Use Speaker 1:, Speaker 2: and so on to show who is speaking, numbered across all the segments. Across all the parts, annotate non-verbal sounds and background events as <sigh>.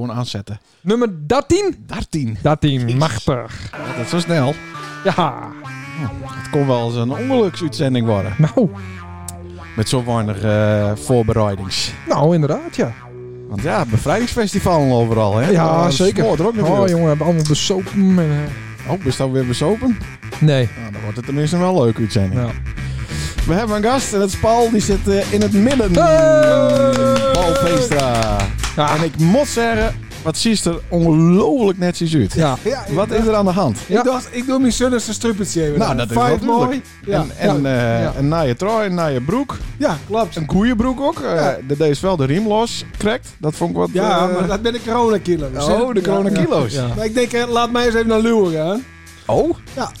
Speaker 1: Gewoon aanzetten.
Speaker 2: Nummer 13?
Speaker 1: 13.
Speaker 2: 13, machtig.
Speaker 1: Dat is zo snel.
Speaker 2: Ja,
Speaker 1: Het kon wel eens een ongeluksuitzending worden.
Speaker 2: nou,
Speaker 1: Met zo weinig eh, voorbereidings.
Speaker 2: nou inderdaad, ja.
Speaker 1: Want ja, bevrijdingsfestival overal, hè?
Speaker 2: Ja,
Speaker 1: Dat
Speaker 2: zeker.
Speaker 1: smoort er ook
Speaker 2: Oh,
Speaker 1: natuurlijk.
Speaker 2: jongen, we hebben allemaal besopen. En, eh,
Speaker 1: Oh, is dat weer besopen?
Speaker 2: nee.
Speaker 1: Nou, dan wordt het tenminste wel een leuke uitzending.
Speaker 2: Ja.
Speaker 1: We hebben een gast en dat is Paul, die zit eh, in het midden.
Speaker 2: Hey!
Speaker 1: Paul Veenstra.
Speaker 2: Ja.
Speaker 1: En ik moet zeggen, wat ziet er ongelooflijk netjes uit.
Speaker 2: Ja.
Speaker 3: Ja, ik
Speaker 1: Wat is er aan de hand?
Speaker 2: Ja.
Speaker 3: Ik dacht, ik doe mijn zonnigste struppertje even.
Speaker 1: Nou, dat is
Speaker 3: Vijf
Speaker 1: wel
Speaker 3: mooi. Ja,
Speaker 1: en en, eh,
Speaker 2: ja.
Speaker 1: een naaie trui, een naaie broek.
Speaker 3: ja, klopt.
Speaker 1: Een koeienbroek ook. Eh,
Speaker 3: Ja.
Speaker 1: de- Deze is wel de riem los. Krekt. Dat vond ik wat...
Speaker 3: Ja,
Speaker 1: eh,
Speaker 3: maar dat ben ik coronakilo. Dus,
Speaker 1: Oh,
Speaker 3: hè?
Speaker 1: de corona
Speaker 3: Ja, ja.
Speaker 1: kilo's.
Speaker 2: Ja.
Speaker 3: Maar ik denk, eh, laat mij eens even naar Luwen gaan.
Speaker 1: Oh?
Speaker 3: Ja.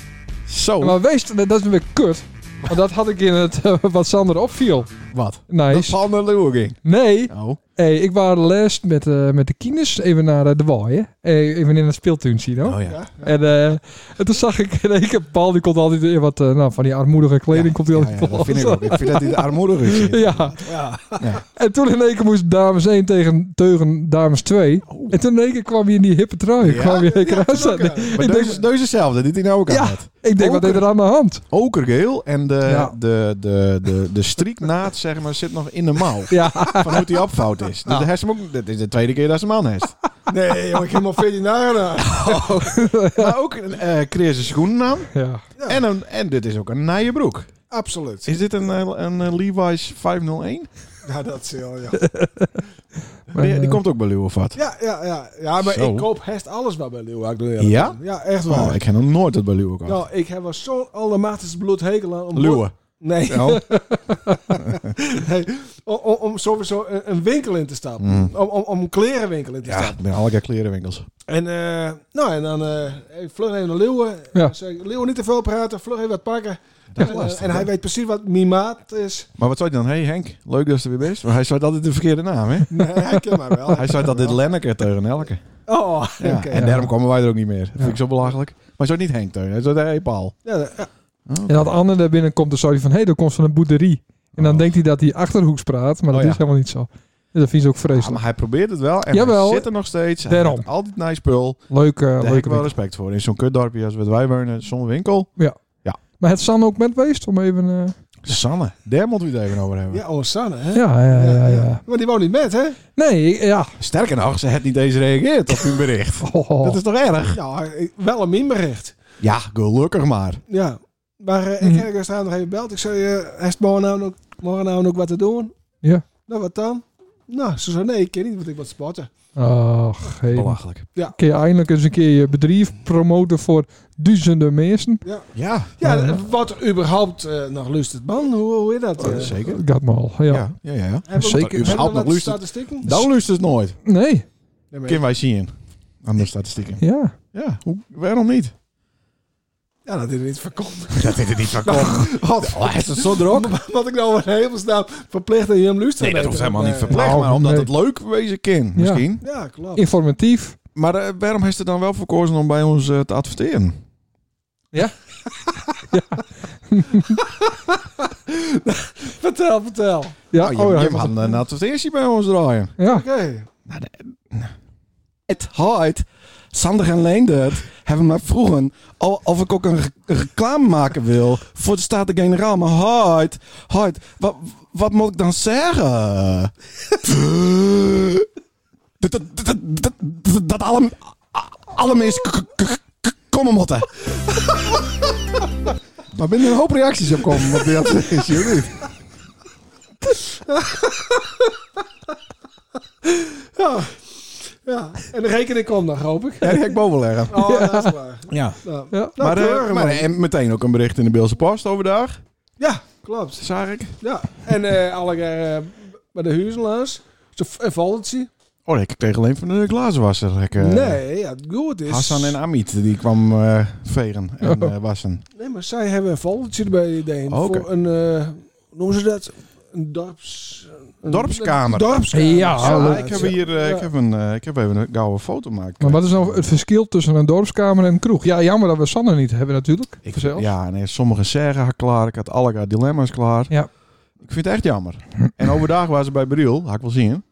Speaker 1: Zo.
Speaker 2: Maar wees, dat is weer kut. Want dat had ik in het, <laughs> eh, wat Sander opviel.
Speaker 1: wat? Dat
Speaker 2: Nice.
Speaker 1: Paul naar Leeuwen ging.
Speaker 2: Nee,
Speaker 1: Oh.
Speaker 2: hey, ik was last met, eh, met de kines even naar eh, de waaien. Eh, even in het speeltuintje, no?
Speaker 1: Oh ja.
Speaker 2: nou? En, eh, en toen zag ik in één keer Paul, die komt altijd in wat eh, nou, van die armoedige kleding. komt hij
Speaker 1: Ja,
Speaker 2: altijd
Speaker 1: ja, dat vind ik ook. Ik vind dat hij de armoedig is. <laughs> hier.
Speaker 2: <laughs> Ja.
Speaker 3: Ja.
Speaker 1: Ja.
Speaker 2: En toen in één keer moest dames 1 tegen, tegen dames 2. En toen in één keer kwam je in die hippe trui.
Speaker 1: Ja?
Speaker 2: Kwam je in één keer
Speaker 3: Ja,
Speaker 2: uit.
Speaker 3: dat ook, ja.
Speaker 2: Ik
Speaker 1: Maar
Speaker 2: denk-
Speaker 1: deze, deze is hetzelfde. Die hij nou ook aan
Speaker 2: Ja.
Speaker 1: had.
Speaker 2: Ik denk, wat
Speaker 1: Ook-
Speaker 2: is er aan de hand?
Speaker 1: Okergeel. En de,
Speaker 2: Ja.
Speaker 1: de, de, de, de strieknaad zeg maar, zit nog in de mouw.
Speaker 2: Ja,
Speaker 1: Van hoe die opfout is. Dus hij is hem ook, dit is de tweede keer dat ze hem aan heeft.
Speaker 3: Nee, joh, ik heb maar 14 dagen aan.
Speaker 1: Maar ook een eh Chris' schoenen aan.
Speaker 2: <laughs> ja.
Speaker 3: Ja.
Speaker 1: En, een, en dit is ook een naaie broek.
Speaker 3: Absoluut.
Speaker 1: Is dit een, eh, een eh, Levi's 501?
Speaker 3: Ja, dat is heel, ja.
Speaker 2: Maar,
Speaker 1: die, die
Speaker 2: eh,
Speaker 1: komt ook bij Leeuwen of wat?
Speaker 3: Ja, ja, ja. Ja, maar
Speaker 1: Zo.
Speaker 3: ik koop hest alles wat bij Leeuwen. Ik doe eerlijk
Speaker 1: Ja?
Speaker 3: aan. Ja, echt waar.
Speaker 1: Oh, ik ken nog nooit het bij Leeuwen gehad.
Speaker 3: Nou, ik heb wel zo'n allermachtigste bloedhekel aan. om-
Speaker 1: Leeuwen.
Speaker 3: Nee.
Speaker 2: <laughs>
Speaker 1: Oh.
Speaker 3: Nee, om, om, om sowieso een, een winkel in te stappen.
Speaker 1: Mm.
Speaker 3: Om, om, om een klerenwinkel in te
Speaker 1: Ja,
Speaker 3: stappen.
Speaker 1: ik ben alle keer klerenwinkels.
Speaker 3: En, eh, nou, en dan eh ik vlug even naar Leeuwen.
Speaker 2: Ja.
Speaker 3: Zeg, Leeuwen niet te veel praten, vlug even wat pakken.
Speaker 1: Dat is
Speaker 3: en,
Speaker 1: lastig,
Speaker 3: eh, en hij
Speaker 1: hè?
Speaker 3: weet precies wat mijn maat is.
Speaker 1: <laughs> Maar wat zei hij dan? Hé hey Henk, leuk dat je er weer bent. Maar hij zei altijd de verkeerde naam, hè?
Speaker 3: Nee, <laughs> hij kent mij wel.
Speaker 1: Hij zei dat dit Lenneke tegen Elke.
Speaker 3: Oh, oké.
Speaker 1: Ja, en
Speaker 2: ja.
Speaker 1: daarom kwamen wij er ook niet meer. Dat
Speaker 2: Ja.
Speaker 1: vind ik zo belachelijk. Maar hij zei niet Henk tegen, hij zei hey Oh. Paal.
Speaker 3: Ja, ja.
Speaker 2: En dat Anne daar binnenkomt, dan zou hij van, hé, hey, dat komt van een boerderie. En dan
Speaker 1: Oh.
Speaker 2: denkt hij dat hij achterhoeks praat, maar dat
Speaker 1: Oh, ja.
Speaker 2: is helemaal niet zo. Dus dat vind ze ook
Speaker 1: Ja, Ah, maar
Speaker 2: vreselijk.
Speaker 1: hij probeert het wel en
Speaker 2: Jawel.
Speaker 1: hij zit er nog steeds. Hij
Speaker 2: Daarom.
Speaker 1: heeft altijd nice spul.
Speaker 2: Leuk, eh,
Speaker 1: Daar heb ik
Speaker 2: leuke
Speaker 1: wel
Speaker 2: winkel.
Speaker 1: respect voor. In zo'n kutdorpje als wat wij wonen, zonder winkel.
Speaker 2: Maar het San ook met geweest om even... eh,
Speaker 1: Sanne, daar moeten we het even over hebben.
Speaker 3: ja oh, Sanne, hè?
Speaker 2: ja, ja, ja, ja,
Speaker 3: Maar die woont niet met, hè?
Speaker 2: Nee, ik- ja.
Speaker 1: Sterker nog, ze had niet eens gereageerd op hun
Speaker 2: <laughs>
Speaker 1: bericht.
Speaker 2: Oh, oh.
Speaker 1: Dat is toch erg?
Speaker 3: Ja, ik- wel een minbericht.
Speaker 1: Ja, gelukkig maar.
Speaker 3: Ja. Maar eh,
Speaker 2: Mhm.
Speaker 3: ik heb gisteravond nog even gebeld. Ik zei, eh hij is morgenavond ook, morgenavond ook nou wat te doen.
Speaker 2: Ja.
Speaker 3: Nou, wat dan? Nou, ze zei, nee, ik ken niet, want ik wat sporten.
Speaker 2: Ach, hey.
Speaker 1: Belachelijk.
Speaker 2: Oh, Kun je eindelijk eens een keer je bedrijf promoten voor duizenden mensen?
Speaker 1: Ja,
Speaker 3: Ja,
Speaker 2: Ja, ja.
Speaker 3: wat überhaupt eh, nog lustert, man. Hoe, hoe is dat?
Speaker 1: oh,
Speaker 3: eh?
Speaker 1: zeker.
Speaker 2: Dat maar al, ja.
Speaker 1: Ja, ja, ja. ja.
Speaker 3: Hebben we-
Speaker 2: Zeker.
Speaker 3: hebben we
Speaker 1: Überhaupt nog
Speaker 3: wat
Speaker 1: luistert.
Speaker 3: statistieken?
Speaker 1: Dan lust het nooit.
Speaker 2: Nee,
Speaker 3: Nee, maar-
Speaker 1: Kunnen wij zien. Aan de statistieken.
Speaker 2: ja.
Speaker 1: Ja, hoe, waarom niet?
Speaker 3: Ja, dat is niet
Speaker 1: <laughs>
Speaker 3: verkocht.
Speaker 1: Dat is er niet van komen. <laughs>
Speaker 3: Wat?
Speaker 1: Oh, is het zo druk?
Speaker 3: <laughs> Wat ik nou een hemelsnaam verplicht aan Jim Luster.
Speaker 1: Nee, dat hoeft helemaal niet verplicht.
Speaker 2: Nou,
Speaker 1: maar omdat
Speaker 2: nee.
Speaker 1: het leuk wezen kan, misschien.
Speaker 3: Ja, klopt.
Speaker 2: Oh.
Speaker 3: <laughs>
Speaker 2: Informatief.
Speaker 1: Maar eh, waarom heeft ze dan wel verkozen om bij ons eh, te adverteren?
Speaker 3: Vertel, vertel. Oké.
Speaker 2: Ja,
Speaker 1: Nou,
Speaker 2: oh,
Speaker 1: je,
Speaker 2: ja,
Speaker 1: je mag een eh, advertentie bij ons draaien.
Speaker 2: ja.
Speaker 1: Het hard. Sander en Leendert hebben mij vroegen o- of ik ook een re- een reclame maken wil voor de Staten-Generaal. Maar hard, hard, wat, wat moet ik dan zeggen? <laughs> dat, dat, dat, dat, dat, dat alle, alle mensen k- k- k- k- komen moeten. <laughs> Maar binnen een hoop reacties op komen, want dat is jullie.
Speaker 3: Ja. ja. En de rekening komt nog, hoop ik.
Speaker 1: <laughs> Ja, die ga ik boven leggen.
Speaker 3: Oh, dat is waar.
Speaker 1: Ja.
Speaker 3: Nou,
Speaker 2: Ja.
Speaker 3: nou,
Speaker 1: Maar, eh,
Speaker 3: kleuren,
Speaker 1: maar
Speaker 3: man.
Speaker 1: en meteen ook een bericht in de Beelse Post overdag,
Speaker 3: Ja, klopt.
Speaker 1: zag ik.
Speaker 3: Ja. En eh alle keer eh, bij de huizelaars. Zo een valtie.
Speaker 1: Oh, ik kreeg alleen van de glazenwasser. Ik, eh,
Speaker 3: Nee, ja, het goed is.
Speaker 1: Hassan en Amit, die kwam eh, vegen en
Speaker 2: Oh.
Speaker 1: eh, wassen.
Speaker 3: Nee, maar zij hebben een valtje erbij, Deen.
Speaker 1: Oh, Oké.
Speaker 3: Voor een, eh, hoe noemen ze dat? Een dorps... Een,
Speaker 1: Dorpskamer.
Speaker 3: een dorpskamer.
Speaker 2: Ja,
Speaker 1: Ja,
Speaker 2: leuk.
Speaker 1: ik heb hier eh,
Speaker 3: Ja.
Speaker 1: ik heb een, eh, ik heb even een gouden foto gemaakt.
Speaker 2: Maar wat is nou het verschil tussen een dorpskamer en een kroeg? Ja, jammer dat we Sanne niet hebben natuurlijk.
Speaker 1: ik,
Speaker 2: zelf.
Speaker 1: Ja, nee, sommigen zeggen haar klaar. Ik had alle haar dilemma's klaar.
Speaker 2: Ja.
Speaker 1: Ik vind het echt jammer. En overdag waren ze bij Briel, had ik wel zien.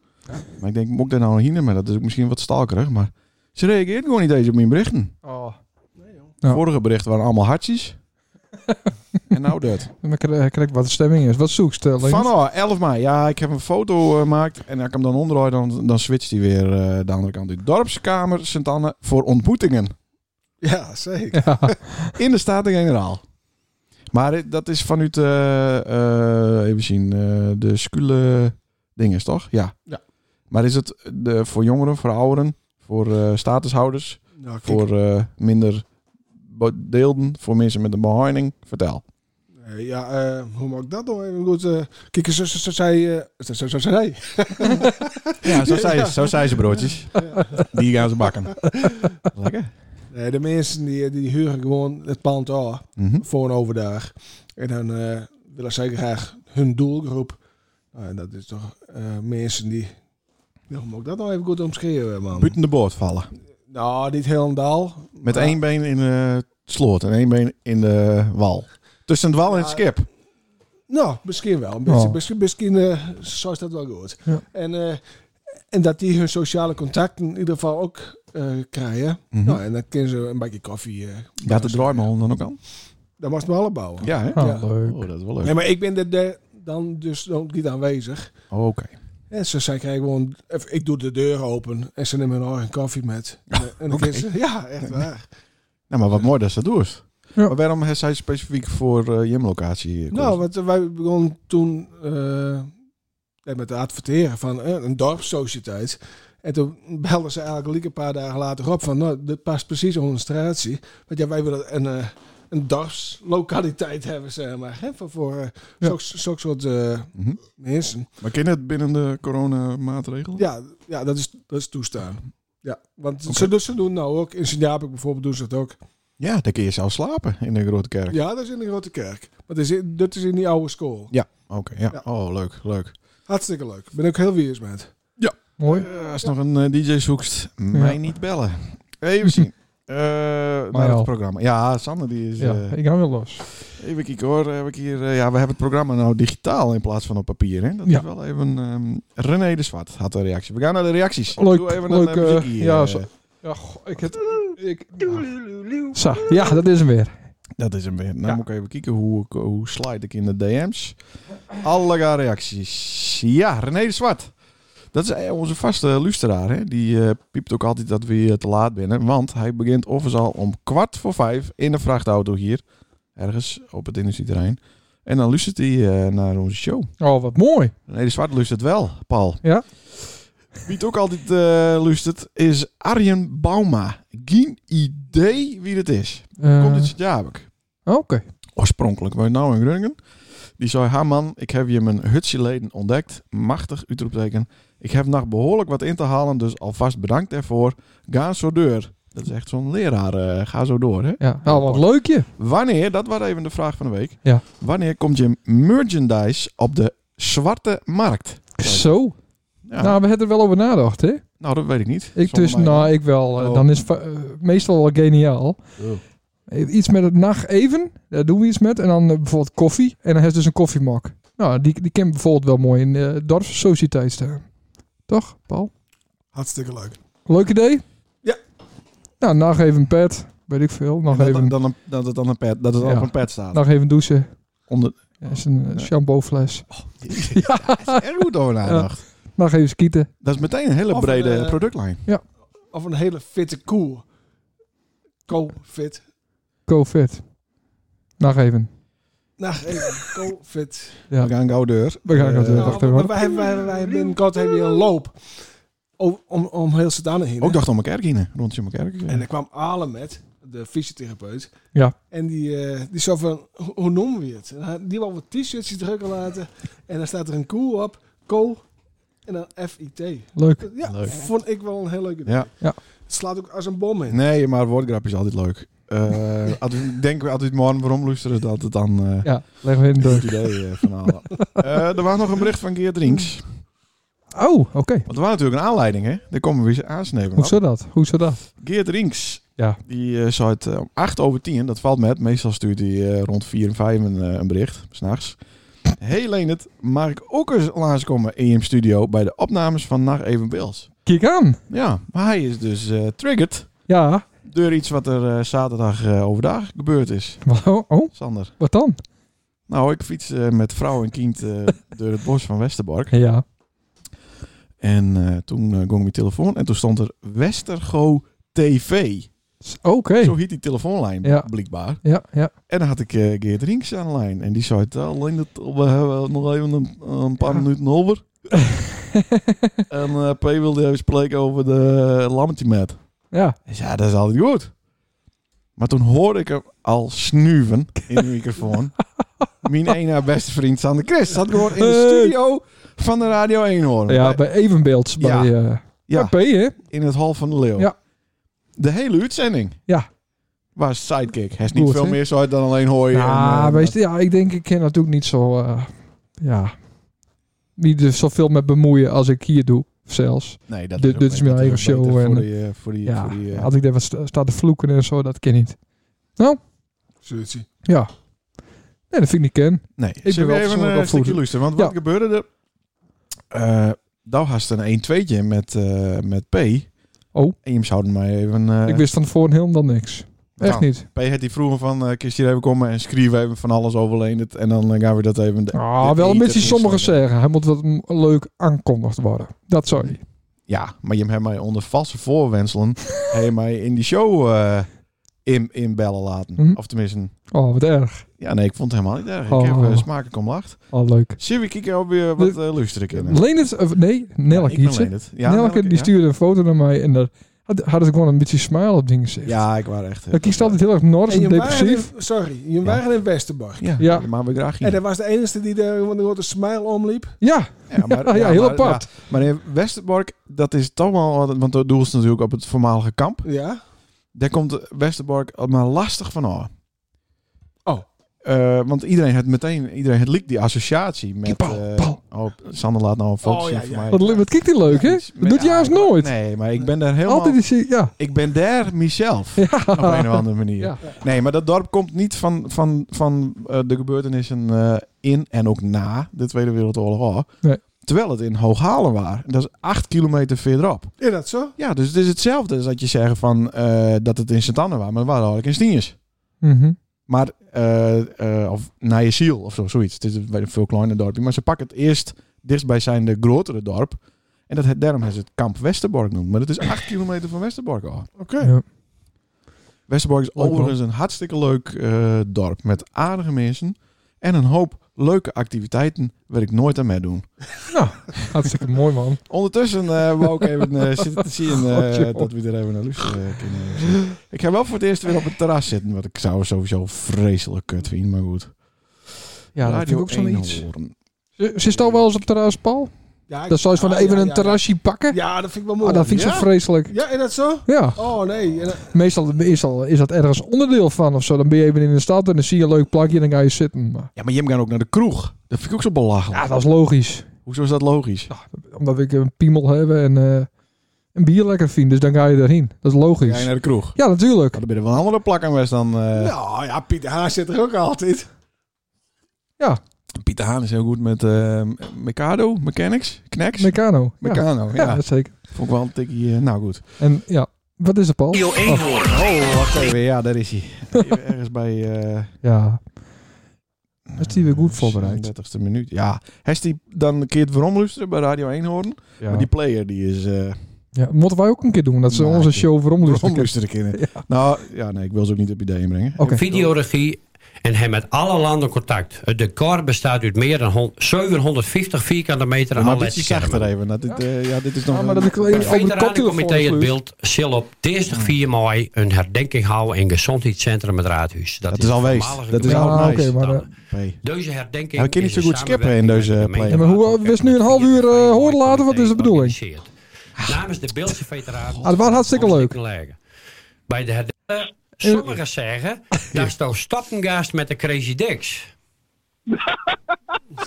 Speaker 1: Maar ik denk, moet ik daar nou heen? Maar dat is ook misschien wat stalkerig. Maar ze reageert gewoon niet eens op mijn berichten.
Speaker 2: Oh.
Speaker 3: Nee, joh.
Speaker 2: Ja.
Speaker 1: Vorige berichten waren allemaal
Speaker 2: <laughs>
Speaker 1: hartjes. en nou dat.
Speaker 2: Dan krijg krijg ik wat de stemming is. Wat zoekst? eh, Leens?
Speaker 1: Van oh, 11 mei. Ja, ik heb een foto eh, gemaakt. En als ik hem dan onderhoud, dan, dan switcht hij weer eh, de andere kant. uit. dorpskamer Sint-Anne voor ontmoetingen.
Speaker 3: Ja, zeker.
Speaker 2: <laughs> Ja.
Speaker 1: In de Staten-Generaal. Maar dit- dat is vanuit, eh, eh, even zien, eh, de Skule dinges, toch? Ja.
Speaker 3: Ja.
Speaker 1: Maar is het eh, de, voor jongeren, voor ouderen, voor eh, statushouders,
Speaker 3: Nou, kijk,
Speaker 1: voor eh, minder bedeelden, voor mensen met een behinding? Vertel.
Speaker 3: eh, ja, eh, hoe maak ik dat dan? Ik bedoel, eh, kijk, zo, zo, zo zei... eh, zo, zo, zo zei
Speaker 1: Ja, <laughs>
Speaker 3: zo zei-
Speaker 1: zo zei ze broodjes. Die gaan ze bakken. Lekker.
Speaker 3: Nee, de mensen die, die huren gewoon het pand af
Speaker 1: Mhm.
Speaker 3: voor een overdag. En dan eh, willen zij graag hun doelgroep. Nou, en dat is toch eh, mensen die... Nou, hoe moet ik dat nou even goed omschrijven, man?
Speaker 1: Buiten de boord vallen.
Speaker 3: Nou, niet helemaal.
Speaker 1: Met
Speaker 3: maar-
Speaker 1: één been in de sloot en één been in de wal. Tussen het wal en het
Speaker 3: Ja.
Speaker 1: skip.
Speaker 3: Nou, misschien wel. Misschien,
Speaker 2: Oh.
Speaker 3: misschien, misschien eh, zo is dat wel goed.
Speaker 2: Ja.
Speaker 3: En, eh, en dat die hun sociale contacten in ieder geval ook eh, krijgen.
Speaker 1: Mhm.
Speaker 3: Nou, en dan kunnen ze een bakje koffie. eh
Speaker 1: Gaat de draaimol dan ook aan?
Speaker 3: dat was me alle bouwen.
Speaker 1: Ja, hè?
Speaker 2: Oh,
Speaker 3: Ja.
Speaker 2: leuk.
Speaker 1: Oh, dat is wel leuk.
Speaker 3: Nee, maar ik ben er de- dan dus ook niet aanwezig.
Speaker 1: Oké.
Speaker 3: En ze zei, krijg gewoon, of ik doe de deur open en ze nemen hun eigen koffie met. En, en dan
Speaker 1: <laughs> Oké.
Speaker 3: kunnen ze- ja, echt waar.
Speaker 1: Nou, maar wat mooi dat ze dat doet.
Speaker 2: Ja.
Speaker 1: Maar waarom heeft zij specifiek voor eh Jim-locatie eh,
Speaker 3: Nou,
Speaker 1: gekozen?
Speaker 3: want eh, wij begonnen toen eh, met het adverteren van eh, een dorpssociëteit. En toen belden ze eigenlijk gelijk een paar dagen later op van, nou, dit past precies op onze straatje. Want ja, wij willen een, eh, een dorpslokaliteit hebben, zeg maar, hè, voor, voor eh,
Speaker 2: Ja.
Speaker 3: zulk- zulk soort eh,
Speaker 1: Mhm.
Speaker 3: mensen.
Speaker 1: Maar ken je het binnen de coronamaatregelen?
Speaker 3: Ja, ja dat, is, dat is toestaan. Ja, want
Speaker 1: Oké.
Speaker 3: ze, doen- ze doen nou ook, in Sint-Japik bijvoorbeeld doen ze dat ook.
Speaker 1: Ja, dan kun je zelf slapen in de grote kerk.
Speaker 3: Ja, dat is in de grote kerk. Maar dat is, in- dat is in die oude school.
Speaker 1: Oké, ja.
Speaker 3: Ja.
Speaker 1: Oh, leuk, leuk.
Speaker 3: Hartstikke leuk. Ben ik heel wiers met.
Speaker 2: Mooi.
Speaker 1: Eh, als nog een eh, DJ zoekst, mij niet bellen. Even
Speaker 2: <laughs>
Speaker 1: zien. Eh naar
Speaker 2: al.
Speaker 1: het programma. Ja, Sander die is...
Speaker 2: Ja,
Speaker 1: eh,
Speaker 2: ik ga weer los.
Speaker 1: even kijken hoor. Heb ik hier, eh, ja, we hebben het programma nou digitaal in plaats van op papier. Hè? Dat
Speaker 2: Ja.
Speaker 1: is wel even... ehm, René de Zwart had een reactie. We gaan naar de reacties.
Speaker 2: Leuk,
Speaker 1: Doe even
Speaker 2: leuk,
Speaker 1: een
Speaker 2: eh,
Speaker 1: eh, muziekje,
Speaker 2: ja,
Speaker 1: eh.
Speaker 2: zo- Ja, goh, ik het... Ik, Zo, ja, dat is hem weer.
Speaker 1: Dat is hem weer. Nou
Speaker 2: Ja.
Speaker 1: moet ik even kijken hoe, ik- hoe slide ik in de DM's. Alle reacties. Ja, René de Zwart. Dat is eh, onze vaste luisteraar. Hè? Die eh, piept ook altijd dat we hier te laat binnen. Want hij begint of al om kwart voor vijf in een vrachtauto hier. Ergens op het industrieterrein. En dan luistert hij eh, naar onze show.
Speaker 2: Oh, wat mooi.
Speaker 1: René de Zwart luistert wel, Paul.
Speaker 2: Ja.
Speaker 1: Wie het ook altijd eh luistert is Arjen Bauma. Geen idee wie dit is.
Speaker 2: Eh,
Speaker 1: Komt uit Sint-Jabek
Speaker 2: Oké.
Speaker 1: oorspronkelijk bij nou in Groningen. Die zei, ha man, ik heb je mijn hutje leden ontdekt. Machtig, uitroepteken. Ik heb nog behoorlijk wat in te halen, dus alvast bedankt daarvoor. Ga zo door. Dat is echt zo'n leraar, eh, ga zo door. Hè?
Speaker 2: Ja, nou, wat leukje.
Speaker 1: Wanneer, dat was even de vraag van de week.
Speaker 2: Ja.
Speaker 1: Wanneer komt je merchandise op de zwarte markt?
Speaker 2: Zo.
Speaker 1: Ja, nou,
Speaker 2: Nou, we hebben er wel over nagedacht, hè?
Speaker 1: dat weet ik niet.
Speaker 2: Ik
Speaker 1: Zonder
Speaker 2: dus,
Speaker 1: mij.
Speaker 2: nou, ik wel. eh,
Speaker 1: Oh.
Speaker 2: Dan is va- eh, meestal wel geniaal. Eh, Iets met het nacht even, daar doen we iets met. En dan eh, bijvoorbeeld koffie. En dan heeft dus een koffiemak. Nou, die, die kan bijvoorbeeld wel mooi in de dorpssociëteit staan. Toch, Paul?
Speaker 3: Hartstikke leuk.
Speaker 2: Leuk idee?
Speaker 3: Ja.
Speaker 2: Nou, nog even een pet. Weet ik veel.
Speaker 1: En
Speaker 2: Nog
Speaker 1: dat,
Speaker 2: even,
Speaker 1: dan een, dat het dan een pet, dat het dan
Speaker 2: Ja. Nou,
Speaker 1: op een pad staat.
Speaker 2: nog even douchen.
Speaker 1: Onder... <laughs>
Speaker 2: Ja, is een eh,
Speaker 1: Ja.
Speaker 2: shampoofles.
Speaker 1: ja, daar is er goed over nagedacht.
Speaker 2: Nog even skieten.
Speaker 1: Dat is meteen een hele
Speaker 3: Of,
Speaker 1: brede
Speaker 3: eh,
Speaker 1: productlijn.
Speaker 3: Of een hele fitte koe. Co-fit.
Speaker 2: COVID. Nog even.
Speaker 3: Nou, even co-fit.
Speaker 2: Ja.
Speaker 1: We gaan gauw deur.
Speaker 2: We gaan gauw
Speaker 1: Eh,
Speaker 2: deur.
Speaker 3: Nou,
Speaker 2: wacht even, hoor.
Speaker 3: wij, hebben- wij, hebben- wij hebben binnenkort hebben we hier een loop. Om, om, om heel Sedan heen.
Speaker 1: Eh, Ook dacht om elkaar kiezen. Rond je elkaar.
Speaker 3: En er kwam Ale met, de fysiotherapeut.
Speaker 2: Ja.
Speaker 3: En die, eh, die zo van, hoe- hoe noemen we het? En hij- Die wou wat t-shirtjes drukken laten. En dan staat er een koe op. Co. En dan FIT.
Speaker 2: Leuk.
Speaker 3: Ja,
Speaker 1: Leuk.
Speaker 3: vond ik wel een heel leuk idee.
Speaker 1: Ja.
Speaker 2: Ja.
Speaker 3: Het slaat ook als een bom in.
Speaker 1: Nee, maar woordgrap is altijd leuk.
Speaker 2: <laughs>
Speaker 1: Eh als we- denken we altijd morgen waarom luisteren dat het dan eh
Speaker 2: Ja, leggen we in de
Speaker 1: een
Speaker 2: deur.
Speaker 1: goed idee eh, van
Speaker 2: <laughs>
Speaker 1: halen. Eh, er was nog een bericht van Geert Rinks.
Speaker 2: Oh, oké.
Speaker 1: Want er was natuurlijk een aanleiding, hè? Daar komen we weer aansnepen. op.
Speaker 2: Hoezo dat? Hoezo dat?
Speaker 1: Geert Rinks.
Speaker 2: Ja.
Speaker 1: Die eh, zou het eh, om 8 over 10, dat valt met. Meestal stuurt hij eh, rond 4 en 5 een, eh, een bericht, s'nachts. heel Leendert, mag ik ook eens langskomen in je studio bij de opnames van Nacht Even Wils.
Speaker 2: Kijk aan.
Speaker 1: Ja, maar hij is dus eh, triggered
Speaker 2: Ja.
Speaker 1: door iets wat er eh, zaterdag eh, overdag gebeurd is.
Speaker 2: Wa- Oh,
Speaker 1: Sander.
Speaker 2: wat dan?
Speaker 1: Nou, ik fiets eh, met vrouw en kind
Speaker 2: <laughs>
Speaker 1: eh, door het bos van Westerbork.
Speaker 2: Ja.
Speaker 1: En eh, toen eh, ging mijn telefoon en toen stond er Westergo TV.
Speaker 2: S- Oké.
Speaker 1: Zo heet die telefoonlijn,
Speaker 2: Ja.
Speaker 1: blijkbaar.
Speaker 2: Ja, ja.
Speaker 1: En dan had ik eh, Geert Rinks aan de lijn. En die zei het alleen dat we hebben nog even een, een paar
Speaker 2: Ja.
Speaker 1: minuten
Speaker 2: <laughs>
Speaker 1: over. en eh, P wilde even spreken over de lammetje met.
Speaker 2: ja.
Speaker 1: Dus ja, dat is altijd goed. Maar toen hoorde ik hem al snuiven in de
Speaker 2: <laughs>
Speaker 1: microfoon. Mijn ene beste vriend Sander Christ zat gewoon in de
Speaker 2: Hey.
Speaker 1: studio van de Radio 1 horen.
Speaker 2: Eh. Ja, bij Evenbeelds.
Speaker 1: Ja.
Speaker 2: Bij, eh
Speaker 1: Ja.
Speaker 2: bij P, hè?
Speaker 1: in het Hal van de Leeuw.
Speaker 2: Ja.
Speaker 1: De hele uitzending.
Speaker 2: Ja.
Speaker 1: Was sidekick. Hij is niet
Speaker 2: Goed,
Speaker 1: veel
Speaker 2: hè? Nou,
Speaker 1: meer zo uit dan alleen hooi.
Speaker 2: Ja,
Speaker 1: en, eh,
Speaker 2: weet je, ja, ik denk, ik ken natuurlijk niet zo... eh, ja. Niet dus zoveel met bemoeien als ik hier doe, zelfs.
Speaker 1: Nee, dat
Speaker 2: Dit-
Speaker 1: ook
Speaker 2: dit is
Speaker 1: beter.
Speaker 2: mijn eigen
Speaker 1: Dat is beter
Speaker 2: show
Speaker 1: Voor
Speaker 2: en-
Speaker 1: die, eh, voor die,
Speaker 2: Ja,
Speaker 1: voor die, eh,
Speaker 2: had ik daar wat sta- staat te vloeken en zo, dat ken ik niet.
Speaker 3: Solutie.
Speaker 2: Ja. Nee, dat vind ik niet ken.
Speaker 1: nee,
Speaker 2: ben
Speaker 1: ik wil
Speaker 2: wel
Speaker 1: even
Speaker 2: persoonlijk
Speaker 1: een stukje
Speaker 2: opvoeden.
Speaker 1: luisteren. Want wat
Speaker 2: Ja.
Speaker 1: gebeurde er? Eh daar had een 1-2'tje met, eh, met P.
Speaker 2: Oh.
Speaker 1: En je zouden mij even... eh,
Speaker 2: Ik wist van tevoren helemaal niks. Echt
Speaker 1: gaan.
Speaker 2: niet.
Speaker 1: P had die vroeger van, eh kist hier even komen en schrijven even van alles overleen het. En dan eh, gaan we dat even... de-
Speaker 2: Ah,
Speaker 1: de
Speaker 2: wel een
Speaker 1: eten
Speaker 2: beetje sommigen
Speaker 1: instellen.
Speaker 2: zeggen. Hij moet wat m- leuk aankondigd worden. Dat zou je.
Speaker 1: Ja, maar je hebt mij onder valse
Speaker 2: <laughs>
Speaker 1: voorwenselen... heb je mij in die show eh, in, inbellen laten.
Speaker 2: Mhm.
Speaker 1: Of tenminste...
Speaker 2: Oh, wat erg.
Speaker 1: Ja, nee, ik vond het helemaal niet erg.
Speaker 2: Oh.
Speaker 1: Ik heb eh, smakelijk om lacht.
Speaker 2: Oh, leuk.
Speaker 1: Zullen we kijken of we wat eh luisteren kunnen?
Speaker 2: Lenert, of eh, nee, Nelk
Speaker 1: ik ben
Speaker 2: iets. hè?
Speaker 1: Leendert. Ja,
Speaker 2: Nelke,
Speaker 1: Nelke,
Speaker 2: die
Speaker 1: ja.
Speaker 2: stuurde een foto naar mij en daar had- hadden ze gewoon een beetje smile op dingen gezegd.
Speaker 1: Ja, ik was echt. eh,
Speaker 2: Dat kiest altijd heel erg nors
Speaker 3: En
Speaker 2: en
Speaker 3: je waren in,
Speaker 2: depressief.
Speaker 3: sorry, je
Speaker 1: Ja.
Speaker 3: waren in Westerborg.
Speaker 1: Ja,
Speaker 2: Ja.
Speaker 1: maar we graag
Speaker 3: En
Speaker 1: hier.
Speaker 3: dat was de enige die daar met een grote smile omliep.
Speaker 2: Ja,
Speaker 1: Ja,
Speaker 2: <laughs> ja, heel
Speaker 1: maar-
Speaker 2: apart.
Speaker 1: ja. Maar in Westerbork, dat is toch wel wat, want dat doel is natuurlijk op het voormalige kamp.
Speaker 3: Ja.
Speaker 1: Daar komt Westerbork maar lastig van af.
Speaker 3: Oh.
Speaker 1: Eh, want iedereen had meteen, iedereen had liek die associatie
Speaker 2: Die
Speaker 1: met.
Speaker 2: Paul,
Speaker 1: eh,
Speaker 2: Paul.
Speaker 1: oh, Sander laat nou een foto
Speaker 3: Oh,
Speaker 1: zien
Speaker 3: ja,
Speaker 1: van
Speaker 3: ja.
Speaker 1: mij.
Speaker 2: Wat, li- wat kijkt hij leuk, hè?
Speaker 1: Iets
Speaker 2: Dat
Speaker 1: met-
Speaker 2: doet hij
Speaker 1: ja,
Speaker 2: juist
Speaker 1: ik-
Speaker 2: nooit.
Speaker 1: Nee, maar ik ben daar helemaal.
Speaker 2: Altijd is hij, ja.
Speaker 1: Ik ben daar mezelf. Op
Speaker 2: <laughs> ja.
Speaker 1: een of andere manier.
Speaker 2: Ja.
Speaker 1: Nee, maar dat dorp komt niet van, van, van eh, de gebeurtenissen eh, in en ook na de Tweede Wereldoorlog. al.
Speaker 2: Nee.
Speaker 1: Terwijl het in Hooghalen was. Dat is acht kilometer verderop.
Speaker 3: Is dat zo?
Speaker 1: Ja, dus het is hetzelfde als dat je zegt van, eh, dat het in Sint-Anne was. Maar het was eigenlijk in Stienjes.
Speaker 2: Mhm.
Speaker 1: Maar, eh, eh, of naar je ziel of zo, zoiets. Het is een wel een veel kleiner dorpje. Maar ze pakken het eerst dichtstbijzijnde grotere dorp. En dat, het- daarom hebben ze het kamp Westerbork noemt. Maar het is acht kilometer van Westerbork al.
Speaker 3: Oké.
Speaker 2: Ja.
Speaker 1: Westerbork is
Speaker 2: Leuk, man.
Speaker 1: overigens een hartstikke leuk eh, dorp met aardige mensen en een hoop leuke activiteiten waar ik nooit aan meedoen.
Speaker 2: Hartstikke mooi, man.
Speaker 1: Ondertussen eh wou ik even
Speaker 2: <laughs>
Speaker 1: eh, zitten te zien eh,
Speaker 2: Oh, joh.
Speaker 1: dat we er even naar luisteren eh, kunnen. Ik ga wel voor het eerst weer op het terras zitten, want ik zou sowieso vreselijk kut vinden, maar goed.
Speaker 2: Ja, dat vind ik ook zo'n
Speaker 1: één
Speaker 2: iets.
Speaker 1: horen.
Speaker 2: Zit je al wel eens op terras, Paul?
Speaker 3: Ja, ik-
Speaker 2: Dat zou je van
Speaker 3: ah,
Speaker 2: even
Speaker 3: ja,
Speaker 2: een
Speaker 3: ja,
Speaker 2: terrasje pakken?
Speaker 3: Ja. Ja, dat vind ik wel mooi.
Speaker 2: Ah, dat vind ik
Speaker 3: ja?
Speaker 2: zo vreselijk.
Speaker 3: Ja, is dat zo?
Speaker 2: Ja,
Speaker 3: Oh nee. En dan-
Speaker 2: meestal, meestal is dat ergens onderdeel van of zo. Dan ben je even in de stad en dan zie je een leuk plakje en dan ga je zitten. Maar,
Speaker 1: Ja, maar Jim gaat ook naar de kroeg. Dat vind ik ook zo belachelijk.
Speaker 2: ja, dat is logisch.
Speaker 1: Hoezo is dat logisch?
Speaker 2: Omdat ik een piemel heb en eh, een bier lekker vind. Dus dan ga je daarheen. Dat is
Speaker 1: Ga je
Speaker 2: logisch.
Speaker 1: naar de kroeg?
Speaker 2: Ja, natuurlijk.
Speaker 1: Ja, dan ben je wel een andere plak aan West dan... eh,
Speaker 3: Nou ja, Pieter Haas zit er ook altijd.
Speaker 1: Pieter Haan is heel goed met eh Mikado, Mechanics, Knacks,
Speaker 2: Meccano. Ja,
Speaker 1: Meccano,
Speaker 2: ja.
Speaker 1: ja.
Speaker 2: dat zeker.
Speaker 1: Vond ik wel een tikkie... eh, nou goed.
Speaker 2: En ja, wat is de Paul? Oh,
Speaker 1: Oh, wacht even. Ja, daar is hij. Hier Ergens bij... eh
Speaker 2: ja. Is die weer goed voorbereid?
Speaker 1: 30ste minuut. Ja. Heeft die dan een keer het waarom luisteren bij Radio 1 horen?
Speaker 2: Ja.
Speaker 1: Maar die player die is...
Speaker 2: <laughs>
Speaker 1: eh
Speaker 2: ja, moeten wij ook een keer doen. Dat ze
Speaker 1: Nou,
Speaker 2: onze
Speaker 1: ik-
Speaker 2: show
Speaker 1: waarom
Speaker 2: veromloesten.
Speaker 1: luisteren
Speaker 2: <laughs>
Speaker 1: kennen? Nou, ja, nee. Ik wil ze ook niet op ideeën brengen.
Speaker 2: Oké.
Speaker 4: videoregie en hij met alle landen contact. Het decor bestaat uit meer dan hon- 750 vierkante meter
Speaker 1: Maar
Speaker 4: aan
Speaker 1: een beetje zachter
Speaker 4: ledschermen.
Speaker 1: even. Dat dit, eh, ja, dit is nog...
Speaker 2: Ja,
Speaker 1: een-
Speaker 2: maar dat ik
Speaker 4: Het
Speaker 2: alleen op de
Speaker 4: Veteranencomité
Speaker 2: koptelefoon
Speaker 1: dus.
Speaker 4: Het
Speaker 2: vloeit.
Speaker 4: Beeld zal op dinsdag 4 mei een herdenking houden in Gezondheidscentrum het Raadhuis.
Speaker 1: Dat is al geweest.
Speaker 4: voormalig
Speaker 1: Dat is
Speaker 4: gemeente.
Speaker 1: al
Speaker 2: Ja,
Speaker 1: nice.
Speaker 2: oké, maar... eh,
Speaker 1: Hey.
Speaker 4: Deze herdenking
Speaker 1: Ja, we kunnen
Speaker 4: is
Speaker 1: niet zo
Speaker 4: een
Speaker 1: goed skippen in
Speaker 4: samenwerking
Speaker 1: deze
Speaker 4: met de
Speaker 1: play.
Speaker 4: gemeente
Speaker 1: Ja,
Speaker 2: maar hoe-
Speaker 4: Oudekerk
Speaker 2: we is nu een half uur, eh,
Speaker 4: en
Speaker 2: horen laten, wat is de bedoeling?
Speaker 4: organiseert. Namens de Beeldse veteranen.
Speaker 2: Ah, dat was hartstikke
Speaker 4: van
Speaker 2: leuk. Eh,
Speaker 4: Stikkelagen. Bij de herdenking. Sommigen
Speaker 2: <laughs>
Speaker 4: zeggen dat is toch stappengast met de Crazy Dicks.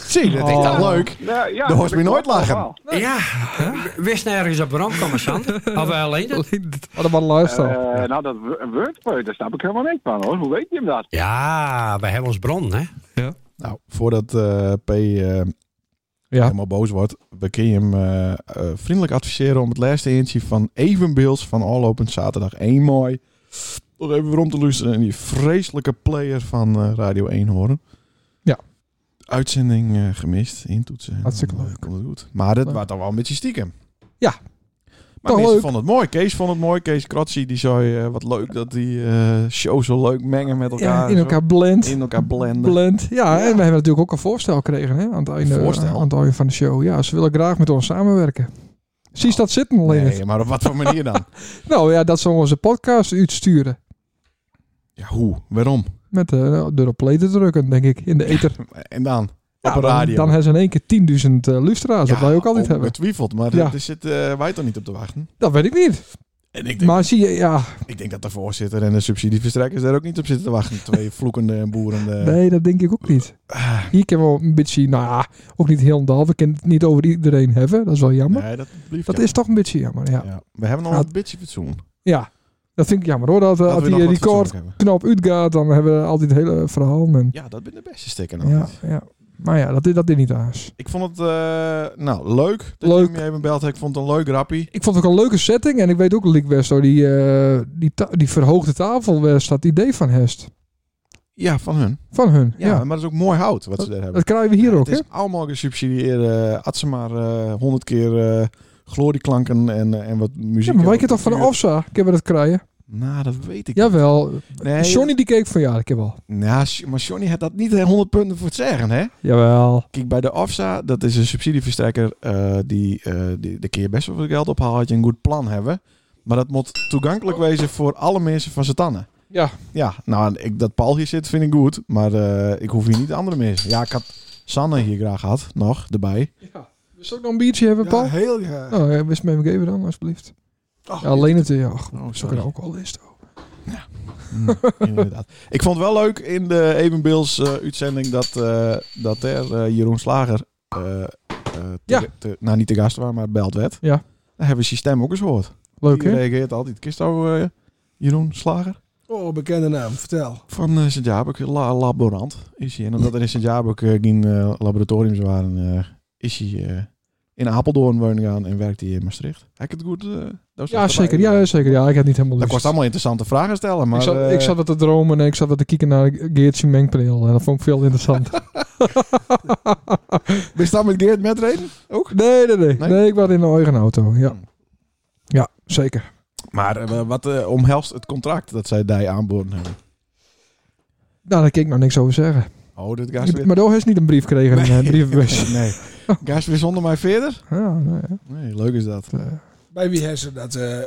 Speaker 1: Zie, dat is toch leuk?
Speaker 5: Oh. Ja, ja,
Speaker 1: hoort me
Speaker 5: dat
Speaker 1: nooit
Speaker 5: klopt
Speaker 1: lachen.
Speaker 5: allemaal.
Speaker 4: Ja, w- wist nergens op waarom, commandant.
Speaker 2: <laughs>
Speaker 4: Of wel alleen dat?
Speaker 2: Wat een lifestyle.
Speaker 5: Eh, nou, dat wo- een wordplay, daar snap ik helemaal niks van hoor. Hoe weet je hem dat?
Speaker 4: Ja, we hebben ons bron, hè?
Speaker 1: Nou, voordat eh, P eh,
Speaker 2: Ja,
Speaker 1: helemaal boos wordt, we kun je hem eh, eh, vriendelijk adviseren om het laatste eentje van Evenbeels van Allopend Zaterdag 1 mooi nog even rond te luisteren. En die vreselijke player van eh, Radio 1 horen.
Speaker 2: Ja.
Speaker 1: Uitzending eh, gemist, intoetsen. en
Speaker 2: Hartstikke
Speaker 1: dan, eh,
Speaker 2: leuk.
Speaker 1: komt het goed. Maar dat
Speaker 2: Leuk.
Speaker 1: was dan wel een beetje stiekem.
Speaker 2: Ja.
Speaker 1: Maar
Speaker 2: Toch
Speaker 1: mensen
Speaker 2: leuk.
Speaker 1: vonden het mooi. Kees vond het mooi. Kees Kratzi, die zei eh, wat leuk dat die eh, show zo leuk mengen met elkaar.
Speaker 2: ja in
Speaker 1: Zo
Speaker 2: elkaar blend.
Speaker 1: in elkaar blenden.
Speaker 2: Blend. Ja,
Speaker 1: Ja.
Speaker 2: en we hebben natuurlijk ook een voorstel gekregen hè, aan, het einde, eh,
Speaker 1: Voorstel?
Speaker 2: aan het einde van de show. Ja, ze willen graag met ons samenwerken. Zie je dat zitten, alleen.
Speaker 1: nee, maar op wat voor manier dan?
Speaker 2: Nou ja, dat ze onze podcast uitsturen.
Speaker 1: ja, hoe? Waarom?
Speaker 2: Met eh door op play te drukken, denk ik, in de
Speaker 1: <laughs>
Speaker 2: ether.
Speaker 1: En dan?
Speaker 2: Ja,
Speaker 1: op de
Speaker 2: dan-
Speaker 1: radio. oh,
Speaker 2: Dan hebben ze in één keer 10.000 eh lustra's, dat wij ook altijd hebben.
Speaker 1: Betwijfeld, maar
Speaker 2: Ja.
Speaker 1: daar zit eh, wij toch niet op te wachten.
Speaker 2: Dat weet ik niet.
Speaker 1: En ik denk,
Speaker 2: Maar zie je, ja,
Speaker 1: ik denk dat de voorzitter en de subsidieverstrekkers daar ook niet op zitten te wachten.
Speaker 2: <laughs>
Speaker 1: Twee vloekende en boerende. Ah,
Speaker 2: nee, dat denk ik ook niet. Hier kunnen we een beetje, nou ja, ook niet heel en al. We kunnen het niet over iedereen hebben, dat is wel jammer.
Speaker 1: Nee, dat blieft.
Speaker 2: dat
Speaker 1: ja.
Speaker 2: is toch een beetje jammer, ja.
Speaker 1: Ja. We hebben nog
Speaker 2: Ja.
Speaker 1: een beetje fatsoen.
Speaker 2: Ja, dat vind ik jammer hoor. Dat, eh,
Speaker 1: Dat
Speaker 2: als
Speaker 1: we nog
Speaker 2: die
Speaker 1: wat fatsoen
Speaker 2: record
Speaker 1: hebben.
Speaker 2: knap uitgaat, dan hebben we altijd het hele verhaal. En,
Speaker 1: Ja, dat ben de beste stikken.
Speaker 2: ja,
Speaker 1: altijd.
Speaker 2: ja. Maar ja, dat is, dat is niet aas.
Speaker 1: Ik vond het eh, nou, leuk dat
Speaker 2: Leuk.
Speaker 1: je me even belt. Ik vond het een leuk rappie.
Speaker 2: Ik vond het ook een leuke setting. En ik weet ook, Liek Westo, die, eh, die, ta- die verhoogde tafel, waar dat idee van Hest.
Speaker 1: Ja, van hun.
Speaker 2: Van hun. Ja,
Speaker 1: Ja, maar dat is ook mooi hout wat ze daar hebben.
Speaker 2: Dat krijgen we hier ook,
Speaker 1: Het
Speaker 2: hè?
Speaker 1: is allemaal gesubsidieerd. eh had ze maar honderd keer eh glorieklanken en, eh, en wat muziek.
Speaker 2: Ja, maar
Speaker 1: en wat
Speaker 2: wij kennen toch van
Speaker 1: cultuur.
Speaker 2: Afsa? Kunnen we dat krijgen?
Speaker 1: Nou, dat weet ik niet.
Speaker 2: Jawel.
Speaker 1: Nee,
Speaker 2: Johnny die keek van ja, ik heb wel.
Speaker 1: Nou, Sj- maar Johnny had dat niet eh, 100 punten voor het zeggen, hè?
Speaker 2: Jawel.
Speaker 1: Kijk, bij de AFSA, dat is een subsidieverstrekker, eh, die, eh die, daar kun je best wel veel geld ophalen als je een goed plan hebben. Maar dat moet toegankelijk wezen voor alle mensen van Satannen.
Speaker 2: Ja.
Speaker 1: Ja, nou, ik, dat Paul hier zit vind ik goed, maar eh, ik hoef hier niet andere mensen. Ja, ik had Sanne hier graag gehad, nog, erbij.
Speaker 2: Wil je ook nog een biertje hebben, Paul?
Speaker 3: Ja, heel graag.
Speaker 2: Nou, ja, wist me even geven dan, alsjeblieft.
Speaker 3: Oh,
Speaker 2: Ja, alleen het, ja, goed,
Speaker 1: Oh,
Speaker 2: zo kan ook al is. toch?
Speaker 1: Hm, <laughs> inderdaad. Ik vond het wel leuk in de Evenbeels eh, uitzending dat, eh, dat er eh, Jeroen Slager, eh, eh, te-
Speaker 2: Ja.
Speaker 1: te- nou niet de gast was, maar beld werd.
Speaker 2: Ja.
Speaker 1: Daar hebben ze stem ook eens gehoord.
Speaker 2: Leuk,
Speaker 1: Die
Speaker 2: hè?
Speaker 1: reageert altijd. Kist nou eh, Jeroen Slager?
Speaker 3: Oh, bekende naam, vertel.
Speaker 1: Van eh Sint-Jabek, la- laborant is hij. En omdat er in Sint-Jabek eh, geen eh, laboratoriums waren, eh, is hij eh, in Apeldoorn wonen gaan en werkt hij in Maastricht. Heb ik het goed? eh, daar staat
Speaker 2: Ja,
Speaker 1: erbij.
Speaker 2: zeker. Ja, zeker. Ja, ik heb niet helemaal
Speaker 1: Dat
Speaker 2: lust.
Speaker 1: kost allemaal interessante vragen stellen, maar...
Speaker 2: ik, zat,
Speaker 1: eh,
Speaker 2: ik zat wat te dromen en ik zat wat te kijken naar Geertje mengpaneel. En dat vond ik veel interessant.
Speaker 1: Ben je daar met Geert met reden? <laughs> Ook?
Speaker 2: nee, nee, nee,
Speaker 1: Nee?
Speaker 2: nee. ik was in een eigen auto. Ja,
Speaker 1: Hmm.
Speaker 2: ja zeker.
Speaker 1: Maar eh, wat eh, omhelst het contract dat zij daar aanboden hebben?
Speaker 2: Nou, daar kan ik nog niks over zeggen.
Speaker 1: Oh, dit gaat
Speaker 2: <laughs>
Speaker 1: weer...
Speaker 2: maar daar heeft niet een brief gekregen, een eh, brievenbus.
Speaker 1: <laughs> Nee. Gaat weer zonder mij verder?
Speaker 2: ja, nee, het,
Speaker 1: Nee, leuk is dat.
Speaker 2: eh,
Speaker 3: Bij wie hebben ze dat eh,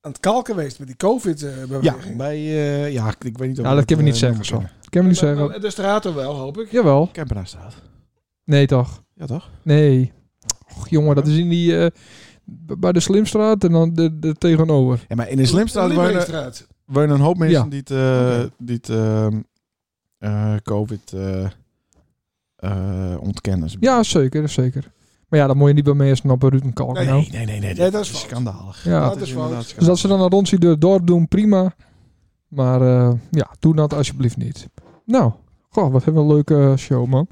Speaker 3: aan het kalk geweest met die
Speaker 1: Ja,
Speaker 3: COVID-beweging?
Speaker 1: bij... eh, ja, ik weet niet of...
Speaker 2: Ja, dat kunnen we
Speaker 1: eh,
Speaker 2: niet zeggen,
Speaker 1: nog
Speaker 2: zo. ik kan me niet zeggen.
Speaker 3: de, de straat er wel, hoop ik.
Speaker 2: Jawel.
Speaker 1: Kempenaarstraat.
Speaker 2: Nee, toch?
Speaker 1: Ja, toch?
Speaker 2: Nee. Och, jongen, dat is in die... eh, b- bij de Slimstraat en dan de, de tegenover.
Speaker 1: Ja, maar in de Slimstraat wonen,
Speaker 3: Lievelingstraat.
Speaker 1: wonen een hoop mensen
Speaker 2: Ja.
Speaker 1: die het, eh,
Speaker 3: Oké.
Speaker 1: die het, ehm, eh, COVID eh, eh, ontkennen.
Speaker 2: Ja, zeker, zeker. Maar ja, dan moet je niet bij meesten op Rutenkalk.
Speaker 3: Nee,
Speaker 2: nou.
Speaker 1: Nee, nee, nee. Nee,
Speaker 3: Nee, dat is fout.
Speaker 1: schandalig.
Speaker 2: Ja.
Speaker 3: Dat is fout.
Speaker 1: inderdaad
Speaker 2: Dus dat
Speaker 1: schandalig.
Speaker 2: ze dan naar rondje door het dorp doen, prima. Maar eh, ja, doe dat alsjeblieft niet. Nou, goh, wat hebben we een leuke eh, show, man.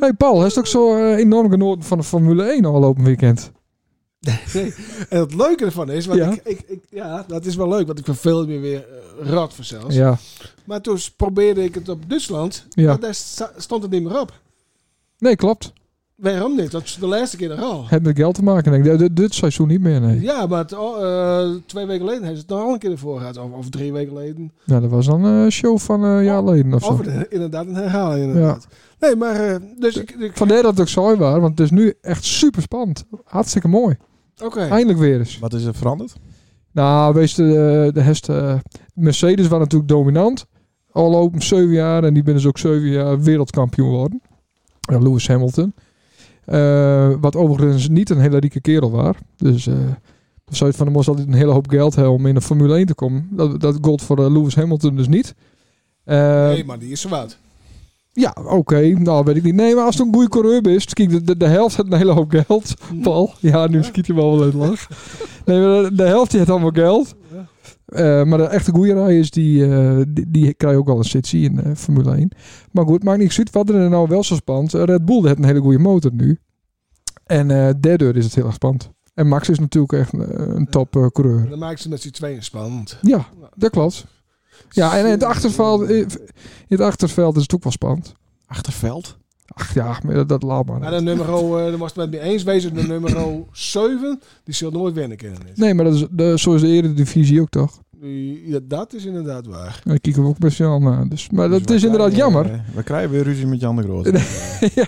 Speaker 2: hey Paul, heeft ook zo eh, enorm genoten van de Formule 1 afgelopen weekend?
Speaker 3: En het leuke ervan is, want
Speaker 2: Ja.
Speaker 3: Ik, ik, ik- ja, dat is wel leuk, want ik verveel me weer eh, rot voor zelfs.
Speaker 2: Ja,
Speaker 3: Maar toen probeerde ik het op Duitsland,
Speaker 2: ja.
Speaker 3: maar daar sta- stond het niet meer op.
Speaker 2: Nee, klopt.
Speaker 3: Waarom niet? Dat is de laatste keer er al.
Speaker 2: Heeft met geld te maken, denk ik. Dit, dit seizoen niet meer, nee.
Speaker 3: Ja, maar het, oh, eh, twee weken geleden hebben ze het nog al een keer ervoor gehad. Of, of drie weken geleden.
Speaker 2: Nou, dat was dan eh, een show van eh, een jaar geleden of zo.
Speaker 3: Of het- inderdaad een herhaling. Inderdaad. Nee, maar eh, dus ik... ik
Speaker 2: Vandaar dat het ook saai was, want het is nu echt super spannend. Hartstikke mooi.
Speaker 3: Oké.
Speaker 2: Eindelijk weer eens.
Speaker 1: Wat is er veranderd?
Speaker 2: Nou, wees de, de hest, eh, Mercedes was natuurlijk dominant. Al open zeven jaar en die ben dus ook zeven jaar wereldkampioen geworden. Ja, Lewis Hamilton. Eh, wat overigens niet een hele rieke kerel was. Dus eh dan zou je van de moest altijd een hele hoop geld hebben om in de Formule 1 te komen. Dat, dat gold voor eh, Lewis Hamilton dus niet. Eh,
Speaker 3: nee, maar die is zwaard.
Speaker 2: Ja, oké. Nou, weet ik niet. Nee, maar als het een goede coureur is, kijk, de, de, de helft heeft een hele hoop Mm. geld. Paul, ja, nu schiet je wel wel uit de lach. Nee, maar de, de helft die heeft allemaal geld. Eh, maar de echte goede rijders, die, eh, die, die krijgen ook wel een sitsie in eh, Formule 1. Maar goed, maakt niks uit. Wat er nou wel zo spannend. Eh, Red Bull heeft een hele goede motor nu. En eh daardoor is het heel erg spannend. En Max is natuurlijk echt eh, een top eh, coureur.
Speaker 3: Dan maken ze met z'n tweeën spannend.
Speaker 2: Ja, dat klopt. Ja, en in het achterveld, eh, in het achterveld is het ook wel spannend.
Speaker 1: Achterveld?
Speaker 2: Ach ja, maar dat, dat laat
Speaker 3: Maar
Speaker 2: maar.
Speaker 3: de nummer, eh dan was het met me eens wezen, de nummer 7, die zal nooit winnen kunnen.
Speaker 2: Nee, maar dat is, de, zo is de eredivisie ook toch?
Speaker 3: Die- ja, dat is inderdaad waar.
Speaker 2: En daar kijken we ook best wel naar. Dus, maar dat
Speaker 1: Dus we
Speaker 2: is inderdaad
Speaker 1: krijgen,
Speaker 2: jammer. <laughs>
Speaker 1: eh, we krijgen weer ruzie met Jan de Groot.
Speaker 2: ja,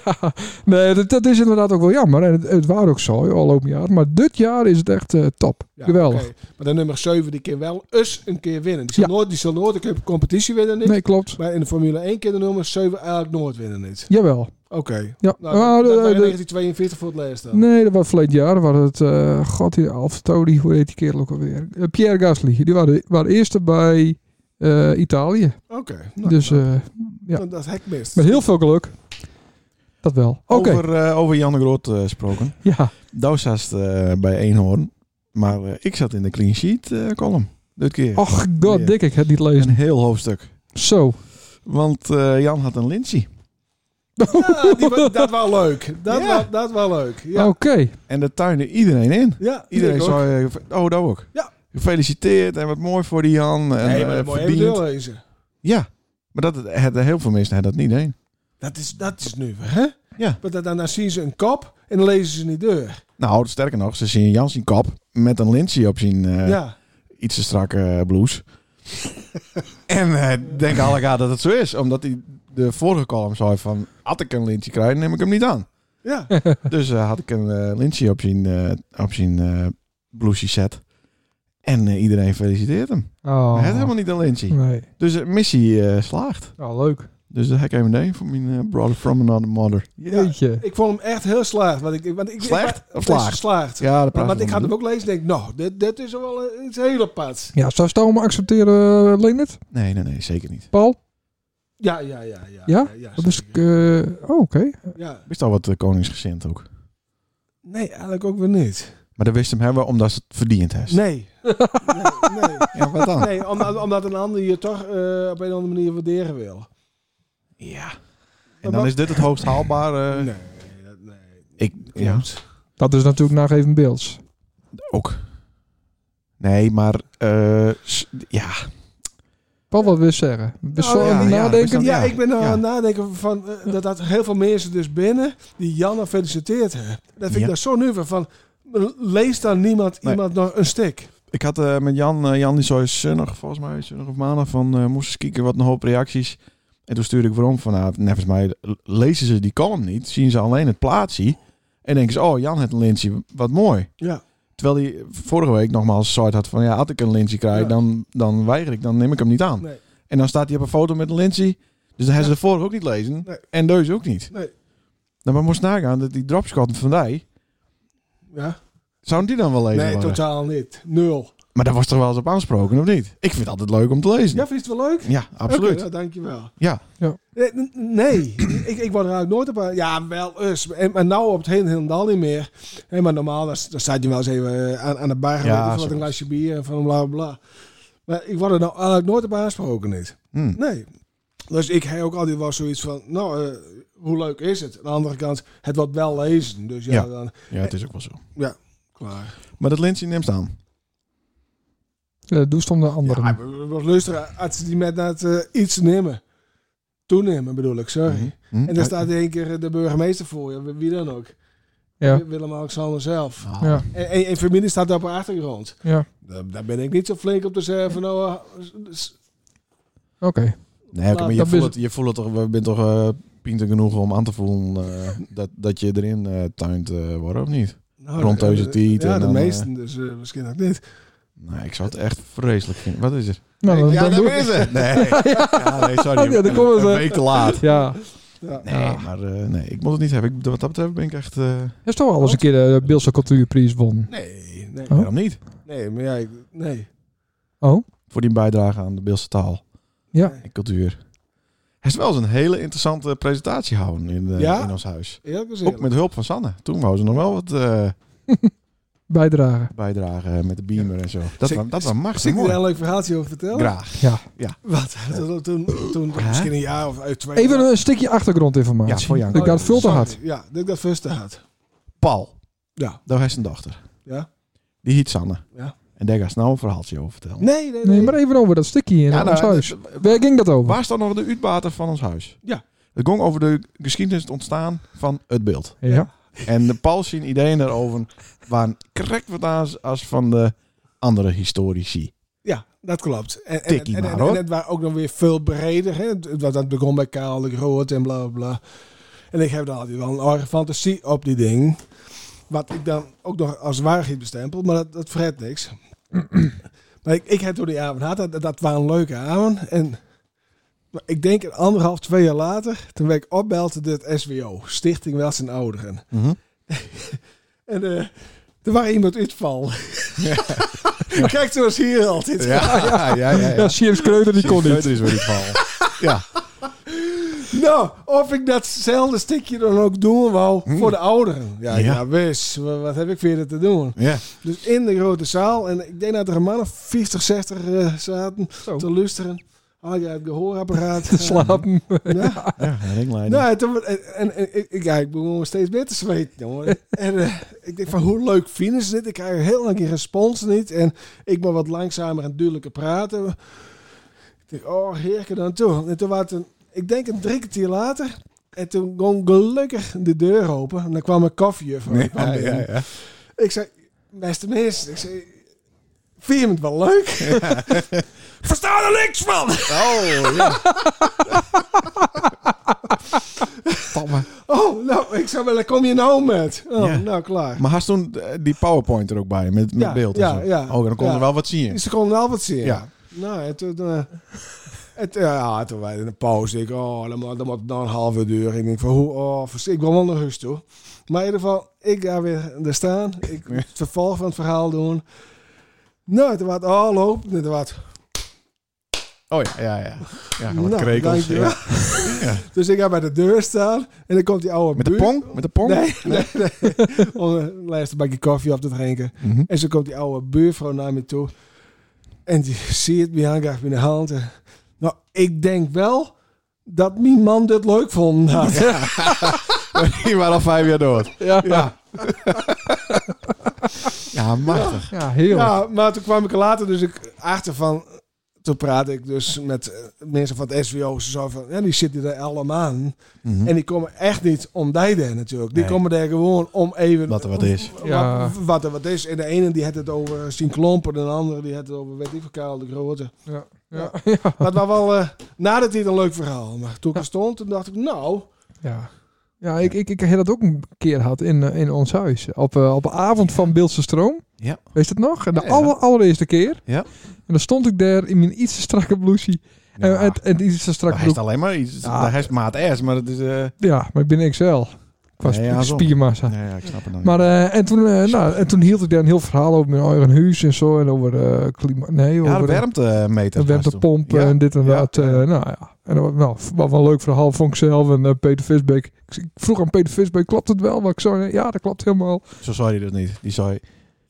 Speaker 2: nee, dat, dat is inderdaad ook wel jammer. En het, het was ook zo al loop jaar. Maar dit jaar is het echt eh, top.
Speaker 3: Ja,
Speaker 2: Geweldig.
Speaker 3: oké. Maar de nummer 7, die kan wel eens een keer winnen. Die zal,
Speaker 2: Ja.
Speaker 3: nooit, die zal nooit een keer op competitie winnen, niet.
Speaker 2: Nee, klopt.
Speaker 3: Maar in de Formule 1 kan de nummer 7 eigenlijk nooit winnen, niet.
Speaker 2: Jawel.
Speaker 3: Oké.
Speaker 2: Ja.
Speaker 3: Nou,
Speaker 2: Nou,
Speaker 3: dat, dat
Speaker 2: de-
Speaker 3: waren
Speaker 2: de-
Speaker 3: 1942 voor het laatst dan.
Speaker 2: nee, dat was verleden jaar. Was het, eh god, die Alfa Tauri, hoe heet die kerel ook alweer? Eh, Pierre Gasly. Die waren, waren eerste bij eh, Italië.
Speaker 3: Oké. nou,
Speaker 2: dus
Speaker 3: nou,
Speaker 2: eh, ja.
Speaker 3: dan dat hek mist.
Speaker 2: met heel veel geluk. Dat wel. Oké,
Speaker 1: Over, eh, over Jan de Groot eh, gesproken.
Speaker 2: ja.
Speaker 1: Douw zat eh, bij Eenhoorn. Maar eh, ik zat in de clean sheet eh, column. Dit keer.
Speaker 3: Oh.
Speaker 2: Och god,
Speaker 1: Ja.
Speaker 2: dik, ik het niet
Speaker 1: Een
Speaker 2: lezen.
Speaker 1: heel hoofdstuk.
Speaker 2: Zo.
Speaker 1: Want eh, Jan had een lintje.
Speaker 3: Ja, die, wa- dat was leuk. Dat,
Speaker 1: Ja.
Speaker 3: was, dat was leuk. Ja.
Speaker 2: Oké.
Speaker 1: En dat tuinde iedereen in.
Speaker 3: ja
Speaker 1: Iedereen
Speaker 3: ik ook.
Speaker 1: zei, eh, oh, dat ook.
Speaker 3: Ja.
Speaker 1: Gefeliciteerd en wat mooi voor die Jan. En,
Speaker 3: Nee, maar
Speaker 1: eh,
Speaker 3: dat moet je even
Speaker 1: verdiend.
Speaker 3: doorlezen.
Speaker 1: Ja, maar dat, het, heel veel mensen hadden dat niet heen.
Speaker 3: Dat is, dat is nu, hè?
Speaker 1: Ja.
Speaker 3: Want dan, dan zien ze een kop en dan lezen ze niet deur.
Speaker 1: Nou, sterker nog, ze zien Jan zijn kap met een lintje op zijn eh,
Speaker 3: ja.
Speaker 1: iets te strakke eh, blouse. <laughs> en eh denken alle gaat dat het zo is. Omdat hij de vorige column zei van... Had ik een lintje krijg, neem ik hem niet aan.
Speaker 3: Ja.
Speaker 1: Dus eh, had ik een eh, lintje op zijn, eh op zijn eh, blouseje set. En eh, iedereen feliciteert hem.
Speaker 2: Oh.
Speaker 1: Hij had helemaal niet een lintje.
Speaker 2: Nee.
Speaker 1: Dus de missie eh, slaagt.
Speaker 2: Nou, leuk.
Speaker 1: Dus dat heb ik even nemen voor mijn eh, brother from another mother.
Speaker 2: Jeetje.
Speaker 3: Ik vond hem echt heel slaagd. Want ik, want ik,
Speaker 1: Slecht
Speaker 3: ik-
Speaker 1: of
Speaker 3: het is
Speaker 1: slaagd?
Speaker 3: geslaagd.
Speaker 1: Ja, dat
Speaker 3: Maar,
Speaker 1: praat
Speaker 3: want
Speaker 1: ik
Speaker 3: ik
Speaker 1: om.
Speaker 3: had hem ook lezen en denk, nou, dit, dit is wel eh, iets heel apart.
Speaker 2: Ja, zou Stouwen me accepteren, eh, Leonard?
Speaker 1: Nee, nee, nee, zeker niet.
Speaker 2: Paul?
Speaker 3: Ja, ja, ja. Ja?
Speaker 2: Ja? Dat is...
Speaker 3: zeker.
Speaker 2: eh, oh, oké.
Speaker 3: ja.
Speaker 1: Wist al wat eh, koningsgezind ook.
Speaker 3: Nee, eigenlijk ook weer niet.
Speaker 1: Maar dat wist hem hebben omdat ze het verdiend heeft. <laughs>
Speaker 3: Nee. nee, nee.
Speaker 1: Ja, wat
Speaker 3: <laughs>
Speaker 1: dan?
Speaker 3: Nee, omdat, omdat een ander je toch eh, op een of andere manier waarderen wil.
Speaker 1: Ja. En dan is dit het hoogst haalbare. eh,
Speaker 3: nee, dat, nee.
Speaker 1: Ik, ja,
Speaker 3: Klopt.
Speaker 2: Dat is natuurlijk naar even beelds.
Speaker 1: ook. Nee, maar eh, s- ja,
Speaker 2: Paul, wat wil je zeggen? Bezorgd
Speaker 1: Oh, ja, ja,
Speaker 2: nadenken?
Speaker 1: dat is
Speaker 3: Ja,
Speaker 1: Ja,
Speaker 3: ik ben nou
Speaker 1: ja.
Speaker 3: aan het nadenken van, eh, dat, dat heel veel mensen dus binnen die Janne feliciteert hebben. Dat vind
Speaker 1: Ja.
Speaker 3: ik dan zo nu weer van, leest dan niemand
Speaker 1: Nee.
Speaker 3: iemand nog een stuk?
Speaker 1: ik had eh, met Jan, eh, Jan die zei zonnig, volgens mij zonnig of maandag, van eh moest eens kijken wat een hoop reacties. En toen stuurde ik waarom van, nou, nevens mij lezen ze die column niet, zien ze alleen het plaatsje en denken ze, oh Jan het een lintje, wat mooi.
Speaker 3: Ja.
Speaker 1: Terwijl hij vorige week nogmaals soort had van, ja, had ik een lintje krijg,
Speaker 3: Ja.
Speaker 1: dan, dan weiger ik, dan neem ik hem niet aan.
Speaker 3: Nee.
Speaker 1: En dan staat hij op een foto met een lintje, dus dan hebben ze
Speaker 3: Ja.
Speaker 1: de vorige ook niet lezen
Speaker 3: Nee.
Speaker 1: en deze ook niet.
Speaker 3: Nee.
Speaker 1: Nou, maar moest nagaan dat die dropshot van Dij,
Speaker 3: Ja?
Speaker 1: zou die dan wel lezen?
Speaker 3: Nee,
Speaker 1: worden?
Speaker 3: totaal niet. Nul.
Speaker 1: Maar daar was toch wel eens op aansproken, of niet? Ik vind het altijd leuk om te lezen.
Speaker 3: Ja, vind je het wel leuk?
Speaker 1: Ja, absoluut.
Speaker 3: Oké, nou, dankjewel.
Speaker 1: Ja.
Speaker 2: Ja.
Speaker 3: Nee, n- nee. <clears throat> ik, ik word er eigenlijk nooit op. aan- Ja, wel eens. En, maar nou op het hele helemaal niet meer. Hé, maar normaal, dan, s- dan staat je wel eens even eh, aan, aan de bar. weet ik veel wat
Speaker 1: zo.
Speaker 3: een glasje bier en van bla bla, bla. Maar ik word er nou eigenlijk nooit op aangesproken. Niet.
Speaker 1: Hm.
Speaker 3: Nee. Dus ik heb ook altijd wel zoiets van, nou, eh, hoe leuk is het? Aan de andere kant, het wordt wel lezen. Dus ja,
Speaker 1: Ja.
Speaker 3: dan
Speaker 1: ja, het is ook wel zo.
Speaker 3: klaar.
Speaker 1: Maar dat lintje neemt aan.
Speaker 2: Ja, Eh, doe stond de andere.
Speaker 3: Ja, we- we eh, luisteren als ze die met dat eh, iets nemen. Toenemen bedoel ik, sorry.
Speaker 1: Hm?
Speaker 3: En daar staat in één keer eh, de burgemeester voor je, wie dan ook.
Speaker 2: Ja.
Speaker 3: Willem-Alexander zelf.
Speaker 1: Ah.
Speaker 2: Ja.
Speaker 3: En, en, en familie staat daar op de achtergrond.
Speaker 2: Ja.
Speaker 3: Daar, daar ben ik niet zo flink op te zeggen van, nou, eh, s-
Speaker 2: Oké.
Speaker 1: Nee, oké, maar je
Speaker 2: Dat
Speaker 1: voelt,
Speaker 2: is-
Speaker 1: het, je voelt het toch, we bent toch eh pinter genoeg om aan te voelen eh, dat, dat je erin eh, tuint eh wordt, of niet?
Speaker 3: nou,
Speaker 1: Rond deze tiet
Speaker 3: Ja,
Speaker 1: en
Speaker 3: de
Speaker 1: dan, eh,
Speaker 3: meesten, dus eh, misschien ook niet.
Speaker 1: Nee, ik zou het echt vreselijk vinden. Wat is er?
Speaker 2: Nou, dan,
Speaker 1: ja,
Speaker 2: dan
Speaker 1: daar
Speaker 2: doe ik-
Speaker 1: is het. Nee, ja, nee sorry.
Speaker 2: Ja, daar komen
Speaker 1: een
Speaker 2: ze.
Speaker 1: week te laat.
Speaker 2: Ja.
Speaker 3: Ja.
Speaker 1: Nee,
Speaker 2: Ja.
Speaker 1: maar eh, nee, ik moet het niet hebben. Ik, wat dat betreft ben ik echt... eh,
Speaker 2: Is toch wel eens een keer de Beeldse Cultuurprijs won?
Speaker 3: Nee, nee,
Speaker 2: Oh.
Speaker 1: Waarom niet?
Speaker 3: nee, maar ja, ik- nee.
Speaker 2: Oh?
Speaker 1: Voor die bijdrage aan de Beelse taal
Speaker 2: Ja.
Speaker 1: en cultuur. Hij is wel eens een hele interessante presentatie houden in, eh,
Speaker 3: Ja?
Speaker 1: in ons huis.
Speaker 3: Eerlijk gezegd.
Speaker 1: Ook met hulp van Sanne. Toen wou ze nog wel wat... eh,
Speaker 2: bijdragen.
Speaker 1: bijdragen met de beamer en zo. Dat
Speaker 3: Zie-
Speaker 1: was, dat was
Speaker 3: Zie
Speaker 1: machtig
Speaker 3: ik er een
Speaker 1: mooi.
Speaker 3: leuk verhaaltje over vertellen?
Speaker 1: Graag.
Speaker 3: Wat? Toen, toen, toen
Speaker 1: Hè?
Speaker 3: misschien een jaar of uit twee
Speaker 2: Even
Speaker 3: jaar- Oh,
Speaker 2: een stukje achtergrondinformatie.
Speaker 1: Ja, voor jou.
Speaker 2: Ik had veel te
Speaker 3: Sorry,
Speaker 2: hard.
Speaker 3: Ja, dat ik dat first had.
Speaker 1: Paul,
Speaker 3: Ja,
Speaker 1: daar heeft zijn dochter.
Speaker 3: ja.
Speaker 1: Die heet Sanne.
Speaker 3: Ja.
Speaker 1: En daar gaat ze nou een verhaaltje over vertellen.
Speaker 3: Nee, nee,
Speaker 2: Nee, maar even over dat stukje in
Speaker 1: Ja,
Speaker 2: ons
Speaker 1: nou,
Speaker 2: huis.
Speaker 1: dat-
Speaker 2: Waar ging dat over?
Speaker 1: Waar staat nog de uitbater van ons huis?
Speaker 3: Ja.
Speaker 1: Het ging over de geschiedenis het ontstaan van het beeld.
Speaker 2: Ja.
Speaker 1: En de Paul zien ideeën daarover waren correct wat aan als van de andere historici.
Speaker 3: Ja, dat klopt. En, en,
Speaker 1: Tikkie
Speaker 3: en, en,
Speaker 1: maar, hoor.
Speaker 3: en het was ook nog weer veel breder. Hè? Het- het was- Dat begon bij Karel de Groot en bla bla, bla. En ik heb daar altijd wel een orge fantasie op die ding. Wat ik dan ook nog als waarheid bestempel, maar dat, dat vergeet niks. <clears throat> maar ik, ik heb door die avond gehad, dat, dat was een leuke avond. En maar ik denk een anderhalf, twee jaar later, toen werd ik opbelde door het SWO, Stichting Welzijn Ouderen.
Speaker 1: Mhm.
Speaker 3: <laughs> En eh, er was iemand uitval. Ja. <laughs> Kijk, zoals hier altijd.
Speaker 1: Ja, ja, ja. ja,
Speaker 2: Ja, Siems Kreuter die kon niet.
Speaker 1: is weer het verhaal.
Speaker 3: <laughs>
Speaker 1: Ja,
Speaker 3: Nou, of ik datzelfde stukje dan ook doen wou voor de ouderen. Ja,
Speaker 1: Hmm. Ja.
Speaker 3: ja. wis. Wa- Wat heb ik verder te doen?
Speaker 1: ja.
Speaker 3: Dus in de grote zaal. En ik denk dat er een man of 40, 60 eh, zaten
Speaker 2: Zo.
Speaker 3: te luisteren. Had je het gehoorapparaat.
Speaker 1: <laughs>
Speaker 3: eh,
Speaker 2: Te slapen.
Speaker 3: Ja.
Speaker 1: ja een ringleiding.
Speaker 3: Nou, en, toen- en, en- en ik, ik- ja, ik begon steeds meer te zweten,
Speaker 1: <laughs>
Speaker 3: jongen. en eh, ik denk van, hoe leuk vinden ze dit? Ik krijg heel lang geen respons niet. En ik ben wat langzamer en duidelijker praten. Ik denk, oh, heerlijk dan toe. En toen was het, een- ik denk een drie kwartier later... En toen ging gelukkig de deur open. En dan kwam een koffie van.
Speaker 1: ja, ja, ja.
Speaker 3: Ik zei, beste mensen, ik zei... Vind je het wel leuk?
Speaker 1: <laughs>
Speaker 3: Verstaan er niks van!
Speaker 1: Oh, ja. Tamme.
Speaker 3: Oh, nou, ik zei, wel, kom je nou met? Oh,
Speaker 1: Ja.
Speaker 3: nou, klaar.
Speaker 1: Maar had toen eh, die PowerPoint er ook bij, met, met
Speaker 3: Ja,
Speaker 1: beeld en
Speaker 3: ja,
Speaker 1: zo?
Speaker 3: ja.
Speaker 1: Oh, dan kon
Speaker 3: Ja.
Speaker 1: er wel wat zien.
Speaker 3: Ze konden wel wat zien.
Speaker 1: Ja.
Speaker 3: Ja. Nou, en toen, eh, en toen- ja, toen wij in de pauze, ik, oh, dan moet, dan moet het nog een halve uur. Ik denk van, hoe, oh, vers- ik wil wel naar huis toe. Maar in ieder geval, ik ga weer er staan. Ik moet het vervolg van het verhaal doen. Nou, toen was het al lopen. Toen was het-
Speaker 1: Oh ja, ja, ja. Ja, wat
Speaker 3: Nou,
Speaker 1: krekels.
Speaker 3: dankjewel.
Speaker 1: ja.
Speaker 3: Dus ik ga bij de deur staan. En dan komt die oude
Speaker 1: Met de
Speaker 3: buur-
Speaker 1: pong? Met de pong?
Speaker 3: Nee, nee, nee. <laughs> Om eh, een laatste bakje koffie op te drinken.
Speaker 1: Mhm. <laughs>
Speaker 3: En zo komt die oude buurvrouw naar me toe. En die <laughs> ziet me aangaaf in de hand. En, nou, ik denk wel dat mijn man dit leuk <laughs> vond. had.
Speaker 1: Die waren al vijf jaar dood.
Speaker 2: Ja.
Speaker 1: Ja. Ja, machtig.
Speaker 2: Ja, heerlijk.
Speaker 3: Ja, maar toen kwam ik er later dus ik achter van... Toen praatte ik dus met eh, mensen van het SWO. Ze zo van, ja, die zitten er allemaal aan.
Speaker 1: Mhm.
Speaker 3: En die komen echt niet om die daar natuurlijk. Die
Speaker 1: Nee.
Speaker 3: komen daar gewoon om even...
Speaker 1: Wat er wat is.
Speaker 2: Ja.
Speaker 3: Wat, wat er wat is. En de ene die had het over Sien Klompen. En de andere die had het over, weet ik veel, Karel de Grote.
Speaker 2: Ja. Ja.
Speaker 3: Ja. Maar het was wel, eh nadat hij een leuk verhaal. Maar toen ik er stond, toen dacht ik, nou...
Speaker 2: Ja. Ja, ik, ik, ik heb dat ook een keer gehad in, eh, in ons huis. Op, eh, op de avond van Beeldse Stroom.
Speaker 1: Ja.
Speaker 2: Weet je dat nog? De
Speaker 1: Ja, ja.
Speaker 2: aller, allereerste keer.
Speaker 1: Ja.
Speaker 2: En dan stond ik daar in mijn iets te strakke blousie. En, en, en iets te strakke
Speaker 1: hij is
Speaker 2: broek.
Speaker 1: alleen maar iets.
Speaker 2: Ja.
Speaker 1: Hij is maat S, maar dat is. eh
Speaker 2: Ja, maar ik ben XL. Qua
Speaker 1: Nee, ja, zo.
Speaker 2: spiermassa.
Speaker 1: nee, ja, ik snap het dan.
Speaker 2: Maar eh, en, toen, eh, nou, en toen hield ik daar een heel verhaal over mijn eigen huis en zo. En over eh klimaat. Nee,
Speaker 1: ja, de
Speaker 2: over
Speaker 1: warmtemeter.
Speaker 2: de warmtepomp
Speaker 1: Ja.
Speaker 2: en dit en
Speaker 1: Ja.
Speaker 2: dat. eh, nou ja, en dat was- nou, wat wel een leuk verhaal vond ik zelf. En eh, Peter Visbeek. Ik, ik vroeg aan Peter Visbeek, klopt het wel? Maar ik zei, ja, dat klopt helemaal.
Speaker 1: Zo zei hij dat niet. Die zei,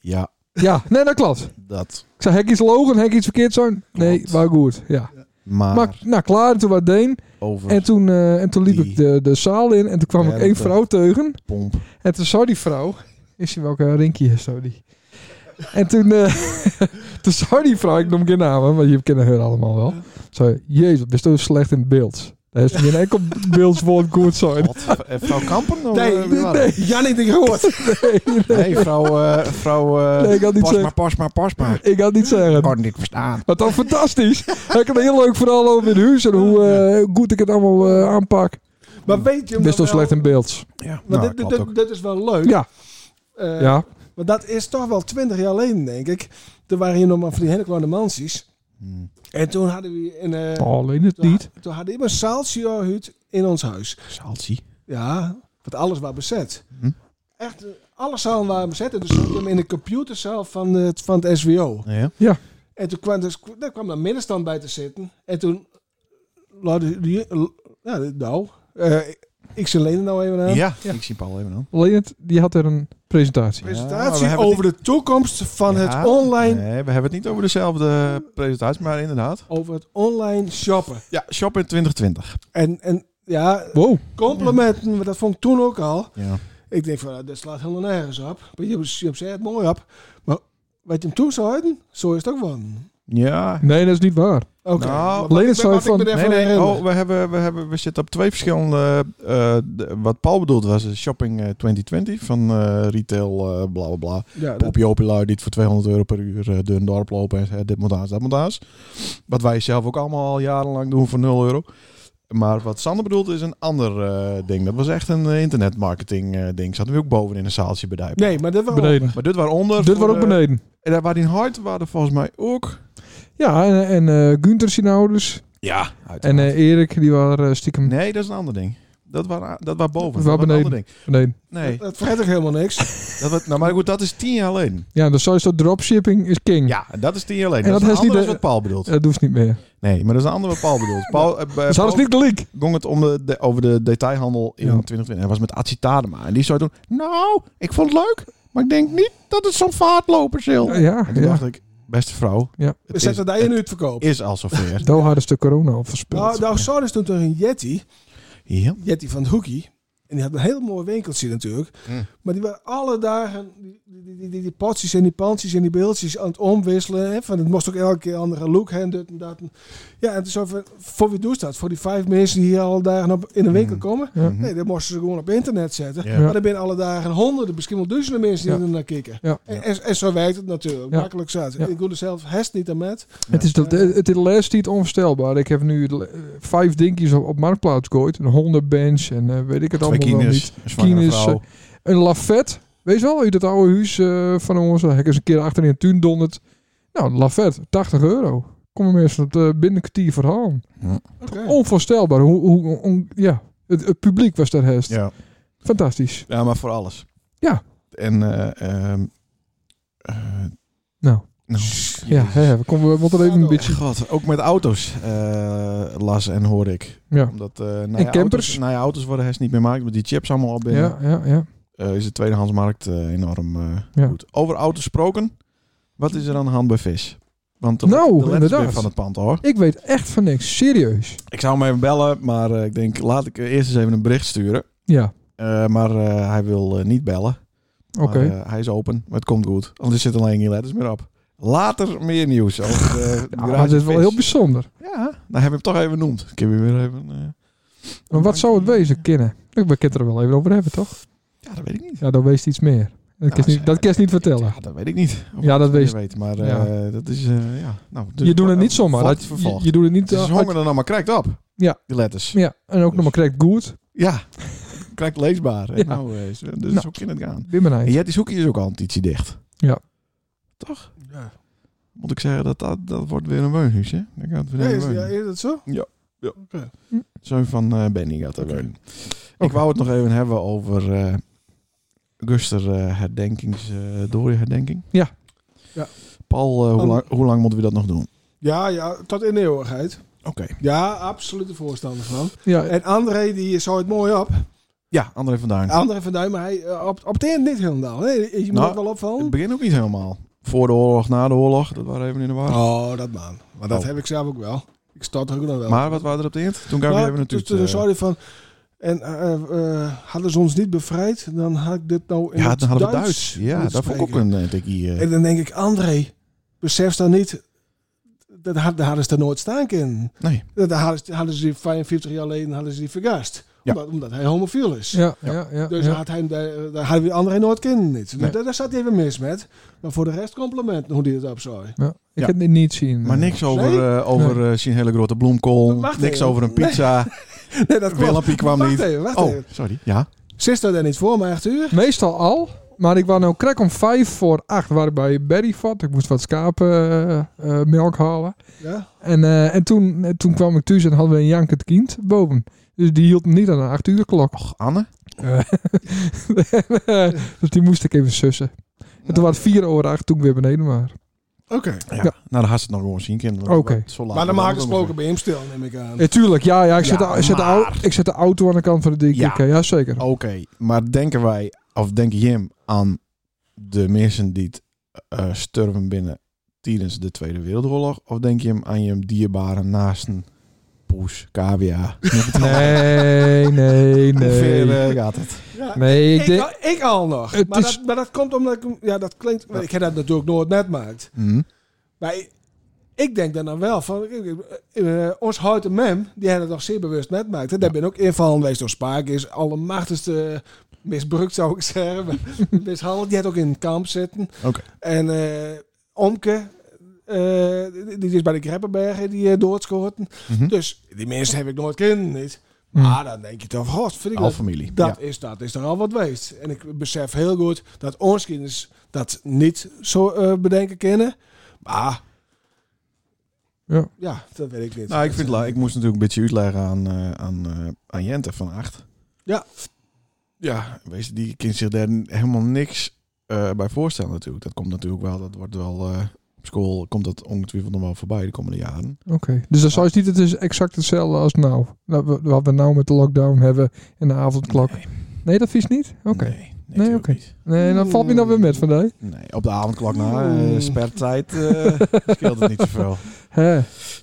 Speaker 1: ja,
Speaker 2: Ja, <laughs> nee, dat klopt.
Speaker 1: dat.
Speaker 2: Ik zei, hek iets logen, hek iets verkeerd zijn? Nee,
Speaker 1: Klopt.
Speaker 2: maar goed, ja.
Speaker 1: Maar,
Speaker 2: Maar, nou, klaar, en toen wat deen.
Speaker 1: over
Speaker 2: En toen, eh, en toen liep
Speaker 1: Die.
Speaker 2: ik de, de zaal in en toen kwam
Speaker 1: Ja,
Speaker 2: ik
Speaker 1: dat
Speaker 2: één
Speaker 1: klopt.
Speaker 2: vrouw tegen.
Speaker 1: pomp.
Speaker 2: En toen zei die vrouw, is die welke Rinkie is zo die? En toen, eh, <laughs> toen zei die vrouw, ik noem geen namen, want je kent haar allemaal wel. Zei, jezus, best wel slecht in beeld. Dat is geen enkel beeldswoord goed zijn. <laughs>
Speaker 1: Wat? Eh, Vrouw Kampen? Of,
Speaker 3: Nee,
Speaker 1: eh, wie
Speaker 2: nee,
Speaker 1: waren het?
Speaker 3: Jannie de Groot.
Speaker 1: nee, vrouw... eh vrouw eh,
Speaker 2: Nee, ik had niet
Speaker 1: pas maar,
Speaker 2: zeggen.
Speaker 1: pas maar, pas maar.
Speaker 2: Ik ga het niet
Speaker 1: Ik
Speaker 2: zeggen.
Speaker 1: kan het niet verstaan.
Speaker 2: Maar dan fantastisch. Ik had een heel leuk verhaal over het huis en hoe eh, goed ik het allemaal eh, aanpak.
Speaker 3: maar weet je hem
Speaker 2: Best wel
Speaker 3: dan
Speaker 2: slecht in beeld.
Speaker 1: Ja, nou,
Speaker 3: Want dit-
Speaker 1: dat
Speaker 3: dit,
Speaker 1: klopt ook.
Speaker 3: dit, is wel leuk.
Speaker 2: Ja,
Speaker 3: Eh,
Speaker 2: ja.
Speaker 3: Want dat is toch wel twintig jaar geleden, denk ik. Toen waren hier nog maar van die hele kleine mansies.
Speaker 1: Hm.
Speaker 3: En toen hadden we... Een, eh,
Speaker 2: Oh, alleen het
Speaker 3: toen,
Speaker 2: niet.
Speaker 3: toen hadden we een zaaltje gehuurd in ons huis.
Speaker 1: Salsie.
Speaker 3: Ja, want alles was bezet.
Speaker 1: Hm.
Speaker 3: Echt, eh, alle zalen waren bezet. En toen stond hem in de computerzaal van het, van het SWO.
Speaker 1: Ja.
Speaker 3: En toen kwam, dus, daar kwam een middenstand bij te zitten. En toen... laten die, ja, nou, eh, ik zal Lene nou even aan.
Speaker 1: Ja. ik zie Paul even aan.
Speaker 2: Leonard, die had er een presentatie.
Speaker 3: presentatie
Speaker 1: we hebben
Speaker 3: over de toekomst van
Speaker 1: Ja,
Speaker 3: het online,
Speaker 1: Nee, we hebben het niet over dezelfde presentatie, maar inderdaad.
Speaker 3: over het online shoppen.
Speaker 1: Ja, shop in 2020.
Speaker 3: En, en ja,
Speaker 2: Wow.
Speaker 3: complimenten, want dat vond ik toen ook al.
Speaker 1: Ja.
Speaker 3: Ik denk van, nou, dat slaat helemaal nergens op. Maar je, je zei het mooi op. Maar wat je hem toen zou hebben, zo is het ook wel.
Speaker 1: Ja.
Speaker 2: Nee, dat is niet waar.
Speaker 3: Oké.
Speaker 1: Nou,
Speaker 3: Maar wat
Speaker 2: Leen,
Speaker 3: ik
Speaker 2: het
Speaker 3: ben-
Speaker 2: zou
Speaker 3: wat
Speaker 2: van-
Speaker 3: ik me
Speaker 1: Nee,
Speaker 3: daarvan
Speaker 1: nee,
Speaker 3: herinner.
Speaker 1: oh, we, hebben, we, hebben, we zitten op twee verschillende... eh, eh, de- wat Paul bedoelt was eh, Shopping eh, 2020 van eh, retail eh, bla bla bla.
Speaker 3: ja, dat,
Speaker 1: Popje Opelui die het voor 200 euro per uur eh, door een dorp lopen en eh, dit moet aan, dat moet aan. Wat wij zelf ook allemaal al jarenlang doen voor 0 euro. Maar wat Sander bedoelt is een ander eh, ding. Dat was echt een eh, internetmarketing eh, ding. Zaten we ook boven in een zaaltje bedijpen.
Speaker 3: nee, maar dat was
Speaker 2: Beneden.
Speaker 1: Maar dit
Speaker 3: Oh.
Speaker 1: waaronder...
Speaker 2: Dit
Speaker 1: voor
Speaker 2: wordt ook
Speaker 1: de-
Speaker 2: beneden.
Speaker 1: En daar waar die hard waren volgens mij ook.
Speaker 2: Ja, en, en eh Gunther Sinauders
Speaker 1: Ja.
Speaker 2: en eh, Erik, die waren eh, stiekem
Speaker 1: nee, dat is een ander ding. Dat was dat was boven.
Speaker 2: Waar
Speaker 1: Dat was een
Speaker 2: beneden?
Speaker 1: ander ding.
Speaker 2: beneden.
Speaker 1: Nee.
Speaker 3: Dat vergeet ik helemaal
Speaker 1: <laughs>
Speaker 3: niks.
Speaker 1: Dat was, nou, maar goed, dat is tien jaar geleden.
Speaker 2: Ja, dus zo is dat dropshipping is king.
Speaker 1: Ja, Eh, dat is tien jaar geleden.
Speaker 2: Hm. En
Speaker 1: dat,
Speaker 2: dat
Speaker 1: is
Speaker 2: is
Speaker 1: een
Speaker 2: niet
Speaker 1: ander
Speaker 2: de-
Speaker 1: is wat Paul bedoelt.
Speaker 2: Dat hoeft niet meer.
Speaker 1: Nee, maar dat is een ander wat Paul bedoelt. Paul, eh, bij
Speaker 2: Dus dat is
Speaker 1: Paul
Speaker 2: niet de leak.
Speaker 1: ging het om de, de- over de detailhandel in
Speaker 2: Ja.
Speaker 1: 2020. En dat was met Atsi Tadema. En die zou doen, nou, ik vond het leuk, maar ik denk niet dat het zo'n vaartloper is.
Speaker 2: Ja, ja,
Speaker 1: En toen dacht ik, beste vrouw,
Speaker 2: Ja.
Speaker 1: het
Speaker 3: We
Speaker 1: is,
Speaker 3: zetten daar in
Speaker 1: het
Speaker 3: het verkoop.
Speaker 1: is al
Speaker 2: <laughs>
Speaker 1: zover.
Speaker 2: Daar hadden ze de corona al verspild.
Speaker 3: Nou, nou zo is toen toch een Yeti.
Speaker 1: ja.
Speaker 3: Jetty van het Hoekie. En die had een heel mooi winkeltje natuurlijk.
Speaker 2: Hmm.
Speaker 1: Mm.
Speaker 3: Maar die waren alle dagen die, die, die, die, die potjes en die pantjes en die beeldjes aan het omwisselen. Hè? Van, het moest ook elke keer een andere look hebben, dit en dat. En- Ja, en het is over, voor wie doet dat? Voor die vijf mensen die hier alle dagen op, in de winkel
Speaker 2: Hmm.
Speaker 1: Mm.
Speaker 3: komen?
Speaker 2: Ja.
Speaker 1: Mhm.
Speaker 3: Nee, dat moesten ze gewoon op internet zetten.
Speaker 1: Ja.
Speaker 3: Maar er zijn alle dagen honderden, misschien wel duizenden mensen die
Speaker 2: Ja.
Speaker 3: er naar kijken.
Speaker 2: Ja.
Speaker 3: En, en, en zo werkt het natuurlijk.
Speaker 2: Ja.
Speaker 3: Makkelijk zat.
Speaker 2: Ja.
Speaker 3: Ik doe er zelf hest niet aan met.
Speaker 2: Het is, dat, het is de laatste tijd onvoorstelbaar. Ik heb nu de la- eh, vijf dingetjes op, op marktplaats gegooid. Een hondenbench en eh, weet ik het
Speaker 1: Twee
Speaker 2: allemaal wel niet. eh,
Speaker 1: kines, een zwangere
Speaker 2: Kines,
Speaker 1: vrouw.
Speaker 2: Een lafet. Weet je wel, uit het oude huis eh, van ons. Daar heb ik eens een keer achter in de tuin donderd. Nou, een lafet. 80 euro. Kom je mensen het eh, binnen een kwartier verhalen.
Speaker 3: Oké.
Speaker 2: Onvoorstelbaar. Hoe, hoe, hoe- ja. het, het publiek was daar hest.
Speaker 1: Ja.
Speaker 2: Fantastisch.
Speaker 1: ja, maar voor alles.
Speaker 2: Ja.
Speaker 1: En, eh, ehm, eh,
Speaker 2: Nou,
Speaker 1: nou,
Speaker 2: ja, hè, we, komen, we moeten even een
Speaker 3: Ado.
Speaker 2: beetje...
Speaker 1: God, ook met auto's eh, las en hoor ik.
Speaker 2: Ja,
Speaker 1: Omdat eh na
Speaker 2: En
Speaker 1: je
Speaker 2: campers?
Speaker 1: Auto's, na je auto's worden hers niet meer gemaakt, maar die chips allemaal op binnen.
Speaker 2: ja, ja. ja.
Speaker 1: eh, is de tweedehandsmarkt eh, enorm eh,
Speaker 2: Ja.
Speaker 1: goed. Over auto's gesproken, wat is er aan de hand bij vis? Want de,
Speaker 2: Nou,
Speaker 1: de letters
Speaker 2: inderdaad.
Speaker 1: weer van het pand hoor.
Speaker 2: Ik weet echt van niks. Serieus.
Speaker 1: Ik zou hem even bellen, maar eh, ik denk laat ik eerst eens even een bericht sturen.
Speaker 2: Ja,
Speaker 1: Eh, maar eh, hij wil eh, niet bellen.
Speaker 2: oké.
Speaker 1: Maar, eh, hij is open, maar het komt goed. Want er zitten alleen geen letters meer op. Later meer nieuws over de
Speaker 2: <laughs> Ja, maar dat is wel
Speaker 1: garage
Speaker 2: heel
Speaker 1: vis.
Speaker 2: bijzonder.
Speaker 1: Ja, dan heb je hem toch even genoemd. Ik heb je weer even... eh,
Speaker 2: Maar wat zou het wezen, kennen? We kunnen het er wel even over hebben, toch?
Speaker 1: Ja, dat weet ik niet.
Speaker 2: Ja, dan wees iets meer. Dat kan je
Speaker 1: Nou,
Speaker 2: niet, dat kan je niet vertellen.
Speaker 1: Ja, dat weet ik niet. Of
Speaker 2: Ja,
Speaker 1: ik
Speaker 2: dat
Speaker 1: het
Speaker 2: weet-
Speaker 1: meer weet. Maar
Speaker 2: ja.
Speaker 1: eh, dat is... eh, ja. nou, dus-
Speaker 2: Je doet het niet
Speaker 1: eh,
Speaker 2: zomaar.
Speaker 1: vlak
Speaker 2: Dat- je,
Speaker 1: vervolg.
Speaker 2: je doet het niet...
Speaker 1: Het is
Speaker 2: eh,
Speaker 1: honger Dus- dan allemaal krijgt op.
Speaker 2: Ja.
Speaker 1: Die letters.
Speaker 2: ja, en ook nog maar correct goed.
Speaker 1: Ja. <laughs> krijgt leesbaar. En
Speaker 2: Ja.
Speaker 1: Nou, eh, is- dus
Speaker 2: Nou.
Speaker 1: zo kan het gaan. En
Speaker 2: Wimmenheid.
Speaker 1: Jetty's hoekje is ook al een ietsje dicht.
Speaker 2: Ja.
Speaker 1: Toch?
Speaker 3: Ja.
Speaker 1: Moet ik zeggen dat dat, dat wordt weer een weunhuis, hè? Dan gaat het weer
Speaker 3: Ja,
Speaker 1: een
Speaker 3: is, ja,
Speaker 1: weunhuis.
Speaker 3: is dat zo?
Speaker 1: Zoon van eh, Benny gaat er
Speaker 3: Hm. Oké.
Speaker 1: wonen. Ik
Speaker 2: Oké.
Speaker 1: wou het nog even hebben over eh Guster eh, herdenkings... eh Dorie herdenking.
Speaker 2: Ja.
Speaker 3: Ja.
Speaker 1: Paul, eh, hoe,
Speaker 3: Om-
Speaker 1: lang, hoe lang moeten we dat nog doen?
Speaker 3: Ja, ja, tot in de eeuwigheid.
Speaker 1: Oké.
Speaker 3: Ja, absolute voorstander van.
Speaker 2: Ja,
Speaker 3: En André, die zou het mooi op.
Speaker 1: Ja, André van Duin.
Speaker 3: André van Duin, maar hij eh, op, op het eind niet helemaal. Nee, je moet
Speaker 1: Nou,
Speaker 3: het wel
Speaker 1: Het
Speaker 3: opvallen.
Speaker 1: begint ook niet helemaal. Voor de oorlog, na de oorlog. Dat waren even in de war.
Speaker 3: Oh, dat man. Maar dat
Speaker 1: Oh.
Speaker 3: heb ik zelf ook wel. Ik start er ook nog wel.
Speaker 1: Maar wat waren er op de eind? Toen gaan we
Speaker 3: Nou,
Speaker 1: even natuurlijk...
Speaker 3: dus, eh,
Speaker 1: eh,
Speaker 3: sorry van... En eh, eh, hadden ze ons niet bevrijd, dan had ik dit nou in
Speaker 1: eh. ja,
Speaker 3: het
Speaker 1: dan hadden we
Speaker 3: Duits
Speaker 1: Duits. Ja,
Speaker 3: moeten
Speaker 1: dat vond ik ook
Speaker 3: spreken.
Speaker 1: een eh, tikkie. eh.
Speaker 3: En dan denk ik, André, besef dan niet... Dat had- dat hadden ze er nooit staan kunnen.
Speaker 1: Nee.
Speaker 3: Dat hadden, ze- hadden ze die 55 jaar geleden hadden ze die vergast.
Speaker 1: Ja.
Speaker 3: Omdat, omdat hij homofiel is.
Speaker 2: ja, ja, ja.
Speaker 3: Dus
Speaker 2: ja.
Speaker 3: had hij, hem daar, daar hadden we André nooit kennen niet.
Speaker 1: Nee.
Speaker 3: Daar, daar zat hij even mis met. Maar voor de rest complimenten hoe die het opzooi.
Speaker 2: Ja. Ik
Speaker 1: Ja.
Speaker 2: heb dit niet zien.
Speaker 1: Maar niks over,
Speaker 3: Nee?
Speaker 1: eh, over eh, zijn hele grote bloemkool.
Speaker 3: Wacht
Speaker 1: niks
Speaker 3: even.
Speaker 1: over een pizza.
Speaker 3: Nee, dat
Speaker 1: Willempie kwam
Speaker 3: wacht
Speaker 1: niet.
Speaker 3: Even, <laughs> wacht
Speaker 1: Oh,
Speaker 3: even.
Speaker 1: sorry. Ja.
Speaker 3: Zit daar niet voor maar acht uur?
Speaker 2: Meestal al. Maar ik was nou krek om vijf voor acht. Waar ik bij Berry vat. Ik moest wat schapenmelk melk halen.
Speaker 3: Ja.
Speaker 2: En, eh, en toen, eh, toen kwam ik thuis en hadden we een jankend kind boven. Dus die hield me niet aan een acht uur <laughs> klok.
Speaker 1: Och, Anne.
Speaker 2: dus die moest ik even sussen. En toen was het vier over acht toen ik weer beneden was.
Speaker 3: Oké.
Speaker 1: Ja. Nou, dan had ze het nog gewoon zien kunnen. want
Speaker 2: Oké.
Speaker 1: zo laat
Speaker 3: Maar dan
Speaker 1: wordt
Speaker 3: maken
Speaker 1: het ook
Speaker 3: gesproken
Speaker 1: nog
Speaker 3: bij hem stil, neem ik aan.
Speaker 2: Eh, tuurlijk, ja, ja, ik, zet
Speaker 1: Ja,
Speaker 2: de, ik zet de
Speaker 1: maar-
Speaker 2: au- ik zet de auto aan de kant van de dikke.
Speaker 1: Ja.
Speaker 2: Ja. zeker.
Speaker 1: weer. Oké, maar denken wij, of denk Jim aan de mensen die het, eh, sterven binnen tijdens de Tweede Wereldoorlog? Of denk je hem aan je dierbare naasten? Poes,
Speaker 2: <laughs>
Speaker 1: KWA.
Speaker 2: Nee, <laughs> nee,
Speaker 1: Hoeveel
Speaker 2: nee.
Speaker 1: eh, gaat het?
Speaker 3: Ja,
Speaker 2: Nee, ik
Speaker 3: ik,
Speaker 2: denk...
Speaker 3: al, ik al nog.
Speaker 2: Het
Speaker 3: maar,
Speaker 2: is-
Speaker 3: dat, maar dat komt omdat ik... hem- Ja, dat klinkt... Ik heb dat natuurlijk nooit net maakt.
Speaker 1: Hm?
Speaker 3: Maar ik, ik denk dan, dan wel van... eh, eh, ons houten mem, die hebben het nog zeer bewust net maakt. En daar ben ook invallen geweest door Spaak. Is allemachtigste misbruikt, zou ik <laughs> zeggen. maar Mishandeld. Die had ook in het kamp zitten.
Speaker 1: Oké.
Speaker 3: En eh, Omke... eh, die- die is bij de Greppenbergen die eh, doodschoten.
Speaker 1: Mhm.
Speaker 3: Dus die mensen heb ik nooit kennen. Niet.
Speaker 2: Hm.
Speaker 3: Maar dan denk je toch, god, vind ik
Speaker 1: Al
Speaker 3: dat
Speaker 1: familie.
Speaker 3: dat, is, dat is er al wat geweest. En ik besef heel goed dat ons kinders dat niet zo eh, bedenken kennen. Maar
Speaker 2: Ja.
Speaker 3: ja, dat weet ik niet. Eh,
Speaker 1: Nou, ik, vind, la- ik moest natuurlijk een beetje uitleggen aan, eh, aan, eh, aan Jente van 8.
Speaker 3: Ja.
Speaker 1: Ja, wees, die kind zich daar helemaal niks eh, bij voorstellen natuurlijk. Dat komt natuurlijk wel, dat wordt wel... eh, op school komt dat ongetwijfeld nog wel voorbij de komende jaren.
Speaker 2: Oké, dus dat zou je niet, het is exact hetzelfde als nou. Nou, we- Wat we nou met de lockdown hebben en de avondklok. Nee,
Speaker 1: Nee,
Speaker 2: dat vies niet? Oké.
Speaker 1: Nee, nee, natuurlijk
Speaker 2: oké.
Speaker 1: niet.
Speaker 2: Nee, dan valt me nou weer met vandaag.
Speaker 1: Nee, op de avondklok na,
Speaker 3: Mm.
Speaker 1: eh spertijd, eh,
Speaker 2: <laughs>
Speaker 1: scheelt het niet <laughs> zoveel.
Speaker 2: Hè.
Speaker 1: Nee,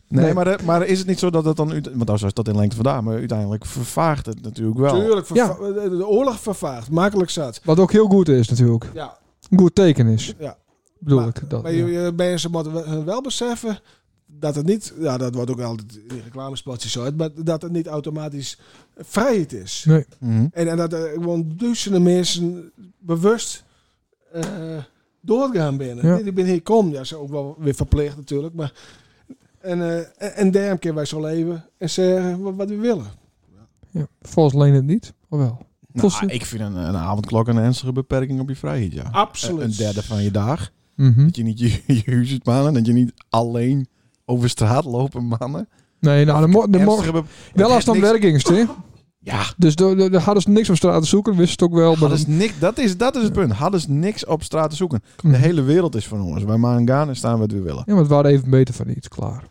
Speaker 2: Nee.
Speaker 1: maar, eh, maar is het niet zo dat dat dan... uite- Want nou, zo is dat in lengte vandaan, maar uiteindelijk vervaagt het natuurlijk wel.
Speaker 3: Tuurlijk,
Speaker 2: Ja.
Speaker 3: verva- eh, de- de oorlog vervaagt, makkelijk zat.
Speaker 2: Wat ook heel goed is natuurlijk.
Speaker 3: Ja,
Speaker 2: Een goed teken is,
Speaker 3: ja.
Speaker 2: bedoel
Speaker 3: Maar-
Speaker 2: ik. Dat,
Speaker 3: Maar
Speaker 2: ja.
Speaker 3: je, je mensen moeten wel- wel beseffen dat het niet, ja, dat wordt ook altijd in reclamespotjes zo, maar dat het niet automatisch vrijheid is.
Speaker 2: Nee.
Speaker 1: Mhm.
Speaker 3: En, en dat er gewoon duizenden mensen bewust eh, doorgaan binnen.
Speaker 2: Ja.
Speaker 3: Die, die binnen hier komen. Ja, ze ook wel weer verpleegd natuurlijk. Maar, en, eh en, en daarom kunnen wij zo leven en zeggen wat, wat we willen.
Speaker 2: Ja. Volgens Leen het niet, of wel?
Speaker 1: Nou,
Speaker 2: Volgens-
Speaker 1: ik vind een, een avondklok een ernstige beperking op je vrijheid, ja.
Speaker 3: Absoluut.
Speaker 1: Een derde van je dag.
Speaker 2: Mhm.
Speaker 1: Dat je niet je, je huis uit mannen. Dat je niet alleen over straat lopen mannen.
Speaker 2: Nee, nou, de, mo- de mo-
Speaker 1: Ernstige be-
Speaker 2: wel als dan
Speaker 1: niks-
Speaker 2: werkingst, hè?
Speaker 1: Ja,
Speaker 2: Dus daar do- do- hadden ze niks op straat te zoeken, wist het ook wel. Maar
Speaker 1: hadden ze niks, dat, is, dat is het punt. Hadden ze niks op straat te zoeken.
Speaker 2: Mhm.
Speaker 1: De hele wereld is van ons. Wij maken gaan en staan wat we willen.
Speaker 2: Ja, maar het waren even beter van iets, klaar.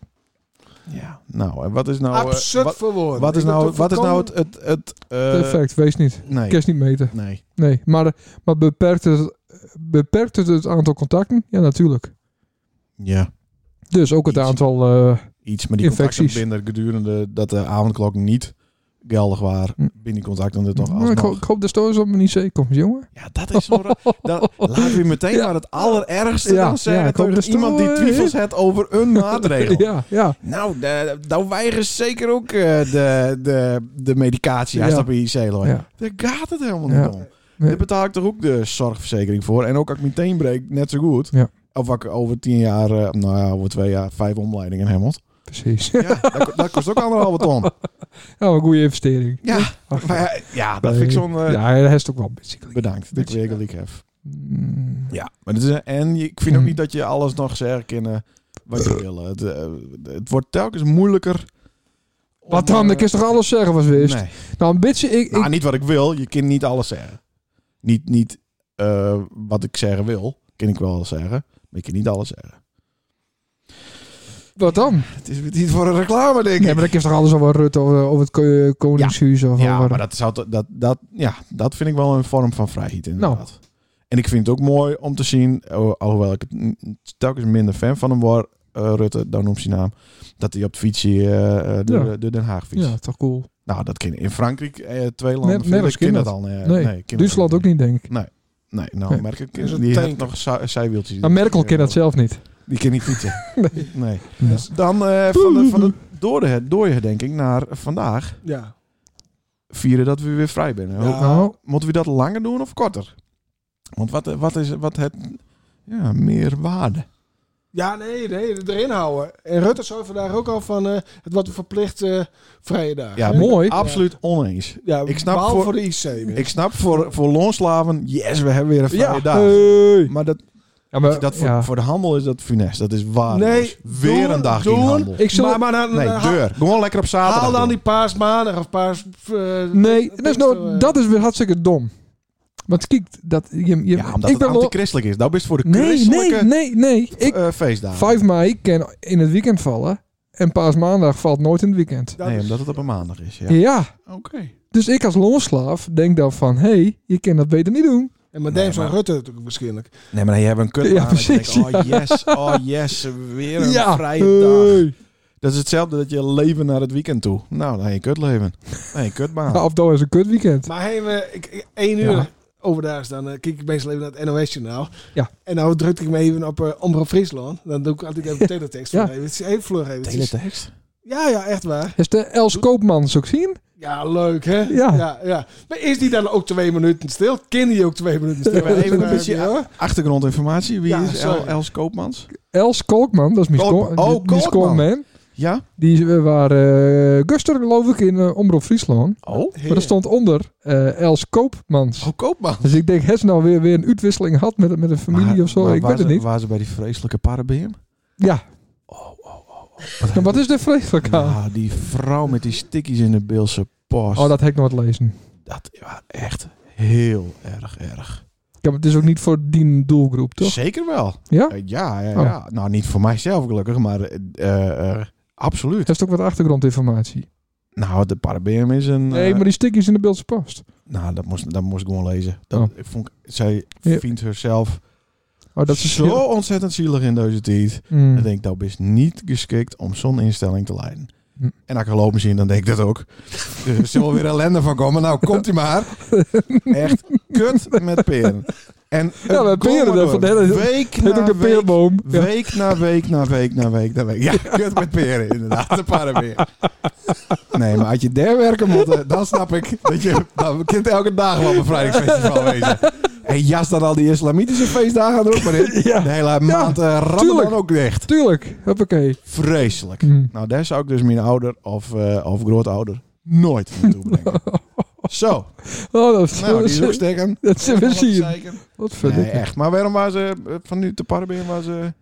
Speaker 1: Eh, Ja. Nou, en wat is nou... eh,
Speaker 3: Absurd
Speaker 1: wat,
Speaker 3: verwoorden.
Speaker 1: wat is
Speaker 3: Ik ben
Speaker 1: nou,
Speaker 3: toch
Speaker 1: wat is nou het...
Speaker 3: volkomen-
Speaker 1: het, het eh,
Speaker 2: Perfect, wees niet.
Speaker 1: Nee.
Speaker 2: Kerst niet meten.
Speaker 1: Nee.
Speaker 2: Nee, maar, maar beperkt, het, beperkt het het aantal contacten? Ja, natuurlijk.
Speaker 1: Ja.
Speaker 2: Dus ook het
Speaker 1: Iets.
Speaker 2: aantal... eh,
Speaker 1: Iets, maar die contacten
Speaker 2: Infecties.
Speaker 1: binnen gedurende dat de avondklok niet geldig waren.
Speaker 2: Hm.
Speaker 1: Binnen die contacten er toch
Speaker 2: nou, ik, ho-
Speaker 1: alsnog.
Speaker 2: ik hoop dat Stoos op mijn IC komt, jongen.
Speaker 1: Ja, dat is zo raar. Dan laten we meteen
Speaker 2: Ja.
Speaker 1: maar het allerergste
Speaker 2: Ja,
Speaker 1: dan zeggen
Speaker 2: ja, ik hoop
Speaker 1: tegen
Speaker 2: dat het
Speaker 1: iemand die
Speaker 2: wel, eh,
Speaker 1: twijfels heeft over
Speaker 2: <laughs>
Speaker 1: een maatregel.
Speaker 2: ja, ja.
Speaker 1: Nou, de- nou weigeren ze zeker ook eh, de, de, de medicatie als
Speaker 2: Ja.
Speaker 1: dat bij IC loopt.
Speaker 2: Ja.
Speaker 1: Daar gaat het helemaal
Speaker 2: Ja.
Speaker 1: niet om.
Speaker 2: Nee.
Speaker 1: Daar betaal ik toch ook de zorgverzekering voor. En ook als ik meteen breek, net zo goed.
Speaker 2: Ja.
Speaker 1: Of als ik over tien jaar, eh, nou ja, over twee jaar, vijf omleidingen heb. want-
Speaker 2: Precies. <laughs>
Speaker 1: Ja, dat, dat kost ook anderhalve ton.
Speaker 2: Ja, een goede investering.
Speaker 1: Ja,
Speaker 2: Ach,
Speaker 1: maar, ja, ja, dat vind ik zo'n... eh,
Speaker 2: ja, dat is ook wel basically.
Speaker 1: Bedankt, dat ik weer gelijk heb.
Speaker 2: Mm,
Speaker 1: Ja, maar het is een, en je- ik vind ook
Speaker 2: Mm.
Speaker 1: niet dat je alles nog zegt kunnen wat je wil. Het, eh, het wordt telkens moeilijker. om,
Speaker 2: Wat dan?
Speaker 1: eh,
Speaker 2: Ik is toch alles zeggen was wist?
Speaker 1: Nee.
Speaker 2: Nou, een beetje... Ik,
Speaker 1: Nou,
Speaker 2: ik,
Speaker 1: niet wat ik wil. Je kan niet alles zeggen. Niet, niet eh, wat ik zeggen wil, kan ik wel zeggen. Maar ik kan niet alles zeggen.
Speaker 2: wat dan?
Speaker 1: Het is niet voor een reclame, denk ik.
Speaker 2: Nee, maar dat is toch alles over Rutte of eh, over het ko- eh, Koningshuis of
Speaker 1: ja,
Speaker 2: over...
Speaker 1: maar dat, zou, to- dat, dat, ja, dat vind ik wel een vorm van vrijheid
Speaker 2: Nou.
Speaker 1: inderdaad. En ik vind het ook mooi om te zien, eh, alhoewel ik het n- telkens minder fan van hem word, eh, Rutte, dan noemt zijn naam, dat hij op de fiets eh, eh, door,
Speaker 2: Ja.
Speaker 1: door Den Haag fietst.
Speaker 2: Ja, toch cool.
Speaker 1: Nou, dat kan in Frankrijk, eh, twee landen,
Speaker 2: Net-
Speaker 1: verder
Speaker 2: nergens
Speaker 1: kan
Speaker 2: kan
Speaker 1: dat al. eh,
Speaker 2: Nee,
Speaker 1: kan
Speaker 2: Duitsland
Speaker 1: dat
Speaker 2: ook niet, denk ik.
Speaker 1: Nee, nou,
Speaker 2: Nee.
Speaker 1: Merkel kan-
Speaker 3: Is een
Speaker 1: die heeft
Speaker 3: tank.
Speaker 1: nog za- zijwieltjes.
Speaker 2: Maar Merkel kent dat zelf niet.
Speaker 1: Die kan niet
Speaker 2: <laughs>
Speaker 1: fietsen. nee.
Speaker 2: Ja.
Speaker 1: Dan eh, van de,
Speaker 2: <laughs>
Speaker 1: van de doorde- doorherdenking naar vandaag
Speaker 3: Ja.
Speaker 1: vieren dat we weer vrij zijn.
Speaker 3: Ja.
Speaker 2: Nou,
Speaker 1: Moeten we dat langer doen of korter? Want wat, wat is wat het ja, meer waarde?
Speaker 3: Ja, nee, nee, erin houden. En Rutte zei vandaag ook al van, eh, het wordt een verplicht eh, vrije dag.
Speaker 1: Ja,
Speaker 3: Hè?
Speaker 2: mooi.
Speaker 1: Absoluut oneens.
Speaker 3: Ja,
Speaker 1: Ik snap
Speaker 3: behalve
Speaker 1: voor-
Speaker 3: voor, de IC. weer.
Speaker 1: Ik snap voor, voor loonslaven, yes, we hebben weer een vrije
Speaker 2: Ja,
Speaker 1: dag.
Speaker 2: hey.
Speaker 1: Maar dat,
Speaker 2: Ja, maar,
Speaker 1: dat voor,
Speaker 2: ja.
Speaker 1: voor de handel is dat funest. Dat is waar.
Speaker 3: Nee,
Speaker 1: weer
Speaker 3: doen,
Speaker 1: een dag in
Speaker 3: doen.
Speaker 1: handel.
Speaker 2: Ik eh, zal-
Speaker 3: maar, maar dan-
Speaker 1: nee,
Speaker 3: dan-
Speaker 1: deur. Gewoon lekker op zaterdag.
Speaker 3: haal dan
Speaker 1: doen.
Speaker 3: die paars maandag of paars... eh,
Speaker 2: Nee, dat is,
Speaker 3: Pinkster,
Speaker 2: nou,
Speaker 3: eh.
Speaker 2: dat is weer hartstikke dom. Maar het kijkt dat... Je, je,
Speaker 1: Ja, omdat
Speaker 2: ik
Speaker 1: het
Speaker 2: ben wel...
Speaker 1: antichristelijk is. Nou, best voor de
Speaker 2: Nee,
Speaker 1: christelijke
Speaker 2: nee, nee, nee. Ik,
Speaker 1: eh, feestdagen.
Speaker 2: 5 mei kan in het weekend vallen. En paasmaandag valt nooit in het weekend.
Speaker 3: Dat
Speaker 1: nee,
Speaker 3: is-
Speaker 1: omdat het op een maandag is. Ja.
Speaker 2: Ja.
Speaker 1: Oké.
Speaker 2: Dus ik als loonslaaf denk dan van... Hé, hey, je kan dat beter niet doen.
Speaker 3: En met
Speaker 1: Nee,
Speaker 3: Deem van
Speaker 1: maar-
Speaker 3: Rutte natuurlijk waarschijnlijk.
Speaker 1: Nee, maar nee, je hebt een kut.
Speaker 2: Ja,
Speaker 1: maandag. Je denkt,
Speaker 2: precies.
Speaker 1: oh yes, oh yes, weer een
Speaker 2: ja.
Speaker 1: vrije dag.
Speaker 2: Hey.
Speaker 1: Dat is hetzelfde dat je leven naar het weekend toe. Nou, nee, je kut leven. Nee, kut
Speaker 2: <laughs> Nou,
Speaker 1: baan.
Speaker 2: of dat is een kut weekend.
Speaker 3: Maar heen, eh, ik, ik- één uur
Speaker 2: Ja.
Speaker 3: overdaags, dan eh, kijk ik meestal even naar het NOS-journaal.
Speaker 2: Ja.
Speaker 3: En nou druk ik me even op eh Omroep Friesland. Dan doe ik altijd even teletext
Speaker 2: Ja.
Speaker 3: voor even. Even vlug even.
Speaker 1: Teletext.
Speaker 3: Ja, ja, echt waar.
Speaker 2: Is de Els Koopman zo zien?
Speaker 3: Ja, leuk hè?
Speaker 2: Ja.
Speaker 3: ja, ja. Maar is die dan ook twee minuten stil? Ken die ook twee minuten stil?
Speaker 1: maar even een beetje
Speaker 3: Ja, hoor.
Speaker 1: Achtergrondinformatie. Wie
Speaker 3: Ja,
Speaker 1: is El-
Speaker 3: sorry.
Speaker 1: Els Koopmans?
Speaker 2: Els Koopman, dat is mijn
Speaker 1: Kolk- oh,
Speaker 2: score, die- die
Speaker 1: Kolkman.
Speaker 2: scoreman.
Speaker 1: Ja?
Speaker 2: Die eh, waren eh Guster, geloof ik, in eh, Omroep Friesland.
Speaker 1: Oh?
Speaker 2: Maar er stond onder eh, Els Koopmans.
Speaker 1: Oh, Koopmans.
Speaker 2: Dus ik denk, Hes nou weer, weer een uitwisseling had met, met een familie
Speaker 1: Maar-
Speaker 2: of zo.
Speaker 1: maar
Speaker 2: ik
Speaker 1: waar
Speaker 2: weet het
Speaker 1: ze-
Speaker 2: niet.
Speaker 1: Waar ze bij die vreselijke parabeer?
Speaker 2: Ja.
Speaker 1: Oh,
Speaker 2: Nou, wat is de vreselijke?
Speaker 1: Nou, die vrouw met die stickies in de Beelse post.
Speaker 2: Oh, dat heb ik nooit lezen.
Speaker 1: Dat was echt heel erg erg.
Speaker 2: Ja, maar het is ook niet voor die doelgroep, toch?
Speaker 1: Zeker wel.
Speaker 2: Ja?
Speaker 1: Eh, Ja, ja,
Speaker 2: Oh.
Speaker 1: ja. nou niet voor mijzelf gelukkig, maar eh, eh, eh, absoluut.
Speaker 2: Heeft ook wat achtergrondinformatie.
Speaker 1: Nou, de Parabeum is een...
Speaker 2: Nee,
Speaker 1: eh,
Speaker 2: maar die stikjes in de Beeldse Post.
Speaker 1: Nou, dat moest, dat moest ik gewoon lezen. Dat,
Speaker 2: Oh.
Speaker 1: ik vond, zij
Speaker 2: Ja.
Speaker 1: vindt herself
Speaker 2: Oh, dat is
Speaker 1: zo ontzettend zielig in deze tijd.
Speaker 2: Hmm.
Speaker 1: Ik denk, dat is niet geschikt om zo'n instelling te leiden.
Speaker 2: Hm.
Speaker 1: En als ik geloof me zien, dan denk ik dat
Speaker 2: <laughs>
Speaker 1: ook. Er zal weer ellende van komen. Nou, komt hij maar. Echt kut met peren. En
Speaker 2: Ja, met peren,
Speaker 1: kom maar
Speaker 2: dat-
Speaker 1: door.
Speaker 2: dat- dat-
Speaker 1: week
Speaker 2: Het
Speaker 1: na
Speaker 2: ook de
Speaker 1: week
Speaker 2: peerboom. Ja.
Speaker 1: Week na week na week na week na
Speaker 2: <laughs>
Speaker 1: week. Ja, kut met peren inderdaad. De parabeer. Nee, maar als je daar werken moet, eh, dan snap ik dat je... Dan kunt elke dag wel een bevrijdingsfestival wezen. En jas dan al die islamitische feestdagen erop maar in.
Speaker 2: Ja.
Speaker 1: De hele maand eh rammen
Speaker 2: tuurlijk.
Speaker 1: dan ook dicht.
Speaker 2: Tuurlijk. Hoppakee.
Speaker 1: Vreselijk.
Speaker 2: Hmm.
Speaker 1: Nou, daar zou ik dus mijn ouder of, eh of grootouder nooit naartoe
Speaker 2: <laughs>
Speaker 1: brengen. Zo,
Speaker 2: Oh, dat,
Speaker 1: nou, die is ook steken.
Speaker 2: dat zijn we zien. Wat nou? verdikken.
Speaker 1: Nee, echt. Maar waarom waren ze eh, van nu te Parabeen? Was ze...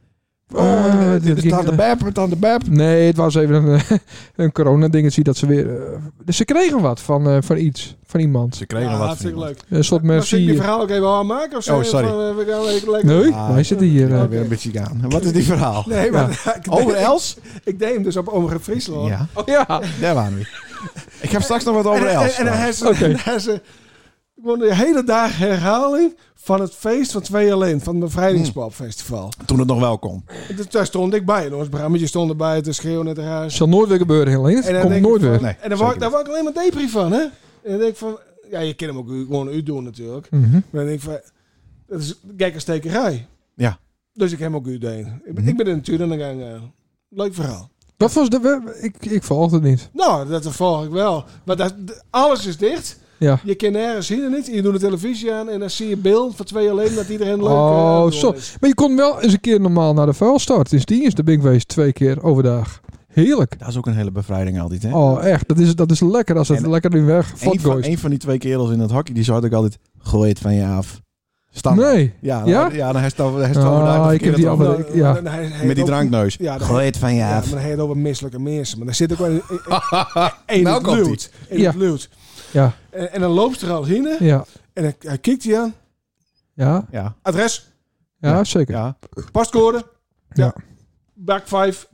Speaker 1: Oh,
Speaker 3: Ah,
Speaker 2: Eh,
Speaker 1: dit,
Speaker 2: dit
Speaker 1: is
Speaker 2: ging-
Speaker 1: aan de bep, het aan de bep.
Speaker 2: Nee, het was even een, <laughs> eh, een corona-dingetje dat ze weer... eh, dus ze kregen wat van, eh, van iets, van iemand.
Speaker 1: Ze
Speaker 3: Ja,
Speaker 1: kregen wat
Speaker 3: hartstikke leuk.
Speaker 2: Een soort
Speaker 3: Mag ik
Speaker 2: merci.
Speaker 3: die verhaal ook even aanmaken? Of zo?
Speaker 1: Oh, sorry.
Speaker 3: Van, eh, we gaan even lekker-
Speaker 2: Nee,
Speaker 1: Ah,
Speaker 2: wij zitten hier. eh.
Speaker 1: Ja, weer een beetje gaan. En Wat is die verhaal?
Speaker 3: Nee, maar <laughs> ik,
Speaker 1: Over
Speaker 3: deed,
Speaker 1: Els?
Speaker 3: ik deed hem dus op Omroep Friesland.
Speaker 1: Ja,
Speaker 2: Ja.
Speaker 1: daar waren we. Ik heb straks nog wat over
Speaker 3: en, en,
Speaker 1: Els.
Speaker 3: en hij is,
Speaker 2: Oké.
Speaker 3: en hij is, eh, gewoon de hele dag herhaling van het feest van twee alleen, van het bevrijdingspopfestival.
Speaker 1: Toen het nog wel kon.
Speaker 3: En Dus daar stond ik bij en ons brammetje stond erbij te schreeuwen en te
Speaker 2: Het
Speaker 3: razen.
Speaker 2: zal nooit weer gebeuren, Helene.
Speaker 3: En
Speaker 2: Het
Speaker 3: dan
Speaker 2: komt
Speaker 3: denk ik
Speaker 2: nooit
Speaker 3: van-
Speaker 2: weer.
Speaker 1: Nee,
Speaker 3: En daar word, ik-
Speaker 1: zeker
Speaker 3: daar word ik alleen maar depri van, hè? En dan denk ik van, ja, je kan hem ook u- gewoon u doen natuurlijk.
Speaker 2: Mhm.
Speaker 3: Maar dan denk ik van, dat is gekke stekerij.
Speaker 1: Ja.
Speaker 3: Dus ik heb hem ook u deed. Ik, ben-
Speaker 1: Mhm.
Speaker 3: ik ben in de tuin aan de gang. eh, leuk verhaal.
Speaker 2: Wat was de... we- Ik, ik volg het niet.
Speaker 3: Nou, dat volg ik wel. Maar dat, d- alles is dicht.
Speaker 2: Ja.
Speaker 3: Je kan nergens zien en niet. Je doet de televisie aan en dan zie je beeld van twee alleen dat iedereen leuk eh, aan
Speaker 2: Oh,
Speaker 3: het
Speaker 2: zo.
Speaker 3: doen is.
Speaker 2: Maar je kon wel eens een keer normaal naar de vuilstart. Dus die is de Big Waste twee keer overdag. Heerlijk.
Speaker 1: Dat is ook een hele bevrijding altijd, hè?
Speaker 2: Oh, echt. Dat is, dat is lekker als het
Speaker 1: En-
Speaker 2: lekker in weg
Speaker 1: Eén van,
Speaker 2: voortgooist.
Speaker 1: één van die twee kerels in het hockey, die zou ik altijd... Gooi het van je af. Stam.
Speaker 2: Nee.
Speaker 1: Ja, dan,
Speaker 2: Ja?
Speaker 1: ja? dan heeft hij heeft hij
Speaker 2: Ah,
Speaker 1: overdag de
Speaker 2: ik heb
Speaker 1: verkeerde
Speaker 2: die
Speaker 1: drank.
Speaker 2: andere-
Speaker 3: Nou,
Speaker 2: ja.
Speaker 3: dan hij- hij
Speaker 1: Met
Speaker 3: heeft
Speaker 1: die
Speaker 3: ook-
Speaker 1: drankneus.
Speaker 3: Ja, dan-
Speaker 1: Gooi het van je
Speaker 3: Ja,
Speaker 1: af.
Speaker 3: maar dan heet het over misselijke mensen. Maar daar zit ook wel
Speaker 1: <laughs>
Speaker 3: in, in, in
Speaker 1: Nou
Speaker 3: het
Speaker 1: komt-ie.
Speaker 3: luwt. In
Speaker 2: Ja.
Speaker 3: het luwt.
Speaker 2: Ja.
Speaker 3: En, en dan loopt ze er al heen
Speaker 2: Ja.
Speaker 3: en hij, hij kijkt hij aan.
Speaker 2: Ja.
Speaker 1: Ja,
Speaker 3: Adres,
Speaker 2: Ja,
Speaker 1: Ja.
Speaker 2: zeker. Ja,
Speaker 1: ja.
Speaker 3: pascode. Ja.
Speaker 2: Ja.
Speaker 3: Bak 5.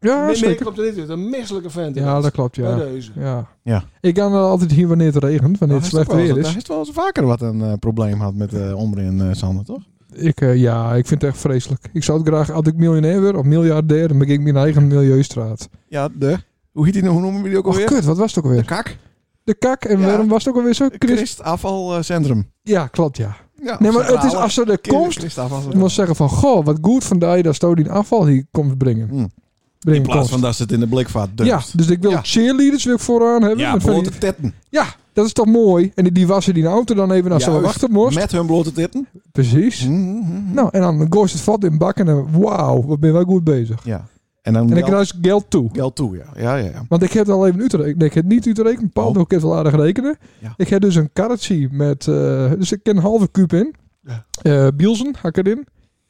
Speaker 3: meer, Oh, meer
Speaker 2: zeker.
Speaker 3: komt er niet uit. Een misselijke vent.
Speaker 2: Ja, dat klopt,
Speaker 3: Bij
Speaker 2: ja.
Speaker 3: deze.
Speaker 2: ja.
Speaker 1: Ja.
Speaker 2: Ik kan wel altijd hier wanneer het regent, wanneer
Speaker 1: Nou,
Speaker 2: het
Speaker 1: hij is toch
Speaker 2: slecht
Speaker 1: wel eens-
Speaker 2: weer
Speaker 1: Hij
Speaker 2: is.
Speaker 1: heeft wel eens vaker wat een eh, probleem had met eh Omri en eh, Sander, toch?
Speaker 2: Ik, eh, ja, ik vind het echt vreselijk. Ik zou het graag, als ik miljonair word of miljardair, dan ben ik mijn eigen milieustraat.
Speaker 1: Ja, de... Hoe heet die nou? Hoe noemen we die ook
Speaker 2: Oh,
Speaker 1: alweer?
Speaker 2: kut, wat was het ook
Speaker 1: de
Speaker 2: alweer?
Speaker 1: kak.
Speaker 2: De kak, en
Speaker 1: Ja.
Speaker 2: waarom was het ook alweer zo? Ah, Christ...
Speaker 1: Christafvalcentrum.
Speaker 2: Ja, klopt, ja.
Speaker 1: eh, Ja,
Speaker 2: Nee, maar het is
Speaker 1: centrale
Speaker 2: als ze de
Speaker 1: kinder-
Speaker 2: komst
Speaker 1: Christafvalcentrum.
Speaker 2: moet zeggen van, goh, wat goed van die dat Sto die afval hier komt brengen.
Speaker 1: Hmm.
Speaker 2: brengen
Speaker 1: In plaats
Speaker 2: komt.
Speaker 1: van dat ze het in de blikvaart
Speaker 2: ja,
Speaker 1: dumpt.
Speaker 2: dus ik wil
Speaker 1: Ja.
Speaker 2: cheerleaders wil ik vooraan hebben.
Speaker 1: Ja,
Speaker 2: met van die-
Speaker 1: blote titten.
Speaker 2: ja, dat is toch mooi. En die, die wassen die auto dan even als ze wel
Speaker 1: Juist,
Speaker 2: wachten moest.
Speaker 1: Met hun blote titten.
Speaker 2: Precies.
Speaker 1: Mhm.
Speaker 2: Nou, en dan gooit het vat in bak en dan, wauw, wat ben wij goed bezig.
Speaker 1: Ja. En dan
Speaker 2: En dan
Speaker 1: geld,
Speaker 2: krijg je geld toe.
Speaker 1: geld toe, ja. Ja, ja, ja.
Speaker 2: Want ik heb het al even uitrekenen. Nee, ik heb het niet uitrekenen. Paul,
Speaker 1: Oh.
Speaker 2: ik heb het al aardig rekenen.
Speaker 1: Ja.
Speaker 2: Ik heb dus een karretje met... eh, dus ik ken een halve kuub in.
Speaker 3: Ja.
Speaker 2: Eh, bielsen hak erin.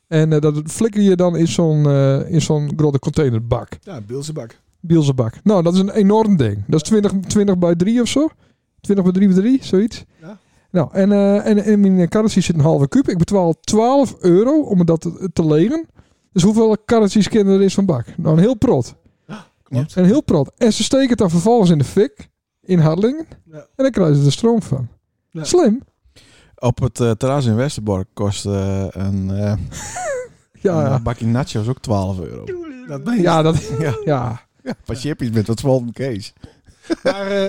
Speaker 2: En eh, dat flikker je dan in zo'n eh, in zo'n grote containerbak.
Speaker 3: Ja, Bilzebak.
Speaker 2: Bielsenbak. Nou, dat is een enorm ding. Dat is 20, 20 bij 3 of zo. 20 bij 3 bij 3, zoiets.
Speaker 3: Ja.
Speaker 2: En Nou, en, eh, en in mijn karretjes zit een halve kuub. Ik betaal 12 euro om dat te- te leren. Dus hoeveel karretjes kennen er is van bak? Nou, een heel prot.
Speaker 3: Ah, Klopt.
Speaker 2: Een heel prot. En ze steken het dan vervolgens in de fik. In Harlingen.
Speaker 3: Ja.
Speaker 2: En dan krijgen ze er stroom van.
Speaker 3: Ja.
Speaker 2: Slim.
Speaker 1: Op het eh, terras in Westerbork kost eh, een, eh,
Speaker 2: Ja,
Speaker 1: een
Speaker 2: ja.
Speaker 1: bakje nachos ook 12 euro.
Speaker 3: Dat ben je.
Speaker 2: ja,
Speaker 3: <laughs>
Speaker 2: dat,
Speaker 1: Ja.
Speaker 2: ja.
Speaker 1: Wat chippies met wat zwollen kees.
Speaker 3: Maar eh,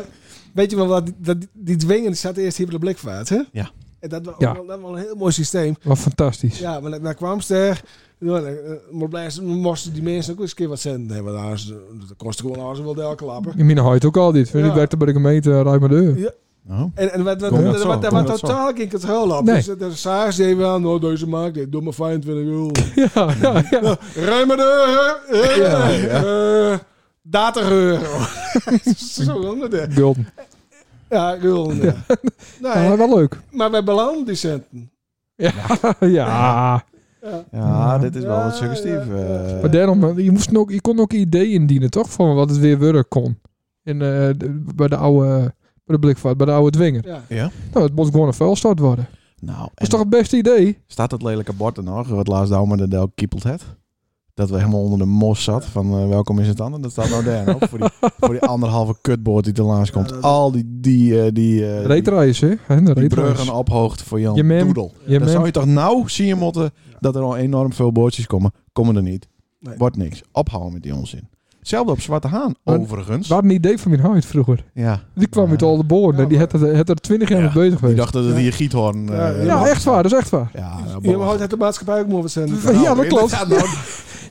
Speaker 3: weet je wel, wat, dat, die dwingen zat eerst hier op de blikvaart, hè?
Speaker 1: Ja.
Speaker 3: En dat was
Speaker 2: Ja.
Speaker 3: dat was wel een heel mooi systeem.
Speaker 2: wat fantastisch.
Speaker 3: Ja, maar daar kwam ze er. Nou, dan, eh, maar blij- ze moesten die mensen ook eens een keer wat centen hebben. want anders, eh, Dat kostte gewoon als ze wel deel klappen.
Speaker 2: In mijn huid ook al dit.
Speaker 3: Ja.
Speaker 2: Ik werkte bij de gemeente Ruim de deur.
Speaker 1: Nou,
Speaker 3: En, en wat, wat,
Speaker 1: Kom
Speaker 3: wat,
Speaker 1: dat zo,
Speaker 3: wat,
Speaker 1: kom
Speaker 3: wat
Speaker 1: dat zo.
Speaker 3: totaal geen controle op.
Speaker 2: Nee.
Speaker 3: Dus dan zagen ze even aan, nou deze maakt dit, doe maar
Speaker 1: <laughs>
Speaker 3: 25 euro.
Speaker 2: Ja, <laughs> ja, ja.
Speaker 3: Ruim maar de eh,
Speaker 1: Ja,
Speaker 3: eh, eh, 30 euro. <laughs> Zo honderd, hè.
Speaker 2: Gulden.
Speaker 3: Ja, euro. Ja.
Speaker 1: <laughs>
Speaker 3: Nou,
Speaker 2: Ja,
Speaker 3: eh,
Speaker 2: wel leuk.
Speaker 3: maar wij belanden die centen.
Speaker 2: ja.
Speaker 3: Ja.
Speaker 1: ja, dit is wel
Speaker 3: Ja,
Speaker 1: wat suggestief.
Speaker 3: ja,
Speaker 1: eh.
Speaker 3: ja.
Speaker 2: Maar daarom, je, moest ook, je kon ook ideeën indienen, toch? Van wat het weer worden kon. In, eh, de- bij de oude, bij de blikvaart, bij de oude dwinger.
Speaker 3: Ja.
Speaker 2: Nou, het moet gewoon een vuilstort worden. Dat
Speaker 1: nou,
Speaker 2: is
Speaker 1: en-
Speaker 2: toch het beste idee?
Speaker 1: Staat dat lelijke bord er nog, wat laatst daar met de Del kiepeld het? Dat we helemaal onder de mos zat van eh, welkom is het dan? En dat staat nou daar nog voor die,
Speaker 3: <laughs>
Speaker 1: voor die anderhalve kutboord die te langs komt.
Speaker 3: Ja, dat-
Speaker 1: Al die, die, eh, die, eh, die,
Speaker 2: Reetreis, hè? Hè, De
Speaker 1: die
Speaker 2: reetreis.
Speaker 1: bruggen ophoogd voor Jan
Speaker 2: Je mem-
Speaker 1: Doedel.
Speaker 2: Je
Speaker 1: Dan zou
Speaker 2: bent-
Speaker 1: je toch nou zien moeten dat er al enorm veel boordjes komen. Komen er niet.
Speaker 3: Nee.
Speaker 1: Wordt niks. Ophouden met die onzin. Hetzelfde op Zwarte Haan,
Speaker 2: Maar-
Speaker 1: overigens.
Speaker 2: Wat een idee van mijn huid vroeger.
Speaker 1: Ja.
Speaker 2: Die kwam
Speaker 1: Ja.
Speaker 2: uit al de boren.
Speaker 3: Ja,
Speaker 2: die
Speaker 3: maar-
Speaker 2: had er, had er twintig jaar
Speaker 1: Ja,
Speaker 2: mee bezig
Speaker 1: Die
Speaker 2: geweest.
Speaker 1: dacht dat het hier giethoorn... eh,
Speaker 3: Ja,
Speaker 2: Ja,
Speaker 1: was.
Speaker 2: echt waar. Dat is echt waar.
Speaker 1: Ja, nou,
Speaker 3: Je houdt
Speaker 1: belachelijk.
Speaker 3: het de maatschappij ook maar wat centen.
Speaker 2: Ja, dat klopt. <laughs>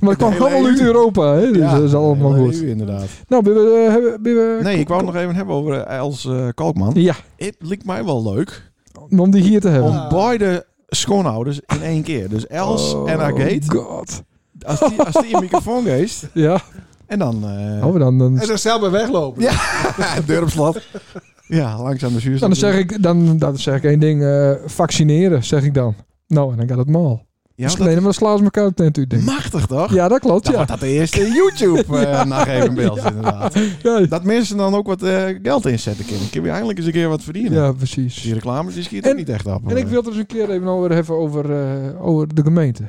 Speaker 2: Maar het kwam
Speaker 1: hele
Speaker 2: allemaal uit
Speaker 1: EU.
Speaker 2: Europa, hè? Dus
Speaker 1: nou- Ja,
Speaker 2: dat is allemaal
Speaker 1: hele
Speaker 2: goed.
Speaker 1: EU inderdaad.
Speaker 2: Nou, ben we... eh, hebben- ben we-
Speaker 1: Nee, ik wou het nog even hebben over eh, Els eh, Kalkman.
Speaker 2: Ja,
Speaker 1: Het lijkt mij wel leuk
Speaker 2: om die hier te hebben.
Speaker 1: om beide schoonouders in één keer. Dus Els
Speaker 2: Oh,
Speaker 1: en haar gate.
Speaker 2: god.
Speaker 1: Als die, als die een microfoon geeft.
Speaker 2: Ja,
Speaker 1: En dan eh
Speaker 2: oh, dan, dan,
Speaker 3: En ze zelf bij weglopen.
Speaker 1: Ja. deur op slot. Ja, langzaam de zuurstof.
Speaker 2: Dus dan, zeg ik, dan, dan zeg ik één ding. eh, vaccineren, zeg ik dan. Nou, en dan gaat het mal. Dus
Speaker 1: Ja,
Speaker 2: nee, maar dan slaan ze elkaar de tent uit,
Speaker 1: dat-
Speaker 2: denk ik.
Speaker 1: machtig toch?
Speaker 2: Ja, dat klopt,
Speaker 1: Dat
Speaker 2: ja.
Speaker 1: wordt dat de eerste
Speaker 2: <laughs>
Speaker 1: YouTube eh nog even beeld inderdaad.
Speaker 2: Ja,
Speaker 1: Dat mensen dan ook wat eh, geld inzetten kunnen. Kun je eindelijk eens een keer wat verdienen.
Speaker 2: ja,
Speaker 1: Die
Speaker 2: precies.
Speaker 1: reclames die schieten
Speaker 2: En-
Speaker 1: ook niet echt op. eh.
Speaker 2: En ik wil het dus een keer even over hebben over, eh, over de gemeente.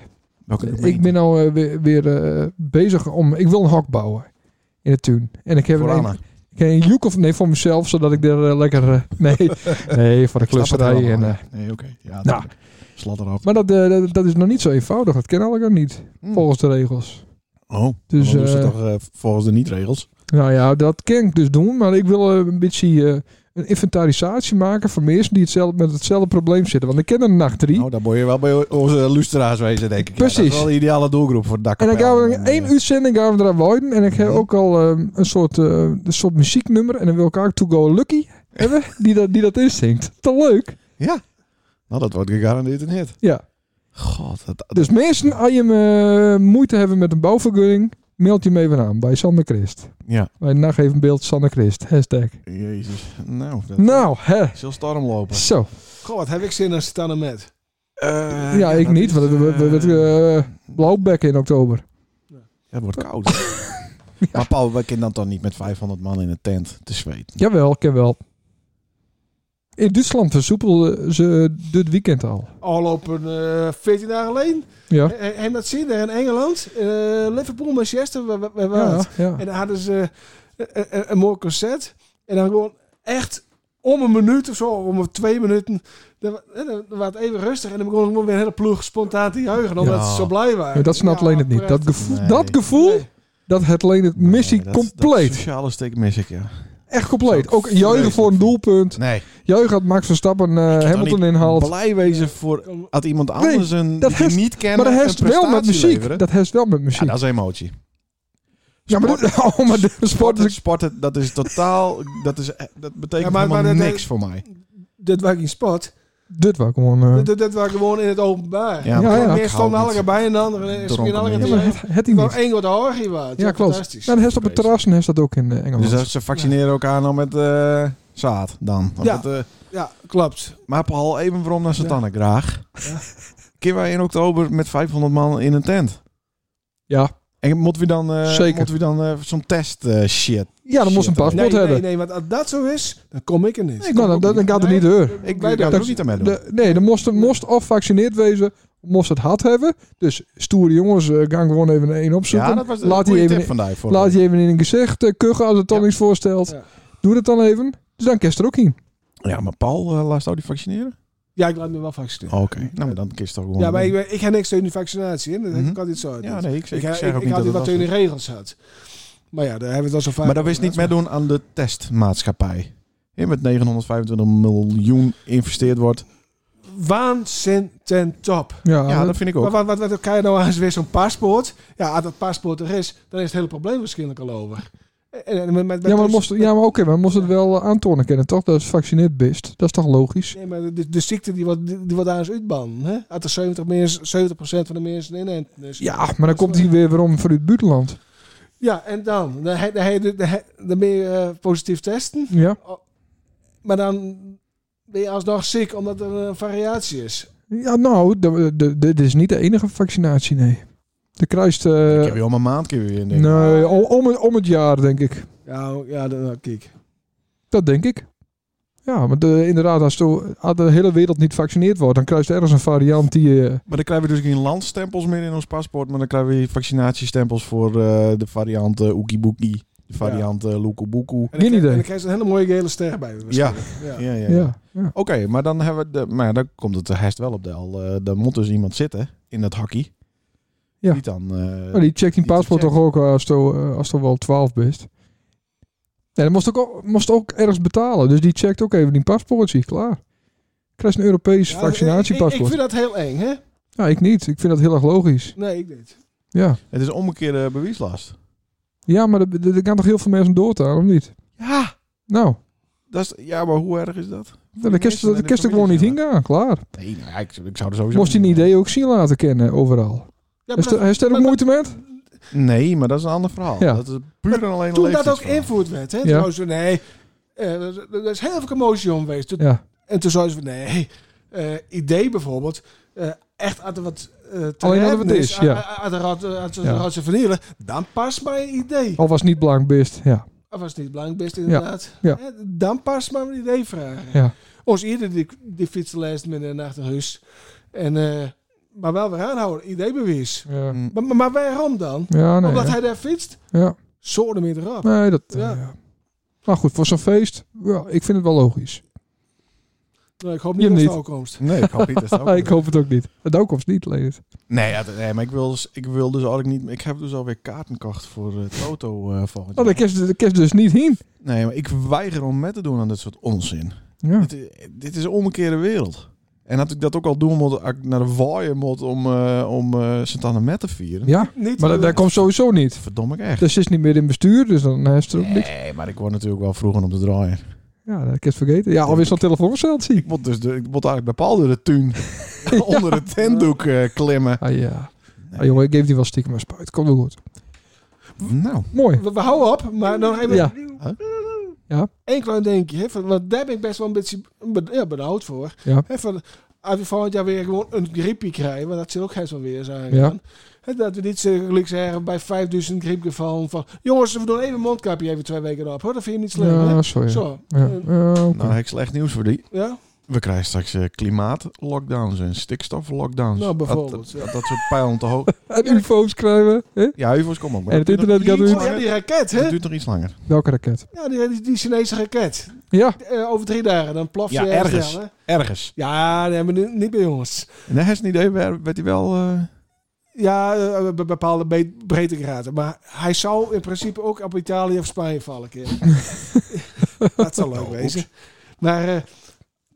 Speaker 1: Welke
Speaker 2: Ik ben nou eh, weer, weer eh, bezig om... Ik wil een hok bouwen in het tuin. En ik heb
Speaker 1: voor
Speaker 2: een,
Speaker 1: Anna.
Speaker 2: ik heb een juk of... Nee, voor mezelf, zodat ik er eh, lekker... eh, <laughs>
Speaker 1: <laughs>
Speaker 2: nee, nee, voor de
Speaker 1: Ik snap het
Speaker 2: klusterij. En,
Speaker 1: helemaal.
Speaker 2: eh,
Speaker 1: nee, oké. Ja,
Speaker 2: nou.
Speaker 1: nou. Slot erop.
Speaker 2: maar dat, eh, dat, dat is nog niet zo eenvoudig. Dat kennen we ook niet,
Speaker 1: Hm.
Speaker 2: volgens de regels.
Speaker 1: Oh, dus,
Speaker 2: Dus,
Speaker 1: dan doen ze
Speaker 2: eh,
Speaker 1: toch eh, volgens de niet-regels.
Speaker 2: Nou ja, dat kan ik dus doen. Maar ik wil eh, een beetje eh, een inventarisatie maken van mensen die hetzelfde, met hetzelfde probleem zitten. Want ik ken er een nacht drie.
Speaker 1: Nou, daar moet je wel bij onze luisteraars wezen, denk ik. Ja, dat
Speaker 2: Precies.
Speaker 1: is wel de ideale doelgroep voor dak.
Speaker 2: en dan gaan we in één uitzending gaan we eraan wijden. En ik heb
Speaker 1: eh, Mhm.
Speaker 2: ook al eh, een, soort, eh, een soort muzieknummer. En dan wil ik ook To Go Lucky
Speaker 1: <laughs>
Speaker 2: hebben, die dat, die dat inzingt. Te leuk.
Speaker 1: Ja. Nou, dat wordt gegarandeerd een hit.
Speaker 2: Ja.
Speaker 1: God, dat, dat-
Speaker 2: Dus mensen, als je eh, moeite hebben met een bouwvergunning, meld je me even aan bij Sanne Christ.
Speaker 1: Ja.
Speaker 2: Bij nacht even beeld Sanne Christ. Hashtag.
Speaker 1: Jezus. Nou, dat
Speaker 2: Nou, hè.
Speaker 1: Zal storm lopen.
Speaker 2: Zo.
Speaker 3: Goh, wat heb ik zin aan staan met.
Speaker 2: Ja, ik
Speaker 1: Eh, dat
Speaker 2: niet,
Speaker 1: is,
Speaker 2: want we we- we-
Speaker 1: eh,
Speaker 2: we- eh, blauwbekken in oktober.
Speaker 1: Het wordt
Speaker 2: <laughs>
Speaker 1: koud. Maar Paul, we kunnen dan toch niet met 500 man in een tent te zweten?
Speaker 2: Jawel, ik ken wel. In Duitsland versoepelden ze dit weekend al.
Speaker 3: Al op een eh, 14 dagen alleen. Eh,
Speaker 2: Ja,
Speaker 3: En, en dat zien er in Engeland. eh, Liverpool, Manchester, we, we, we
Speaker 2: ja,
Speaker 3: waren.
Speaker 2: ja.
Speaker 3: En dan hadden ze eh, een, een, een mooi concert. En dan gewoon echt om een minuut of zo, om een twee minuten. Dan, wa- eh, dan was het even rustig. En dan begon gewoon weer een hele ploeg spontaan te juichen. Omdat
Speaker 1: Ja.
Speaker 3: ze zo blij
Speaker 2: Maar
Speaker 3: waren.
Speaker 2: dat snapt
Speaker 3: Ja,
Speaker 2: alleen het niet. Dat
Speaker 3: prachtig.
Speaker 2: gevoel,
Speaker 1: Nee.
Speaker 2: dat, gevoel
Speaker 3: Nee.
Speaker 2: dat het alleen het missie
Speaker 1: Nee, dat-
Speaker 2: compleet.
Speaker 1: Dat sociale stuk mis ik, ja.
Speaker 2: echt compleet.
Speaker 1: zou ik
Speaker 2: Ook juichen
Speaker 1: vreselijk
Speaker 2: voor een doelpunt.
Speaker 1: Nee.
Speaker 2: Juichen dat Max Verstappen eh Hamilton inhaalt.
Speaker 1: Blij wezen voor... Had iemand anders een,
Speaker 2: dat
Speaker 1: die je
Speaker 2: heeft-
Speaker 1: niet kennen
Speaker 2: Maar dat
Speaker 1: een
Speaker 2: heeft wel met
Speaker 1: prestatie
Speaker 2: muziek.
Speaker 1: leveren?
Speaker 2: Dat heeft wel met muziek.
Speaker 1: Ja,
Speaker 2: Ja,
Speaker 1: dat is emotie.
Speaker 2: maar, dit- <laughs> oh, maar de sport
Speaker 1: sporten,
Speaker 2: is...
Speaker 1: sporten, dat is totaal, dat, is, eh, dat betekent
Speaker 3: Ja, maar-
Speaker 1: helemaal
Speaker 3: maar dat-
Speaker 1: niks voor mij.
Speaker 3: Dit was geen spot.
Speaker 2: Dit was gewoon... eh,
Speaker 3: Dit, dit, dit was gewoon in het openbaar.
Speaker 1: Ja,
Speaker 2: ja,
Speaker 3: De
Speaker 2: ja.
Speaker 3: ene
Speaker 1: Ik
Speaker 3: stond
Speaker 1: hou
Speaker 3: allemaal bij en de andere is
Speaker 1: Dronken
Speaker 3: geen andere.
Speaker 1: mensen.
Speaker 2: ja,
Speaker 3: te
Speaker 2: maar
Speaker 3: zeggen.
Speaker 2: het, het
Speaker 3: Ik
Speaker 2: niet.
Speaker 3: wou één wat hoger was.
Speaker 2: Ja, klopt.
Speaker 3: Fantastisch.
Speaker 2: Nou, dat heeft op het terras en heeft dat ook in eh,
Speaker 1: Dus
Speaker 2: Engeland.
Speaker 1: dat ze vaccineren elkaar nou met eh, zaad dan. Of
Speaker 3: Ja.
Speaker 1: met, eh,
Speaker 3: Ja, klopt.
Speaker 1: maar Paul, even waarom naar Santana graag.
Speaker 3: Ja.
Speaker 1: Kunnen wij in oktober met 500 man in een tent?
Speaker 2: Ja.
Speaker 1: En moeten we dan, eh,
Speaker 2: Zeker.
Speaker 1: Moeten we dan eh, zo'n test eh, shit?
Speaker 2: Ja, dan moest een
Speaker 1: Shit,
Speaker 2: paspoort
Speaker 3: nee,
Speaker 2: hebben.
Speaker 3: nee, nee, want als dat zo is, dan kom ik er niet.
Speaker 2: Nou, dan, dan, dan gaat het niet door.
Speaker 1: Ik
Speaker 3: Wij
Speaker 1: weet daar
Speaker 2: dat-
Speaker 1: ook niet aan meedoen.
Speaker 2: De, nee, dan moest, moest of vaccineerd wezen, moest het had hebben. Dus stoere jongens, eh, gaan gewoon even een opzoeken.
Speaker 1: ja, dat was
Speaker 2: laat
Speaker 1: een
Speaker 2: die
Speaker 1: goede
Speaker 2: even,
Speaker 1: tip vandaag. Voor
Speaker 2: laat die even in een gezicht eh, kuchen als het dan iets voorstelt.
Speaker 3: Ja.
Speaker 2: Doe dat dan even. Dus dan kerst er ook in.
Speaker 1: Ja, maar Paul, eh, laat jou die vaccineren?
Speaker 3: Ja, ik laat me wel vaccineren.
Speaker 1: Oké, nou, maar dan kies toch gewoon.
Speaker 3: Ja, maar ik, ik ga niks tegen die vaccinatie in. Dat heb
Speaker 1: Mhm.
Speaker 3: ik altijd zo. uit.
Speaker 1: Ja, nee, ik,
Speaker 3: ik,
Speaker 1: ik,
Speaker 3: ik,
Speaker 1: zeg
Speaker 3: ik,
Speaker 1: ook
Speaker 3: ik
Speaker 1: niet dat
Speaker 3: had die
Speaker 1: het
Speaker 3: wat
Speaker 1: was.
Speaker 3: tegen de regels had. Maar ja, daar hebben we het al zo vaak.
Speaker 1: Maar dat wist niet
Speaker 3: over gehad.
Speaker 1: meedoen aan de testmaatschappij. Hè, met 925 miljoen investeerd wordt.
Speaker 3: Waanzin ten top.
Speaker 2: Ja,
Speaker 1: ja,
Speaker 2: dat-
Speaker 1: dat vind ik
Speaker 3: Maar
Speaker 1: ook.
Speaker 3: wat, wat, wat kan je nou als weer zo'n paspoort? Ja, als dat paspoort er is, dan is het hele probleem waarschijnlijk al over. En, en met, met,
Speaker 2: ja, maar,
Speaker 3: dus-
Speaker 2: moest, ja, maar oké, maar moest het wel eh, aantonen kennen, toch? Dat is vaccineerd best. Dat is toch logisch?
Speaker 3: Nee, maar de, de ziekte die wordt, die wordt daar eens uitbannen. Hè? Als er 70, mensen- 70 van de mensen in en dus.
Speaker 2: Ja, maar dan komt hij weer om vanuit het buitenland.
Speaker 3: ja, en dan? Dan, he- dan, he- dan, he- dan ben je eh, positief testen.
Speaker 2: Ja,
Speaker 3: Maar dan ben je alsnog ziek omdat er een variatie is.
Speaker 2: ja nou, de- de- de- dit is niet de enige vaccinatie, nee. De kruist... eh, nou-
Speaker 1: ik heb je al een maand keer weer in. denk ik.
Speaker 2: nee, om, om, het- om het jaar, denk ik.
Speaker 3: Ja, ja dan, nou, kijk.
Speaker 2: Dat denk ik. Ja, maar de, inderdaad, als de, als de hele wereld niet gevaccineerd wordt, dan kruist ergens een variant die... eh,
Speaker 1: Maar dan krijgen we dus geen landstempels meer in ons paspoort. Maar dan krijgen we vaccinatiestempels voor eh, de variant eh Oekiboekie. De variant eh Loekoeboekoe.
Speaker 3: En dan
Speaker 2: Geen
Speaker 3: krijg-
Speaker 2: idee.
Speaker 3: En dan krijg je een hele mooie gele ster bij. waarschijnlijk. ja.
Speaker 1: Ja, ja,
Speaker 2: ja.
Speaker 1: ja.
Speaker 2: Ja,
Speaker 1: Oké, maar dan hebben we de, maar ja, dan komt het er hest wel op de al. eh dan moet dus iemand zitten in dat hakkie.
Speaker 2: Ja.
Speaker 1: Die dan. eh,
Speaker 2: Maar die checkt die
Speaker 1: die
Speaker 2: paspoort
Speaker 1: checkt.
Speaker 2: toch ook eh, als je eh, als je wel 12 bent. Nee, dan moest ook, al- moest ook ergens betalen. Dus die checkt ook even die paspoortje. Klaar. Krijg je een Europees
Speaker 3: Ja,
Speaker 2: vaccinatiepaspoort.
Speaker 3: Ik, ik vind dat heel eng, hè?
Speaker 2: Ja, ik niet. Ik vind dat heel erg logisch.
Speaker 3: Nee, ik niet.
Speaker 2: Ja,
Speaker 1: Het is omgekeerde bewijslast.
Speaker 2: ja maar er- er er gaan toch heel veel mensen dood, daarom niet?
Speaker 1: Ja.
Speaker 2: Nou,
Speaker 1: Dat is, ja, maar hoe erg is dat?
Speaker 2: dan kerst
Speaker 1: mensen en
Speaker 2: Nou, de
Speaker 1: de
Speaker 2: kerst er gewoon niet
Speaker 1: families,
Speaker 2: heen gaan. Klaar.
Speaker 1: Nee, nou ja, ik, ik zou er sowieso.
Speaker 2: Moest hij
Speaker 1: niet eh,
Speaker 2: een idee ook zien laten kennen overal.
Speaker 3: Ja,
Speaker 2: Is er-
Speaker 3: maar
Speaker 2: Is er ook
Speaker 3: maar-
Speaker 2: moeite met?
Speaker 1: Nee, maar dat is een ander verhaal.
Speaker 2: Ja.
Speaker 1: Dat is puur en alleen
Speaker 3: toen
Speaker 1: een
Speaker 3: dat ook
Speaker 1: leeftijdsverhaal.
Speaker 3: invoerd werd, hè?
Speaker 2: Ja.
Speaker 3: Ja. Zo, nee, eh, er er is heel veel commotie om geweest. Toen-
Speaker 2: Ja.
Speaker 3: En toen zeiden ze van, nee, eh, idee bijvoorbeeld, eh, echt als er wat eh, te
Speaker 2: Alleen als er
Speaker 3: redden
Speaker 2: wat is, ja.
Speaker 3: a- a- Als er wat eh, als er
Speaker 2: Ja.
Speaker 3: wat ze vernielen, dan past maar een idee.
Speaker 2: Al was niet blank best. Ja.
Speaker 3: Of was het niet belangrijk best inderdaad.
Speaker 2: ja.
Speaker 3: Hè, Dan past maar een idee vragen.
Speaker 2: Ja.
Speaker 3: Ons eerder die, die fietsenlijst met een achterhuis. En, eh, maar wel weer aanhouden, ideebewijs.
Speaker 2: Ja,
Speaker 1: Mm.
Speaker 3: Maar, maar, maar waarom dan?
Speaker 2: ja nee.
Speaker 3: Omdat
Speaker 2: hè.
Speaker 3: hij daar fietst?
Speaker 2: Ja.
Speaker 3: Zoorden meer erop.
Speaker 2: Nee, dat...
Speaker 3: Ja.
Speaker 2: eh, ja. Nou goed, voor zo'n feest, ja, ik vind het wel logisch.
Speaker 3: Nou, ik hoop
Speaker 2: Je
Speaker 3: niet dat
Speaker 2: niet.
Speaker 3: het voorkomst.
Speaker 1: Nee, ik hoop niet
Speaker 2: <laughs>
Speaker 1: dat het ook
Speaker 2: ik hoop het ook niet. Het ook of niet, Leendert.
Speaker 1: Nee, ja, nee, maar ik wil, dus- ik wil dus eigenlijk niet. Ik heb dus alweer kaarten kocht voor eh, het auto eh volgend
Speaker 2: Oh,
Speaker 1: jaar.
Speaker 2: dat kerst, dat kerst dus niet heen.
Speaker 1: Nee, maar ik weiger om met te doen aan dit soort onzin.
Speaker 2: Ja.
Speaker 1: Dit, is- dit is een omgekeerde wereld. En dat ik dat ook al doen moet, als ik naar de waaien moet om, eh om eh Sint-Anne met te vieren.
Speaker 2: ja,
Speaker 3: Niet eh,
Speaker 2: maar dat, dat komt sowieso niet.
Speaker 1: Verdomme ik echt.
Speaker 2: Dus ze is niet meer in bestuur, dus dan heeft ze er ook niks.
Speaker 1: Nee, maar ik word natuurlijk wel vroeger op de draaien.
Speaker 2: Ja, dat kerst vergeten. Ja, alweer zo'n telefooncel zie.
Speaker 1: Ik moet dus de, ik moet eigenlijk bij Paul door de
Speaker 2: <laughs>
Speaker 1: tuin <laughs> onder het tentdoek eh, klimmen.
Speaker 2: Ah ja. Ah, jongen, ik geef die wel stiekem een spuit. Komt wel goed.
Speaker 1: Nou,
Speaker 2: Mooi.
Speaker 3: We, we houden op, maar nog even
Speaker 2: Ja.
Speaker 1: Huh?
Speaker 2: Ja.
Speaker 3: één klein dingetje. hè, van- Want daar ben ik best wel een beetje be- ja, benauwd voor.
Speaker 2: Ja.
Speaker 3: Hè, van, als we volgend jaar weer gewoon een griepje krijgen, want dat zal ook best wel weer zijn.
Speaker 2: Ja.
Speaker 3: gaan. Hè, dat we niet zo gelijk zeggen bij 5000 griepgevallen van... Jongens, we doen even een mondkapje even twee weken op. Hoor. Dat vind je niet slim, hè?
Speaker 2: Ja, sorry.
Speaker 3: Zo.
Speaker 2: Ja.
Speaker 3: eh,
Speaker 2: Ja, oké.
Speaker 1: nou heb ik slecht nieuws voor die.
Speaker 3: ja?
Speaker 1: We krijgen straks eh, klimaat-lockdowns en stikstof-lockdowns.
Speaker 3: Nou,
Speaker 1: Dat,
Speaker 3: bijvoorbeeld, ja.
Speaker 1: dat, dat soort pijlen te
Speaker 2: <laughs>
Speaker 1: hoog.
Speaker 2: En ufo's krijgen. Hè?
Speaker 1: Ja, UFO's komen ook. maar
Speaker 2: En
Speaker 1: dat
Speaker 2: het
Speaker 1: duurt nog
Speaker 2: internet gaat
Speaker 1: iets
Speaker 3: Oh, ja,
Speaker 1: langer.
Speaker 3: die raket,
Speaker 1: Dat
Speaker 3: hè?
Speaker 1: duurt nog iets langer.
Speaker 2: Welke raket?
Speaker 3: Ja, die, die, die Chinese raket.
Speaker 2: Ja.
Speaker 3: Eh, over drie dagen, dan ploft
Speaker 1: Ja,
Speaker 3: ze heel
Speaker 1: ergens.
Speaker 3: snel, hè.
Speaker 1: Ergens.
Speaker 3: Ja, nee, maar nu- niet bij jongens.
Speaker 1: En hij heeft een idee, werd werd hij wel... eh,
Speaker 3: Ja, eh, be- bepaalde be- breedtegraden. Maar hij zou in principe ook op Italië of Spanje vallen. Keer.
Speaker 2: <laughs>
Speaker 3: dat zou
Speaker 2: Nou,
Speaker 3: leuk wezen. Maar eh,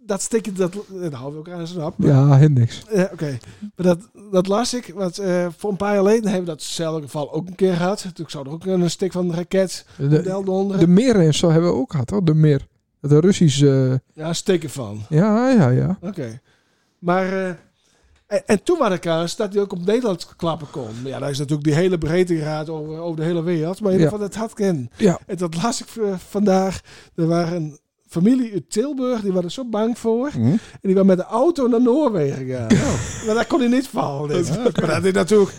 Speaker 3: dat stikje, dat, dat houden we ook aan zijn op.
Speaker 2: Ja, heel niks.
Speaker 3: Eh, Oké, maar dat, dat las ik. Want eh, voor een paar jaar geleden hebben we datzelfde geval ook een keer gehad. Toen zou er ook een stik van een raket,
Speaker 2: De,
Speaker 3: model eronder.
Speaker 2: Eh, de meer en zo hebben we ook gehad, hoor. De meer. De Russische... eh,
Speaker 3: Ja, stikken van.
Speaker 2: Ja, ja, ja.
Speaker 3: Oké. Maar. eh, en, en toen waren de kans dat hij ook op Nederland klappen kon. Ja, daar is natuurlijk die hele breedtegraad over, over de hele wereld. Maar in ieder geval, dat had ken.
Speaker 2: Ja.
Speaker 3: En dat las ik eh, vandaag. Er waren een familie uit Tilburg, die waren er zo bang voor.
Speaker 2: Mhm.
Speaker 1: hm?
Speaker 3: Oh, En die waren met de auto naar Noorwegen gegaan. Maar daar kon hij niet vallen. Dat, maar dat is natuurlijk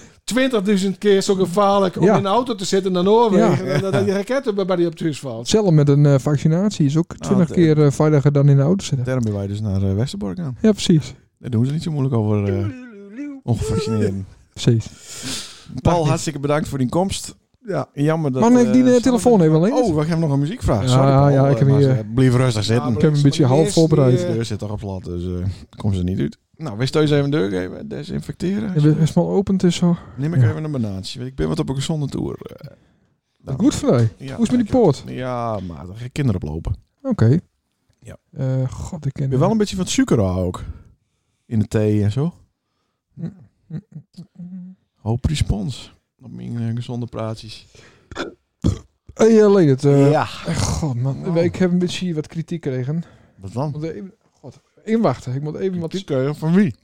Speaker 3: 20.000 keer zo gevaarlijk om
Speaker 2: Ja.
Speaker 3: in een auto te zitten naar Noorwegen.
Speaker 2: Ja.
Speaker 3: En dat- dat die raket bij bij die op het huis valt.
Speaker 2: Zelf met een eh, vaccinatie is ook 20
Speaker 1: Ah, dat-
Speaker 2: keer eh, veiliger dan in de auto zitten.
Speaker 1: Daarom ben wij dus naar eh, Westerbork gaan.
Speaker 2: Ja, precies.
Speaker 1: Daar doen ze niet zo moeilijk over eh
Speaker 2: <laughs>
Speaker 1: ongevaccineerden.
Speaker 2: Precies.
Speaker 1: Paul, hartstikke bedankt voor die komst. Ja, jammer dat...
Speaker 2: Maar neem die,
Speaker 1: eh,
Speaker 2: eh, telefoon even alleen.
Speaker 1: Oh, we hebben nog een muziekvraag.
Speaker 2: Ja,
Speaker 1: Sorry, Paul,
Speaker 2: ja, ik
Speaker 1: eh,
Speaker 2: heb
Speaker 1: maar
Speaker 2: hier-
Speaker 1: ze- Blijf rustig zitten.
Speaker 2: heb hem een beetje half voorbereid. eh,
Speaker 1: De deur zit toch op slot, dus eh kom ze niet uit. Nou, wist thuis even deur geven, desinfecteren.
Speaker 2: Je bent best wel open dus, tussen.
Speaker 1: Neem ik
Speaker 2: Ja.
Speaker 1: even een banaantje. Ik ben wat op een gezonde toer. Eh, nou,
Speaker 2: Goed van mij.
Speaker 1: ja,
Speaker 2: Hoe is het met die
Speaker 1: dank
Speaker 2: poort?
Speaker 1: je. Ja, maar daar ga ik kinderen oplopen.
Speaker 2: Oké.
Speaker 1: Ja.
Speaker 2: Eh, God, ik
Speaker 1: Ik
Speaker 2: ken
Speaker 1: ben wel een beetje van het suiker ook. In de thee en zo. Hoop respons. Op mijn eh, gezonde praatjes.
Speaker 2: Hey, eh, Leendert, eh,
Speaker 1: ja.
Speaker 2: eh, God, man.
Speaker 1: Wow.
Speaker 2: Ik heb een beetje wat kritiek gekregen.
Speaker 1: Wat dan?
Speaker 2: Want even- God, even wachten. Ik moet even wat...
Speaker 1: Kritiek, eh, van wie?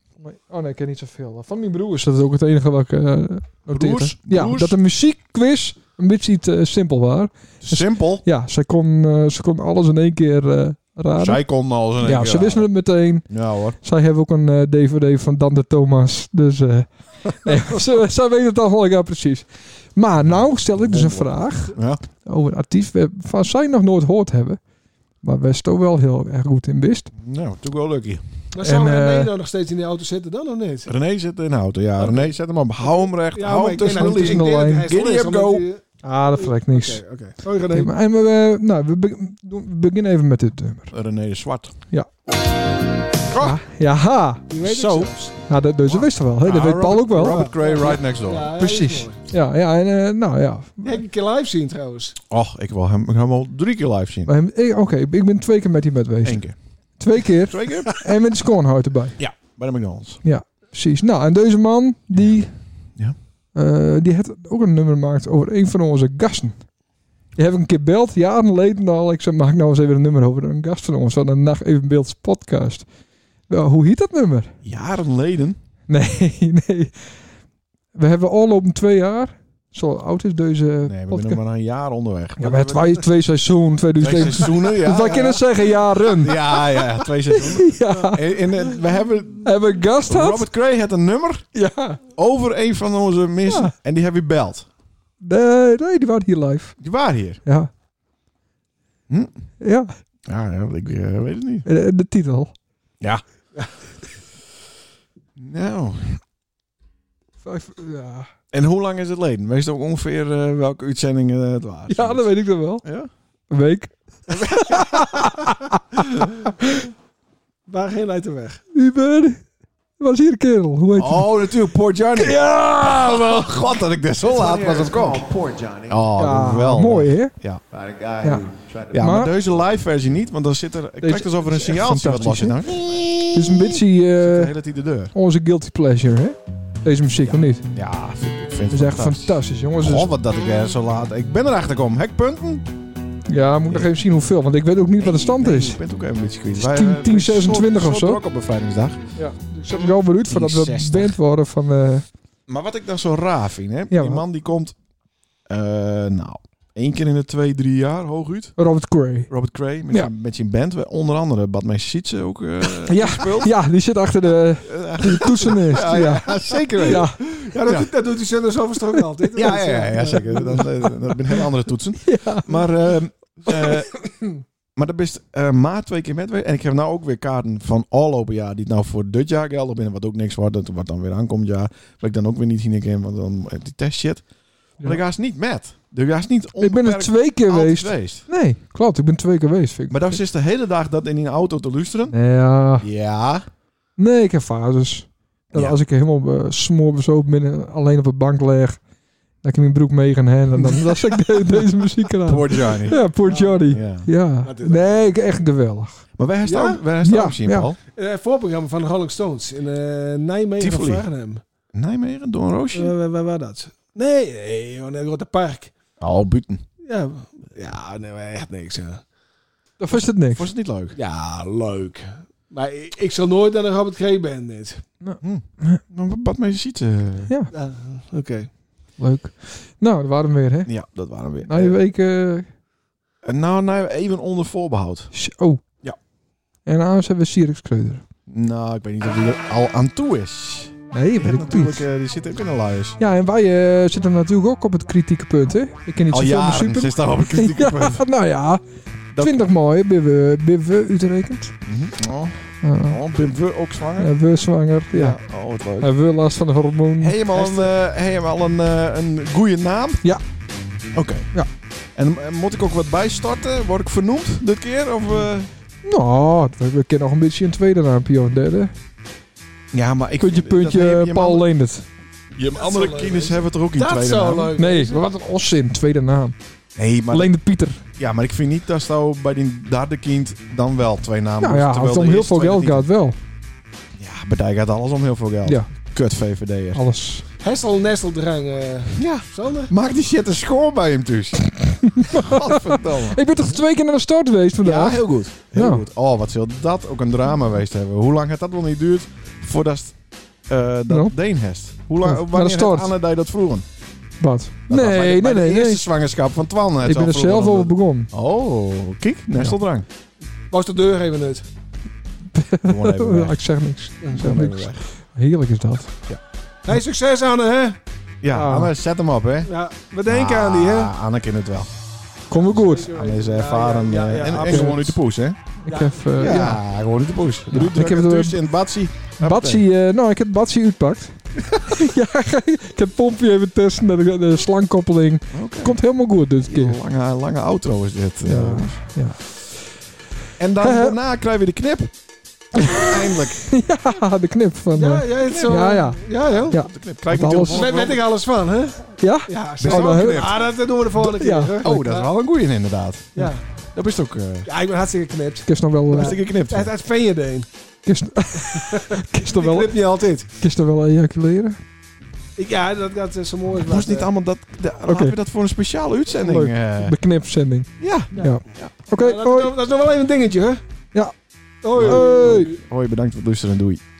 Speaker 2: Oh nee, ik ken niet zoveel. Van mijn broers, dat is ook het enige wat ik eh noteerde.
Speaker 1: Broers?
Speaker 2: Ja,
Speaker 1: Broers?
Speaker 2: dat de muziekquiz een beetje te simpel was.
Speaker 1: Simpel.
Speaker 2: Ja, zij kon, eh, ze kon alles in één keer eh, raden.
Speaker 1: Zij kon al zijn
Speaker 2: ja, ze wisten het meteen.
Speaker 1: Ja hoor.
Speaker 2: Zij hebben ook een eh, DVD van Dante Thomas.
Speaker 1: <laughs>
Speaker 2: Dus eh nee, ze, zij weten het al wel, ja, precies. Maar nou stel ik dus een vraag
Speaker 1: Ja.
Speaker 2: over een artiest we- van zij nog nooit gehoord hebben. Maar wij toch wel heel erg goed in wist.
Speaker 1: Nou, toen wel lucky.
Speaker 3: Maar zou
Speaker 2: En,
Speaker 3: René
Speaker 2: eh,
Speaker 3: nou nog steeds in die auto zitten dan of niet?
Speaker 1: René zit in de auto. Ja, René zet hem op. Hou hem recht. hou
Speaker 3: maar
Speaker 1: hem
Speaker 3: denk
Speaker 1: tussen de
Speaker 3: dat-
Speaker 2: lijn.
Speaker 1: lies.
Speaker 3: ik denk dat hij
Speaker 1: Giddy
Speaker 3: stil is,
Speaker 1: up,
Speaker 3: omdat
Speaker 1: go.
Speaker 3: hij-
Speaker 2: Ah, dat vergt niks.
Speaker 3: Oké, oké. Hoi René.
Speaker 2: Oké, maar- en we, eh, nou, we be- doen- we beginnen even met dit nummer.
Speaker 1: René de Zwart.
Speaker 2: Ja, ha!
Speaker 3: Die weet ik
Speaker 1: Zo.
Speaker 3: zelfs.
Speaker 2: Ja, dat, dat wist ze wel. Hè? Dat weet Paul ook wel.
Speaker 1: Ah. Robert Gray, right next door.
Speaker 3: Ja,
Speaker 2: Precies. Ja, ja, en eh, nou ja.
Speaker 3: Heb ik een keer live zien trouwens.
Speaker 1: Och, ik wil hem, ik hem al drie keer live zien.
Speaker 2: Maar hem- eh, Oké, ik ben twee keer met die bed geweest.
Speaker 1: Eén keer.
Speaker 2: Twee keer.
Speaker 1: Twee
Speaker 2: <laughs>
Speaker 1: keer?
Speaker 2: En met de scornhout erbij.
Speaker 1: Bij de McDonald's.
Speaker 2: Precies. Nou, en deze man, die...
Speaker 1: Ja.
Speaker 2: eh, die had ook een nummer gemaakt over een van onze gasten. Die heb ik een keer belt, jaren geleden al. Ik zei, maak nou eens even een nummer over een gast van ons. Van een Nacht Even Beelds podcast. Nou, hoe heet dat nummer? <laughs>
Speaker 1: Jaren geleden.
Speaker 2: Nee, nee. We hebben al op twee jaar. Zo oud is deze
Speaker 1: Nee, we
Speaker 2: podcast.
Speaker 1: zijn nog maar een jaar onderweg.
Speaker 2: Ja, maar twee, twee seizoen,
Speaker 1: Twee
Speaker 2: 2007.
Speaker 1: seizoenen, ja.
Speaker 2: Dus wij
Speaker 1: ja.
Speaker 2: kunnen zeggen jaren. Ja.
Speaker 1: Ja, ja, twee seizoenen.
Speaker 2: <laughs>
Speaker 1: En, en, eh, we hebben...
Speaker 2: Hebben we gast gehad?
Speaker 1: Robert Gray had een nummer
Speaker 2: Ja.
Speaker 1: over een van onze missen.
Speaker 2: Ja.
Speaker 1: En die hebben we beld.
Speaker 2: Nee, nee, die waren hier live.
Speaker 1: Die waren hier.
Speaker 2: Ja.
Speaker 1: Hm?
Speaker 2: Ja,
Speaker 1: Ja, ja ik eh, weet het niet.
Speaker 2: en- en de titel.
Speaker 1: Nou,
Speaker 2: Vijf- ja.
Speaker 1: en hoe lang is het leden? Wees ook ongeveer eh, welke uitzendingen eh, het waren?
Speaker 2: ja, dat weet ik dan wel.
Speaker 1: Ja?
Speaker 2: Een week.
Speaker 3: Waar geen leidt de weg.
Speaker 2: Wie ben je? was hier een kerel. Hoe heet die?
Speaker 1: Oh,
Speaker 2: <laughs>
Speaker 1: natuurlijk, Port Johnny. Ja, wel. <laughs> God, dat ik dit zo laat was op kom.
Speaker 6: Poor Johnny.
Speaker 1: Oh,
Speaker 2: Ja,
Speaker 1: wel.
Speaker 2: mooi hè?
Speaker 6: About a guy
Speaker 2: Yeah.
Speaker 6: who tried to
Speaker 1: Ja, maar,
Speaker 2: Maar-
Speaker 1: deze live versie niet, want dan zit er... Het
Speaker 2: Deze
Speaker 1: lijkt alsof er een
Speaker 2: is echt
Speaker 1: signaaltje wat los zit.
Speaker 2: fantastisch,
Speaker 1: hè?
Speaker 2: Het is een beetje eh,
Speaker 1: De hele tijd de deur.
Speaker 2: onze guilty pleasure hè? Deze muziek of niet?
Speaker 1: Ja, ik vind
Speaker 2: Het is echt fantastisch jongens. Dus-
Speaker 1: Oh, wat dat ik er zo laat... Ik ben erachter gekomen. Hekpunten?
Speaker 2: ja, moet ik nog even zien hoeveel. Want ik weet ook niet wat de stand
Speaker 1: Nee,
Speaker 2: is.
Speaker 1: Ik ben het ook even iets kwijt.
Speaker 2: is
Speaker 1: Wij,
Speaker 2: 10,
Speaker 1: eh,
Speaker 2: 10,
Speaker 1: zijn
Speaker 2: 26 of
Speaker 1: zo
Speaker 2: zo.
Speaker 1: druk op bevrijdingsdag.
Speaker 2: Ik zet me al benieuwd van dat we
Speaker 1: 60.
Speaker 2: band worden van... eh,
Speaker 1: Maar wat ik dan zo raar vind, hè? die
Speaker 2: maar-
Speaker 1: man die komt... eh, nou, één keer in de twee, drie jaar, hooguit.
Speaker 2: Robert Cray.
Speaker 1: Robert Cray met,
Speaker 2: Ja.
Speaker 1: zijn, met zijn band. Onder andere Badmeester Sietse ook. eh, <laughs>
Speaker 2: Ja, ja, die zit achter de,
Speaker 1: eh, <laughs>
Speaker 2: de toetsenist.
Speaker 1: ja,
Speaker 2: Ja,
Speaker 1: ja,
Speaker 2: ja.
Speaker 1: zeker weten.
Speaker 2: ja.
Speaker 3: Ja, dat,
Speaker 1: Ja.
Speaker 3: dat doet hij zelfs overigens toch ook
Speaker 1: <laughs>
Speaker 3: altijd.
Speaker 1: Ja, ja,
Speaker 3: eh,
Speaker 1: ja, ja, zeker. Dat, dat, dat zijn hele andere <laughs> toetsen. Maar, ehm, <coughs> eh, maar dat is eh maar twee keer met weer. En ik heb nou ook weer kaarten van al open jaar die het nou voor dit jaar gelden binnen, wat ook niks wordt, dat wat dan weer aankomt jaar. Wat ik dan ook weer niet zien kan, want dan heb die test shit. Maar
Speaker 2: Ja.
Speaker 1: ik ga het niet met. Dus ik ga het niet
Speaker 2: Ik ben er
Speaker 1: onbeperkt
Speaker 2: twee keer
Speaker 1: altijd
Speaker 2: geweest. Nee, klopt. Ik ben twee keer geweest. Vind ik.
Speaker 1: Maar dan zit de hele dag dat in die auto te luisteren.
Speaker 2: Ja.
Speaker 1: Ja.
Speaker 2: Nee, ik heb fases. Dat
Speaker 1: Ja.
Speaker 2: Als ik helemaal eh smoorbezopen ben en alleen op de bank leg, dat ik mijn broek mee ga heen
Speaker 1: <laughs>
Speaker 2: en dan, dan zet ik de- deze muziek aan.
Speaker 1: Poor Johnny.
Speaker 2: Ja, poor Johnny.
Speaker 1: <laughs> Ja.
Speaker 2: Ja.
Speaker 3: Dat is-
Speaker 2: Nee, ik- echt geweldig.
Speaker 1: Maar wij hebben
Speaker 3: Ja?
Speaker 1: het ook, wij hebben het
Speaker 2: Ja,
Speaker 1: ook zien,
Speaker 2: ja.
Speaker 1: Paul.
Speaker 3: Eh, voorprogramma van de Rolling Stones in eh, Nijmegen of
Speaker 1: Tivoli.
Speaker 3: Wageningen.
Speaker 1: Nijmegen, door een roosje.
Speaker 3: Eh, waar, waar, waar dat? Nee, nee, joh, nee, Rotte Park.
Speaker 1: oh, buiten.
Speaker 3: Ja, ja nee, maar echt niks. hè.
Speaker 2: Dat was het niks.
Speaker 1: Was het niet leuk?
Speaker 3: Ja, leuk. Maar ik, ik zal nooit naar de Robert Cray Band dit.
Speaker 1: Wat mee ziet. eh,
Speaker 2: Ja,
Speaker 3: Ja, Oké.
Speaker 2: leuk. Nou, dat waren we weer, hè?
Speaker 1: Ja, dat waren we weer.
Speaker 2: Na je week... eh,
Speaker 1: Eh, nou, nou, even onder voorbehoud.
Speaker 2: sh- oh.
Speaker 1: Ja.
Speaker 2: En anders hebben we Sirix Kreuder.
Speaker 1: Nou, ik weet niet of die er al aan toe is.
Speaker 2: Nee,
Speaker 1: Ja,
Speaker 2: weet ik
Speaker 1: natuurlijk,
Speaker 2: niet.
Speaker 1: eh, die zit ook in de liars.
Speaker 2: Ja, en wij eh, zitten natuurlijk ook op het kritieke punt, hè? Ik ken niet
Speaker 1: Al
Speaker 2: zoveel
Speaker 1: jaren
Speaker 2: super.
Speaker 1: zit daar
Speaker 2: <laughs>
Speaker 1: op een kritieke punt.
Speaker 2: Ja, nou ja,
Speaker 1: Dat-
Speaker 2: 20 mooi, ben we, ben we uitrekend.
Speaker 1: Mhm. Oh,
Speaker 2: Ja.
Speaker 1: oh, ben we ook zwanger?
Speaker 2: Ja, we Eh, zwanger, ja. Eh,
Speaker 1: Oh, wat leuk.
Speaker 2: En we last van de hormoon.
Speaker 1: Helemaal een, eh, helemaal een, eh, een goede naam?
Speaker 2: Ja.
Speaker 1: Oké.
Speaker 2: Ja.
Speaker 1: En eh, moet ik ook wat bijstarten? Word ik vernoemd dit keer? Of, eh?
Speaker 2: Nou, we, we kennen nog een beetje een tweede raampje of een derde.
Speaker 1: Ja, maar ik
Speaker 2: Puntje,
Speaker 1: vind- dat heb-
Speaker 2: puntje,
Speaker 1: je
Speaker 2: Paul
Speaker 1: mag-
Speaker 2: Leendert.
Speaker 1: Je andere kines hebben toch ook in
Speaker 3: Dat
Speaker 1: tweede
Speaker 3: zou
Speaker 1: naam?
Speaker 3: leuk
Speaker 2: Nee, wat een onzin, tweede naam.
Speaker 1: Nee, maar,
Speaker 2: Leendert Pieter.
Speaker 1: ja, maar ik vind niet dat zou bij die derde kind dan wel twee namen
Speaker 2: Nou
Speaker 1: hoeft,
Speaker 2: ja,
Speaker 1: terwijl
Speaker 2: als het
Speaker 1: de
Speaker 2: om heel
Speaker 1: eerste
Speaker 2: veel
Speaker 1: twee
Speaker 2: geld
Speaker 1: dat
Speaker 2: gaat, wel.
Speaker 1: niet- Ja, bedijk gaat alles om heel veel geld.
Speaker 2: Ja.
Speaker 1: Kut VVD'er.
Speaker 2: Alles.
Speaker 3: Hessel Nesteldrang, eh
Speaker 1: Ja,
Speaker 3: Sander.
Speaker 1: maak die shit een schoon bij hem
Speaker 2: <laughs>
Speaker 1: dus. Godverdomme.
Speaker 2: Ik ben toch twee keer naar de start geweest
Speaker 1: Ja,
Speaker 2: vandaag?
Speaker 1: heel goed. Heel
Speaker 2: Nou.
Speaker 1: goed. Oh, wat wil dat ook een drama geweest hebben. Hoe lang had dat wel niet duurt voordat het, eh dat
Speaker 2: Nou.
Speaker 1: Deen heeft? Hoe lang,
Speaker 2: Oh, maar
Speaker 1: wanneer
Speaker 2: dat
Speaker 1: heeft
Speaker 2: stort.
Speaker 1: Anne die dat vroegen?
Speaker 2: Wat?
Speaker 1: Nou, Dat was bij de-
Speaker 2: Nee,
Speaker 1: bij
Speaker 2: nee,
Speaker 1: de
Speaker 2: nee.
Speaker 1: eerste
Speaker 2: nee.
Speaker 1: zwangerschap van Twan. het
Speaker 2: Ik
Speaker 1: al
Speaker 2: ben er
Speaker 1: vroegen
Speaker 2: zelf
Speaker 1: dan
Speaker 2: over
Speaker 1: dat-
Speaker 2: begonnen.
Speaker 1: Oh, kijk,
Speaker 2: <laughs>
Speaker 1: nesteldrang.
Speaker 3: Was de deur even uit.
Speaker 1: Gewoon even weg.
Speaker 2: Ja, ik zeg niks. Ik zeg
Speaker 1: Gewoon even
Speaker 2: niks.
Speaker 1: weg.
Speaker 2: Heerlijk is dat.
Speaker 3: Hey, succes Anne, hè?
Speaker 1: Ja,
Speaker 2: Ah.
Speaker 1: Anne, zet hem op, hè.
Speaker 3: Ja, we denken aan die, hè?
Speaker 1: Ah, Anne kent het wel.
Speaker 2: Kom we goed.
Speaker 3: Zeker
Speaker 1: Anne is
Speaker 3: weten.
Speaker 1: ervaren.
Speaker 3: Ja, ja,
Speaker 1: eh,
Speaker 3: ja, ja,
Speaker 1: en- en,
Speaker 3: absoluut.
Speaker 1: gewoon uit de poes, hè.
Speaker 2: Ik
Speaker 3: Ja.
Speaker 2: heb... eh,
Speaker 1: ja,
Speaker 2: ja.
Speaker 1: gewoon uit de poes.
Speaker 2: Ja. Ik
Speaker 1: Ik
Speaker 2: heb
Speaker 1: heb
Speaker 2: het,
Speaker 1: het
Speaker 2: eh,
Speaker 1: in het batsie.
Speaker 2: Batsie, eh, nou, ik heb Batsie uitpakt. <laughs> ja, ik heb Pompje even testen, de, de slangkoppeling.
Speaker 1: Oké.
Speaker 2: Komt helemaal goed dit keer.
Speaker 1: Lange, lange outro is dit. eh,
Speaker 2: Ja,
Speaker 1: jongens.
Speaker 2: ja.
Speaker 1: En <laughs> dan,
Speaker 2: Hè, hè.
Speaker 1: daarna krijgen we de <laughs> knip. Eindelijk.
Speaker 2: ja, <laughs> de knip van...
Speaker 3: Ja,
Speaker 2: eh,
Speaker 3: ja, het zo.
Speaker 2: Ja, ja.
Speaker 3: Ja, joh.
Speaker 2: Ja.
Speaker 1: De knip. Krijg
Speaker 2: Want
Speaker 1: ik
Speaker 2: alles-
Speaker 1: telefoon
Speaker 3: Daar
Speaker 1: wel.
Speaker 3: weet ik alles van, hè?
Speaker 2: ja?
Speaker 3: Ja,
Speaker 1: Best
Speaker 3: zo.
Speaker 2: Oh,
Speaker 1: wel
Speaker 2: nou,
Speaker 1: geknipt.
Speaker 3: Ah, dat dat doen we de volgende keer.
Speaker 2: Ja.
Speaker 3: hè?
Speaker 1: Oh, dat is wel een goeie inderdaad.
Speaker 3: Ja.
Speaker 1: Dat is ook eh
Speaker 3: ja, ik ben hartstikke geknipt.
Speaker 2: Ik is nog wel... eh,
Speaker 1: hartstikke geknipt.
Speaker 3: Uit, uit Veenjerdeen.
Speaker 2: ik is- <laughs> ik is nog
Speaker 3: Ik <laughs>
Speaker 2: wel...
Speaker 3: knip niet altijd.
Speaker 2: ik is nog wel ejaculeren.
Speaker 3: Ik, ja, dat gaat eh, zo mooi.
Speaker 1: Moest niet allemaal dat... da-
Speaker 2: Oké.
Speaker 1: Laten we dat voor een speciale uitzending...
Speaker 2: Leuk.
Speaker 1: eh,
Speaker 2: De knipzending.
Speaker 1: ja.
Speaker 2: Oké,
Speaker 3: Ja, dat,
Speaker 2: hoi.
Speaker 3: dat is nog wel even een dingetje, hè?
Speaker 2: Ja.
Speaker 3: Hoi.
Speaker 2: Hoi.
Speaker 1: Hoi, bedankt voor het luisteren en doei.